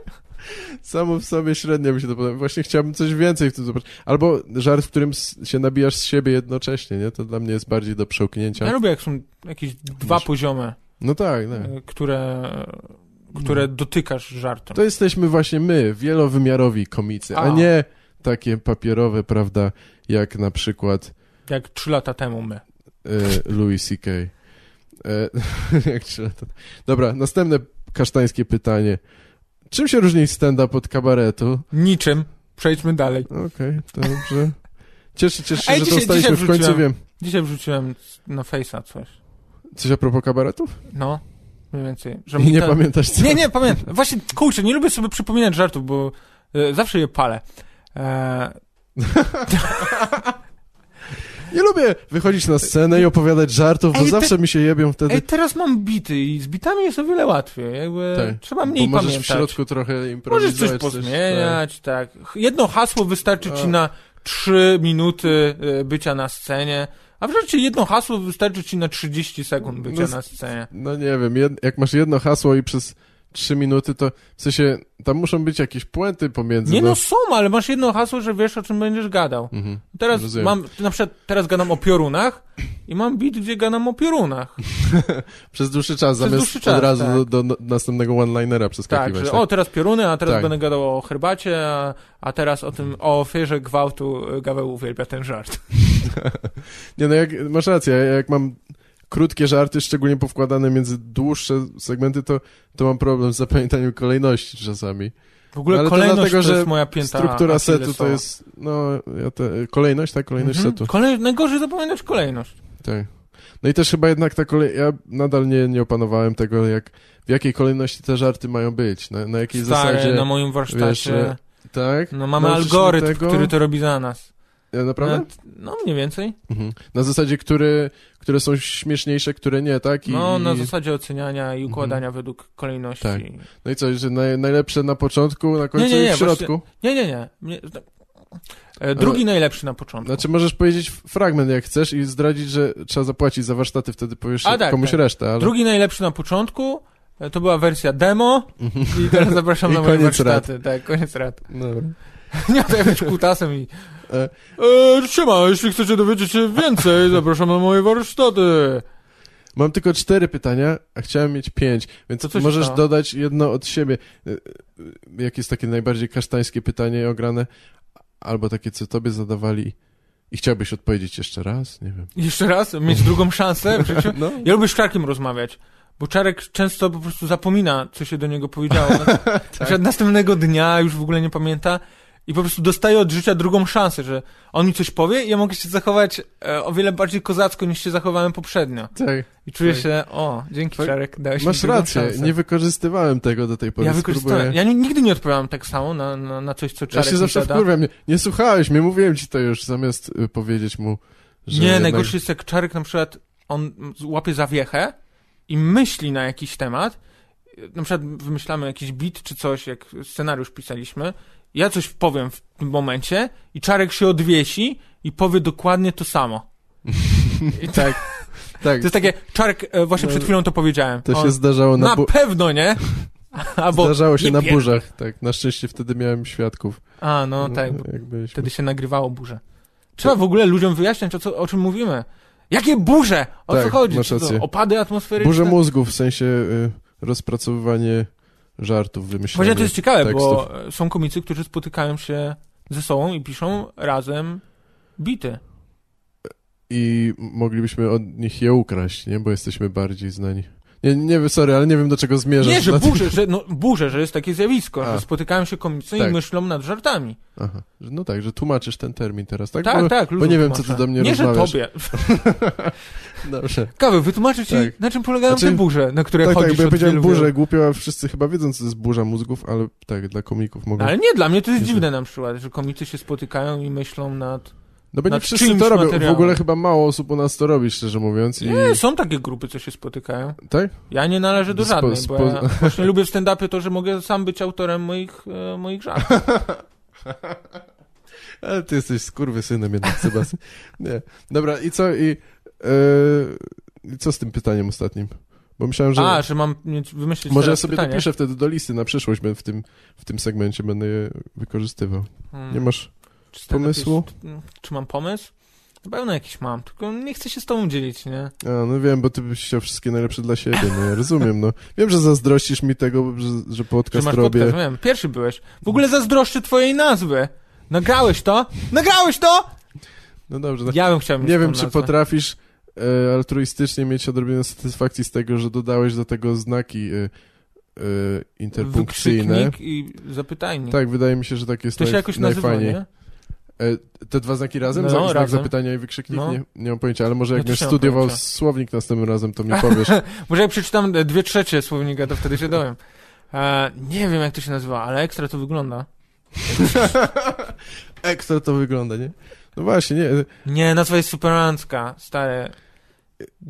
S2: Samo w sobie średnio mi się to podoba. Właśnie chciałbym coś więcej w tym zobaczyć. Albo żart, w którym s- się nabijasz z siebie jednocześnie, nie? To dla mnie jest bardziej do
S1: Ja
S2: przełknięcia.
S1: lubię, jak są jakieś dwa
S2: Wiesz.
S1: poziomy,
S2: No tak, tak. No.
S1: e, które, y, które dotykasz żartem.
S2: To jesteśmy właśnie my, wielowymiarowi komicy, a,
S1: A.
S2: nie takie papierowe, prawda, jak na przykład
S1: Jak trzy lata temu my.
S2: e, Louis C.K. E, jak się lata. Dobra, następne kasztańskie pytanie. Czym się różni stand-up od kabaretu?
S1: Niczym. Przejdźmy dalej.
S2: Okej, to dobrze. Cieszę, cieszę się,
S1: Ej,
S2: że
S1: dzisiaj-
S2: to ustaliśmy
S1: dzisiaj
S2: w końcu,
S1: wrzuciłem.
S2: wiem.
S1: Dzisiaj wrzuciłem na Face'a coś.
S2: Coś a propos kabaretów?
S1: No, mniej więcej. Że
S2: I
S1: mi
S2: nie
S1: ta-
S2: pamiętasz co?
S1: Nie, nie, pamiętam. Właśnie, kurczę, nie lubię sobie przypominać żartów, bo e, zawsze je palę. E,
S2: Nie lubię wychodzić na scenę i opowiadać żartów,
S1: Ej,
S2: bo
S1: ty-
S2: zawsze mi się jebią wtedy.
S1: ej, teraz mam bity i z bitami jest o wiele łatwiej. Jakby
S2: Tak,
S1: trzeba mniej
S2: bo możesz
S1: pamiętać.
S2: w środku trochę
S1: Możesz
S2: improwizować.
S1: coś pozmieniać, tak. Ch- Jedno hasło wystarczy ci na trzy minuty e, bycia na scenie, a w rzeczy jedno hasło wystarczy ci na 30 sekund bycia
S2: No z-
S1: na scenie.
S2: No nie wiem, jed, jak masz jedno hasło i przez trzy minuty, to w sensie tam muszą być jakieś puenty pomiędzy.
S1: Nie no są, ale masz jedno hasło, że wiesz o czym będziesz gadał.
S2: Mhm.
S1: Teraz
S2: Rozumiem.
S1: mam, na przykład teraz gadam o piorunach i mam bit, gdzie gadam o piorunach.
S2: Przez dłuższy
S1: Przez
S2: czas, zamiast
S1: dłuższy czas,
S2: od razu
S1: tak.
S2: do, do, no- następnego one-linera
S1: Tak,
S2: przeskakiwać.
S1: że o teraz pioruny, a teraz
S2: Tak.
S1: będę gadał o herbacie, a, a teraz o tym, o ofierze gwałtu y, Gaweł uwielbia ten żart.
S2: Nie no, jak, masz rację, ja jak mam krótkie żarty, szczególnie powkładane między dłuższe segmenty, to, to mam problem z zapamiętaniem kolejności czasami.
S1: W ogóle
S2: No, ale to
S1: kolejność to,
S2: dlatego, że
S1: jest moja pięta
S2: Struktura setu to
S1: Achillesowa.
S2: jest, no, ja te, kolejność, tak, kolejność
S1: Mhm.
S2: setu.
S1: Kolej... Najgorzej zapamiętać kolejność.
S2: Tak. No i też chyba jednak ta kolej... Ja nadal nie, nie opanowałem tego, jak, w jakiej kolejności te żarty mają być, na, na jakiej
S1: Stary, no
S2: zasadzie,
S1: na moim warsztacie.
S2: wiesz, że- tak?
S1: No mamy
S2: nauczysz mnie
S1: algorytm,
S2: tego?
S1: który to robi za nas.
S2: Ja, Naprawdę?
S1: Nawet- No mniej więcej.
S2: Mhm. Na zasadzie, które, które są śmieszniejsze, które nie, tak? I,
S1: No na
S2: i-
S1: zasadzie oceniania i układania według kolejności.
S2: Mhm. Tak. no i co, że naj, najlepsze na początku, na końcu
S1: Nie, nie, nie,
S2: i w środku?
S1: Nie, nie, nie. Mnie- E, Drugi najlepszy na początku.
S2: Znaczy możesz powiedzieć fragment jak chcesz i zdradzić, że trzeba zapłacić za warsztaty, wtedy powiesz
S1: A, tak,
S2: komuś
S1: tak.
S2: resztę, ale...
S1: Drugi najlepszy na początku e, to była wersja demo
S2: Mhm.
S1: i teraz zapraszam
S2: I
S1: na moje
S2: koniec
S1: warsztaty. Tak, koniec rad.
S2: No.
S1: Nie tutaj być kutasem i...
S2: E.
S1: E, siema, jeśli chcecie dowiedzieć się więcej, zapraszam na moje warsztaty.
S2: Mam tylko cztery pytania, a chciałem mieć pięć, więc
S1: To coś
S2: możesz
S1: to.
S2: dodać jedno od siebie. Y, y, Jakie jest takie najbardziej kasztańskie pytanie ograne, albo takie, co tobie zadawali i chciałbyś odpowiedzieć jeszcze raz? Nie wiem.
S1: Jeszcze raz, mieć drugą szansę w życiu.
S2: No.
S1: Ja lubię z Czarkiem rozmawiać, bo Czarek często po prostu zapomina, co się do niego powiedziało. Na, na
S2: Tak.
S1: przykład następnego dnia już w ogóle nie pamięta i po prostu dostaje od życia drugą szansę, że on mi coś powie i ja mogę się zachować e, o wiele bardziej kozacko niż się zachowałem poprzednio.
S2: Tak,
S1: I czuję
S2: Tak.
S1: się, o, dzięki
S2: Tak.
S1: Czarek, dałeś mi
S2: masz
S1: drugą
S2: rację,
S1: szansę.
S2: nie wykorzystywałem tego do tej pory.
S1: ja wykorzystałem,
S2: spróbuję.
S1: ja ni- nigdy nie odpowiadam tak samo na, na, na coś, co
S2: Ja
S1: Czarek
S2: się
S1: mi
S2: zawsze
S1: gada.
S2: wkurwiam, nie, nie słuchałeś mnie, mówiłem ci to już, zamiast y, powiedzieć mu, że...
S1: Nie,
S2: jednak-
S1: najgorszy jest jak Czarek na przykład, on łapie zawiechę i myśli na jakiś temat, na przykład wymyślamy jakiś bit czy coś, jak scenariusz pisaliśmy, ja coś powiem w tym momencie i Czarek się odwiesi i powie dokładnie to samo. I tak,
S2: Tak,
S1: to jest takie, Czarek, e, właśnie
S2: No,
S1: przed chwilą to powiedziałem.
S2: to
S1: On,
S2: się zdarzało na,
S1: na
S2: bu-
S1: pewno, nie? Albo,
S2: zdarzało się
S1: nie
S2: na
S1: pier-
S2: burzach, tak, na szczęście wtedy miałem świadków.
S1: A, no tak, bo
S2: Jak byliśmy.
S1: Wtedy się nagrywało burze. Trzeba w ogóle ludziom wyjaśniać, o, co, o czym mówimy. Jakie burze? O co
S2: Tak,
S1: chodzi?
S2: masz
S1: Czy to
S2: rację.
S1: opady atmosferyczne?
S2: Burze mózgów, w sensie y, rozpracowywanie żartów wymyślonych.
S1: Właśnie to jest ciekawe,
S2: tekstów.
S1: bo e, są komicy, którzy spotykają się ze sobą i piszą razem bity.
S2: I moglibyśmy od nich je ukraść, nie? Bo jesteśmy bardziej znani. Nie, nie wiem, sorry, ale nie wiem do czego zmierzasz.
S1: Nie, że
S2: Dlatego-
S1: burzę, że, no, burzę, że jest takie zjawisko,
S2: A.
S1: że spotykają się komicy
S2: Tak.
S1: i myślą nad żartami.
S2: Aha. że- No tak, że tłumaczysz ten termin teraz, tak?
S1: Tak,
S2: bo,
S1: tak,
S2: Bo nie wiem, co ty do mnie
S1: Nie,
S2: rozmawiasz.
S1: że tobie.
S2: Dobrze.
S1: Kawy, wytłumaczę ci,
S2: Tak.
S1: na czym polegają
S2: Znaczy-
S1: te burze, na które
S2: no. Tak, tak,
S1: chodzisz
S2: bo ja
S1: od
S2: powiedziałem
S1: wielu,
S2: burzę
S1: wielu-
S2: głupio, a wszyscy chyba wiedzą, co to jest burza mózgów, ale tak, dla komików mogą...
S1: Ale nie, dla mnie to jest
S2: Jezu.
S1: dziwne na przykład, że komicy się spotykają i myślą nad...
S2: No bo nie
S1: nad
S2: wszyscy
S1: czyimś
S2: to robią. W
S1: materiałem.
S2: ogóle chyba mało osób u nas to robi, szczerze mówiąc. I...
S1: Nie, są takie grupy, co się spotykają.
S2: Tak?
S1: Ja nie należę do
S2: Spo-
S1: żadnej, bo ja
S2: spo-
S1: właśnie lubię w stand-upie to, że mogę sam być autorem moich, e, moich żartów.
S2: Ale ty jesteś skurwysynem jednak, Sebastian. nie. Dobra, i co? I, e, I co z tym pytaniem ostatnim? Bo myślałem, że...
S1: A, że mam mieć- wymyślić
S2: może ja
S1: teraz
S2: sobie
S1: pytanie.
S2: dopiszę wtedy do listy na przyszłość, będę w tym, w tym segmencie będę je wykorzystywał.
S1: Hmm.
S2: Nie masz...
S1: Czy stand-up
S2: pomysłu?
S1: Jest, czy mam pomysł? Na pewno jakiś mam, tylko nie chcę się z tobą dzielić, nie?
S2: A, no wiem, bo ty byś chciał wszystkie najlepsze dla siebie, no ja rozumiem, no. Wiem, że zazdrościsz mi tego, że, że
S1: Że
S2: podcast
S1: masz
S2: robię.
S1: podcast, wiem, pierwszy byłeś. W ogóle zazdroszczę twojej nazwy. Nagrałeś to? Nagrałeś to?
S2: No dobrze, no.
S1: Ja bym chciał mieć
S2: nie
S1: tą
S2: wiem, czy
S1: nazwę.
S2: potrafisz e, altruistycznie mieć odrobinę satysfakcji z tego, że dodałeś do tego znaki e, e, interpunkcyjne.
S1: Wykrzyknik i zapytajnik.
S2: Tak, wydaje mi się, że tak jest
S1: to się
S2: naj,
S1: jakoś nazywa,
S2: najfajniej.
S1: nie?
S2: E, te dwa znaki razem?
S1: No,
S2: Znak- Znak
S1: razem.
S2: zapytania i wykrzyknik?
S1: No.
S2: Nie, nie mam pojęcia, ale może
S1: Ja
S2: jak
S1: też
S2: będziesz
S1: nie mam
S2: studiował
S1: pojęcia.
S2: słownik następnym razem, to mi powiesz.
S1: Może jak przeczytam e, dwie trzecie słownika, to wtedy się dowiem. E, nie wiem, jak to się nazywa, ale ekstra to wygląda.
S2: Ekstra to wygląda, nie? No właśnie, nie. e,
S1: Nie, nazwa jest superancka, stary.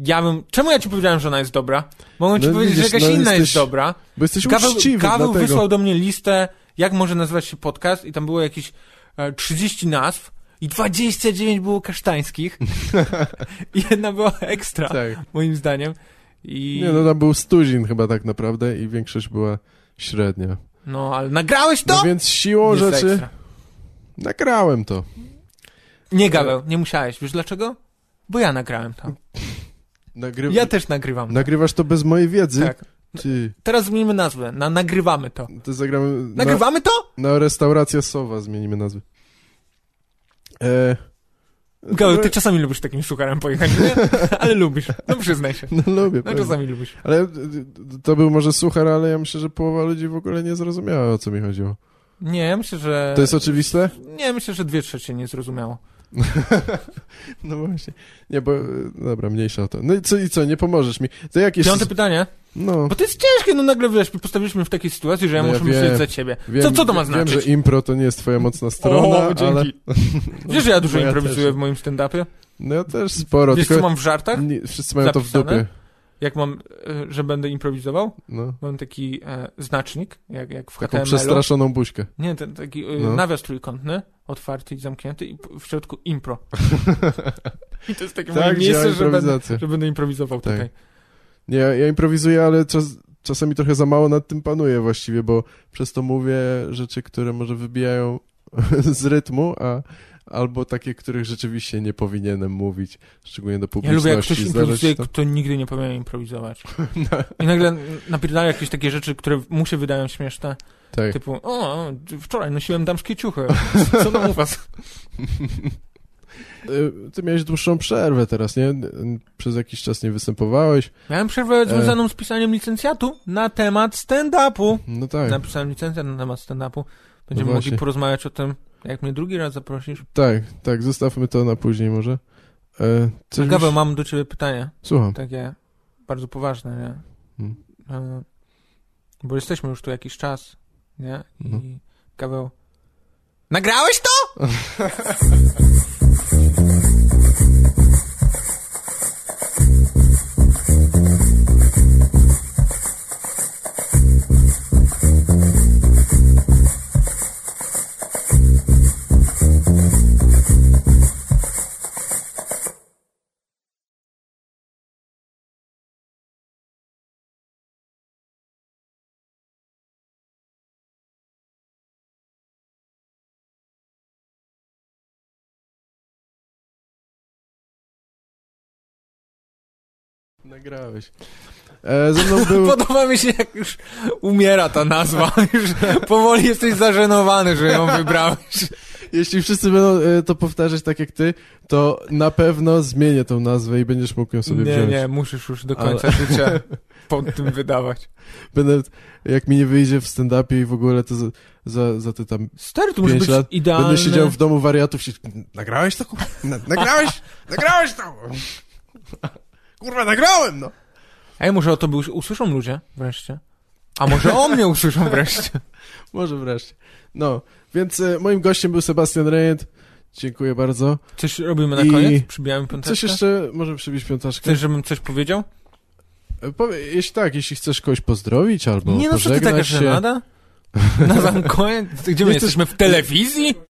S1: Ja bym... Czemu ja ci powiedziałem, że ona jest dobra? Mogłem ci
S2: No
S1: powiedzieć,
S2: widzisz,
S1: że jakaś
S2: no
S1: inna jest
S2: jesteś-
S1: dobra.
S2: Bo jesteś
S1: Gaweł,
S2: uczciwy,
S1: Gaweł
S2: dlatego.
S1: wysłał do mnie listę, jak może nazywać się podcast i tam było jakieś e, 30 nazw i 29 było kasztańskich. I Jedna była ekstra,
S2: Tak.
S1: moim zdaniem. I...
S2: Nie, no tam był stuzin chyba tak naprawdę i większość była średnia.
S1: no, ale nagrałeś to?
S2: No więc siłą
S1: Jest
S2: rzeczy
S1: ekstra.
S2: nagrałem to.
S1: Nie, Gaweł, nie musiałeś. Wiesz dlaczego? Bo ja nagrałem tam.
S2: Nagry...
S1: Ja też nagrywam.
S2: Nagrywasz to bez mojej wiedzy?
S1: Tak.
S2: Ty,
S1: Teraz zmienimy nazwę. Na, nagrywamy to.
S2: to zagramy na,
S1: Nagrywamy to?
S2: na restaurację Sowa, zmienimy nazwę. E,
S1: Gaweł, ty
S2: no,
S1: czasami lubisz takim szukarem pojechać, nie? Ale lubisz. No przyznaj się.
S2: no lubię.
S1: No
S2: pewnie.
S1: czasami lubisz.
S2: Ale y, y, to był może suchar, ale ja myślę, że połowa ludzi w ogóle nie zrozumiała, o co mi chodziło.
S1: Nie, ja myślę, że...
S2: To jest oczywiste?
S1: Nie, myślę, że dwie trzecie nie zrozumiało.
S2: No właśnie. Nie, bo... y, Dobra, mniejsza o to. No i co, i co nie pomożesz mi? To jakieś...
S1: Piąte pytanie.
S2: No,
S1: Bo to jest ciężkie, no nagle wiesz, postawiliśmy w takiej sytuacji, że ja
S2: No ja
S1: muszę
S2: wiem,
S1: myśleć za ciebie.
S2: wiem,
S1: co, co to ma
S2: wiem,
S1: znaczyć?
S2: Wiem, że impro to nie jest twoja mocna strona,
S1: o, dzięki.
S2: ale...
S1: Wiesz, że ja dużo
S2: No ja
S1: improwizuję
S2: też.
S1: w moim stand-upie?
S2: No ja też sporo,
S1: Wiesz, co
S2: tylko...
S1: mam w żartach?
S2: Nie, wszyscy mają to w
S1: Tak? Zapisane?
S2: dupie.
S1: Jak mam, e, że będę improwizował?
S2: No.
S1: Mam taki e, znacznik, jak, jak w
S2: Taką
S1: HTML-u.
S2: przestraszoną buźkę.
S1: Nie, ten taki e,
S2: No.
S1: nawias trójkątny, otwarty i zamknięty i p- w środku impro. I to jest takie
S2: Tak,
S1: moje miejsce,
S2: działa
S1: że będę,
S2: improwizacja.
S1: że będę improwizował
S2: Tak.
S1: tutaj.
S2: Nie, ja, ja improwizuję, ale czas, czasami trochę za mało nad tym panuję właściwie, bo przez to mówię rzeczy, które może wybijają z rytmu, a albo takie, których rzeczywiście nie powinienem mówić, szczególnie do
S1: Ja lubię, jak
S2: publiczności.
S1: ktoś
S2: Zdarza się
S1: improwizuje,
S2: to.
S1: kto nigdy nie powinien improwizować. I nagle napierdala jakieś takie rzeczy, które mu się wydają śmieszne.
S2: Tak.
S1: Typu, o, wczoraj nosiłem damskie ciuchy. Co tam u was?
S2: Y, Ty miałeś dłuższą przerwę teraz, nie? N- Przez jakiś czas nie występowałeś.
S1: Miałem
S2: E.
S1: przerwę związaną z pisaniem licencjatu na temat stand-upu.
S2: No tak,
S1: Napisałem licencjat na temat stand-upu. Będziemy
S2: No właśnie.
S1: mogli porozmawiać o tym, jak mnie drugi raz zaprosisz.
S2: tak, tak, zostawmy to na później może. E, Coś
S1: Gaweł,
S2: mi się-
S1: mam Tak. do ciebie pytanie.
S2: Słucham.
S1: Takie bardzo poważne, nie?
S2: Hmm.
S1: E, Bo jesteśmy już tu jakiś czas, nie? I
S2: No.
S1: Gaweł... Nagrałeś to?
S2: Nagrałeś. E, ze mną był...
S1: Podoba mi się, jak już umiera ta nazwa. Już powoli jesteś zażenowany, że ją wybrałeś.
S2: Jeśli wszyscy będą e, to powtarzać tak jak ty, to na pewno zmienię tą nazwę i będziesz mógł ją sobie
S1: nie,
S2: wziąć.
S1: nie, musisz już do
S2: Ale-
S1: końca życia pod tym wydawać.
S2: Będę, jak mi nie wyjdzie w stand-upie i w ogóle, to za, za, za ty tam
S1: Stary, to może
S2: Pięć
S1: być
S2: lat
S1: idealny...
S2: Będę siedział w domu wariatów się... Nagrałeś to? kurwa? Na, nagrałeś? nagrałeś to? Kurwa, nagrałem, no!
S1: Ej, może o tobie us- usłyszą ludzie wreszcie? A może o mnie usłyszą wreszcie?
S2: Może wreszcie. No, więc e, moim gościem był Sebastian Rejent. Dziękuję bardzo.
S1: Coś robimy na
S2: I-
S1: koniec? Przybijamy piąteczkę?
S2: Coś jeszcze? Możemy przybić piątaszkę.
S1: Chcesz, żebym coś powiedział?
S2: E, Powie, jeśli tak, jeśli chcesz kogoś pozdrowić albo
S1: nie no, co ty
S2: pożegnać
S1: taka
S2: się...
S1: żenada? Na sam koniec? Gdzie my
S2: Jesteś-
S1: jesteśmy? W telewizji?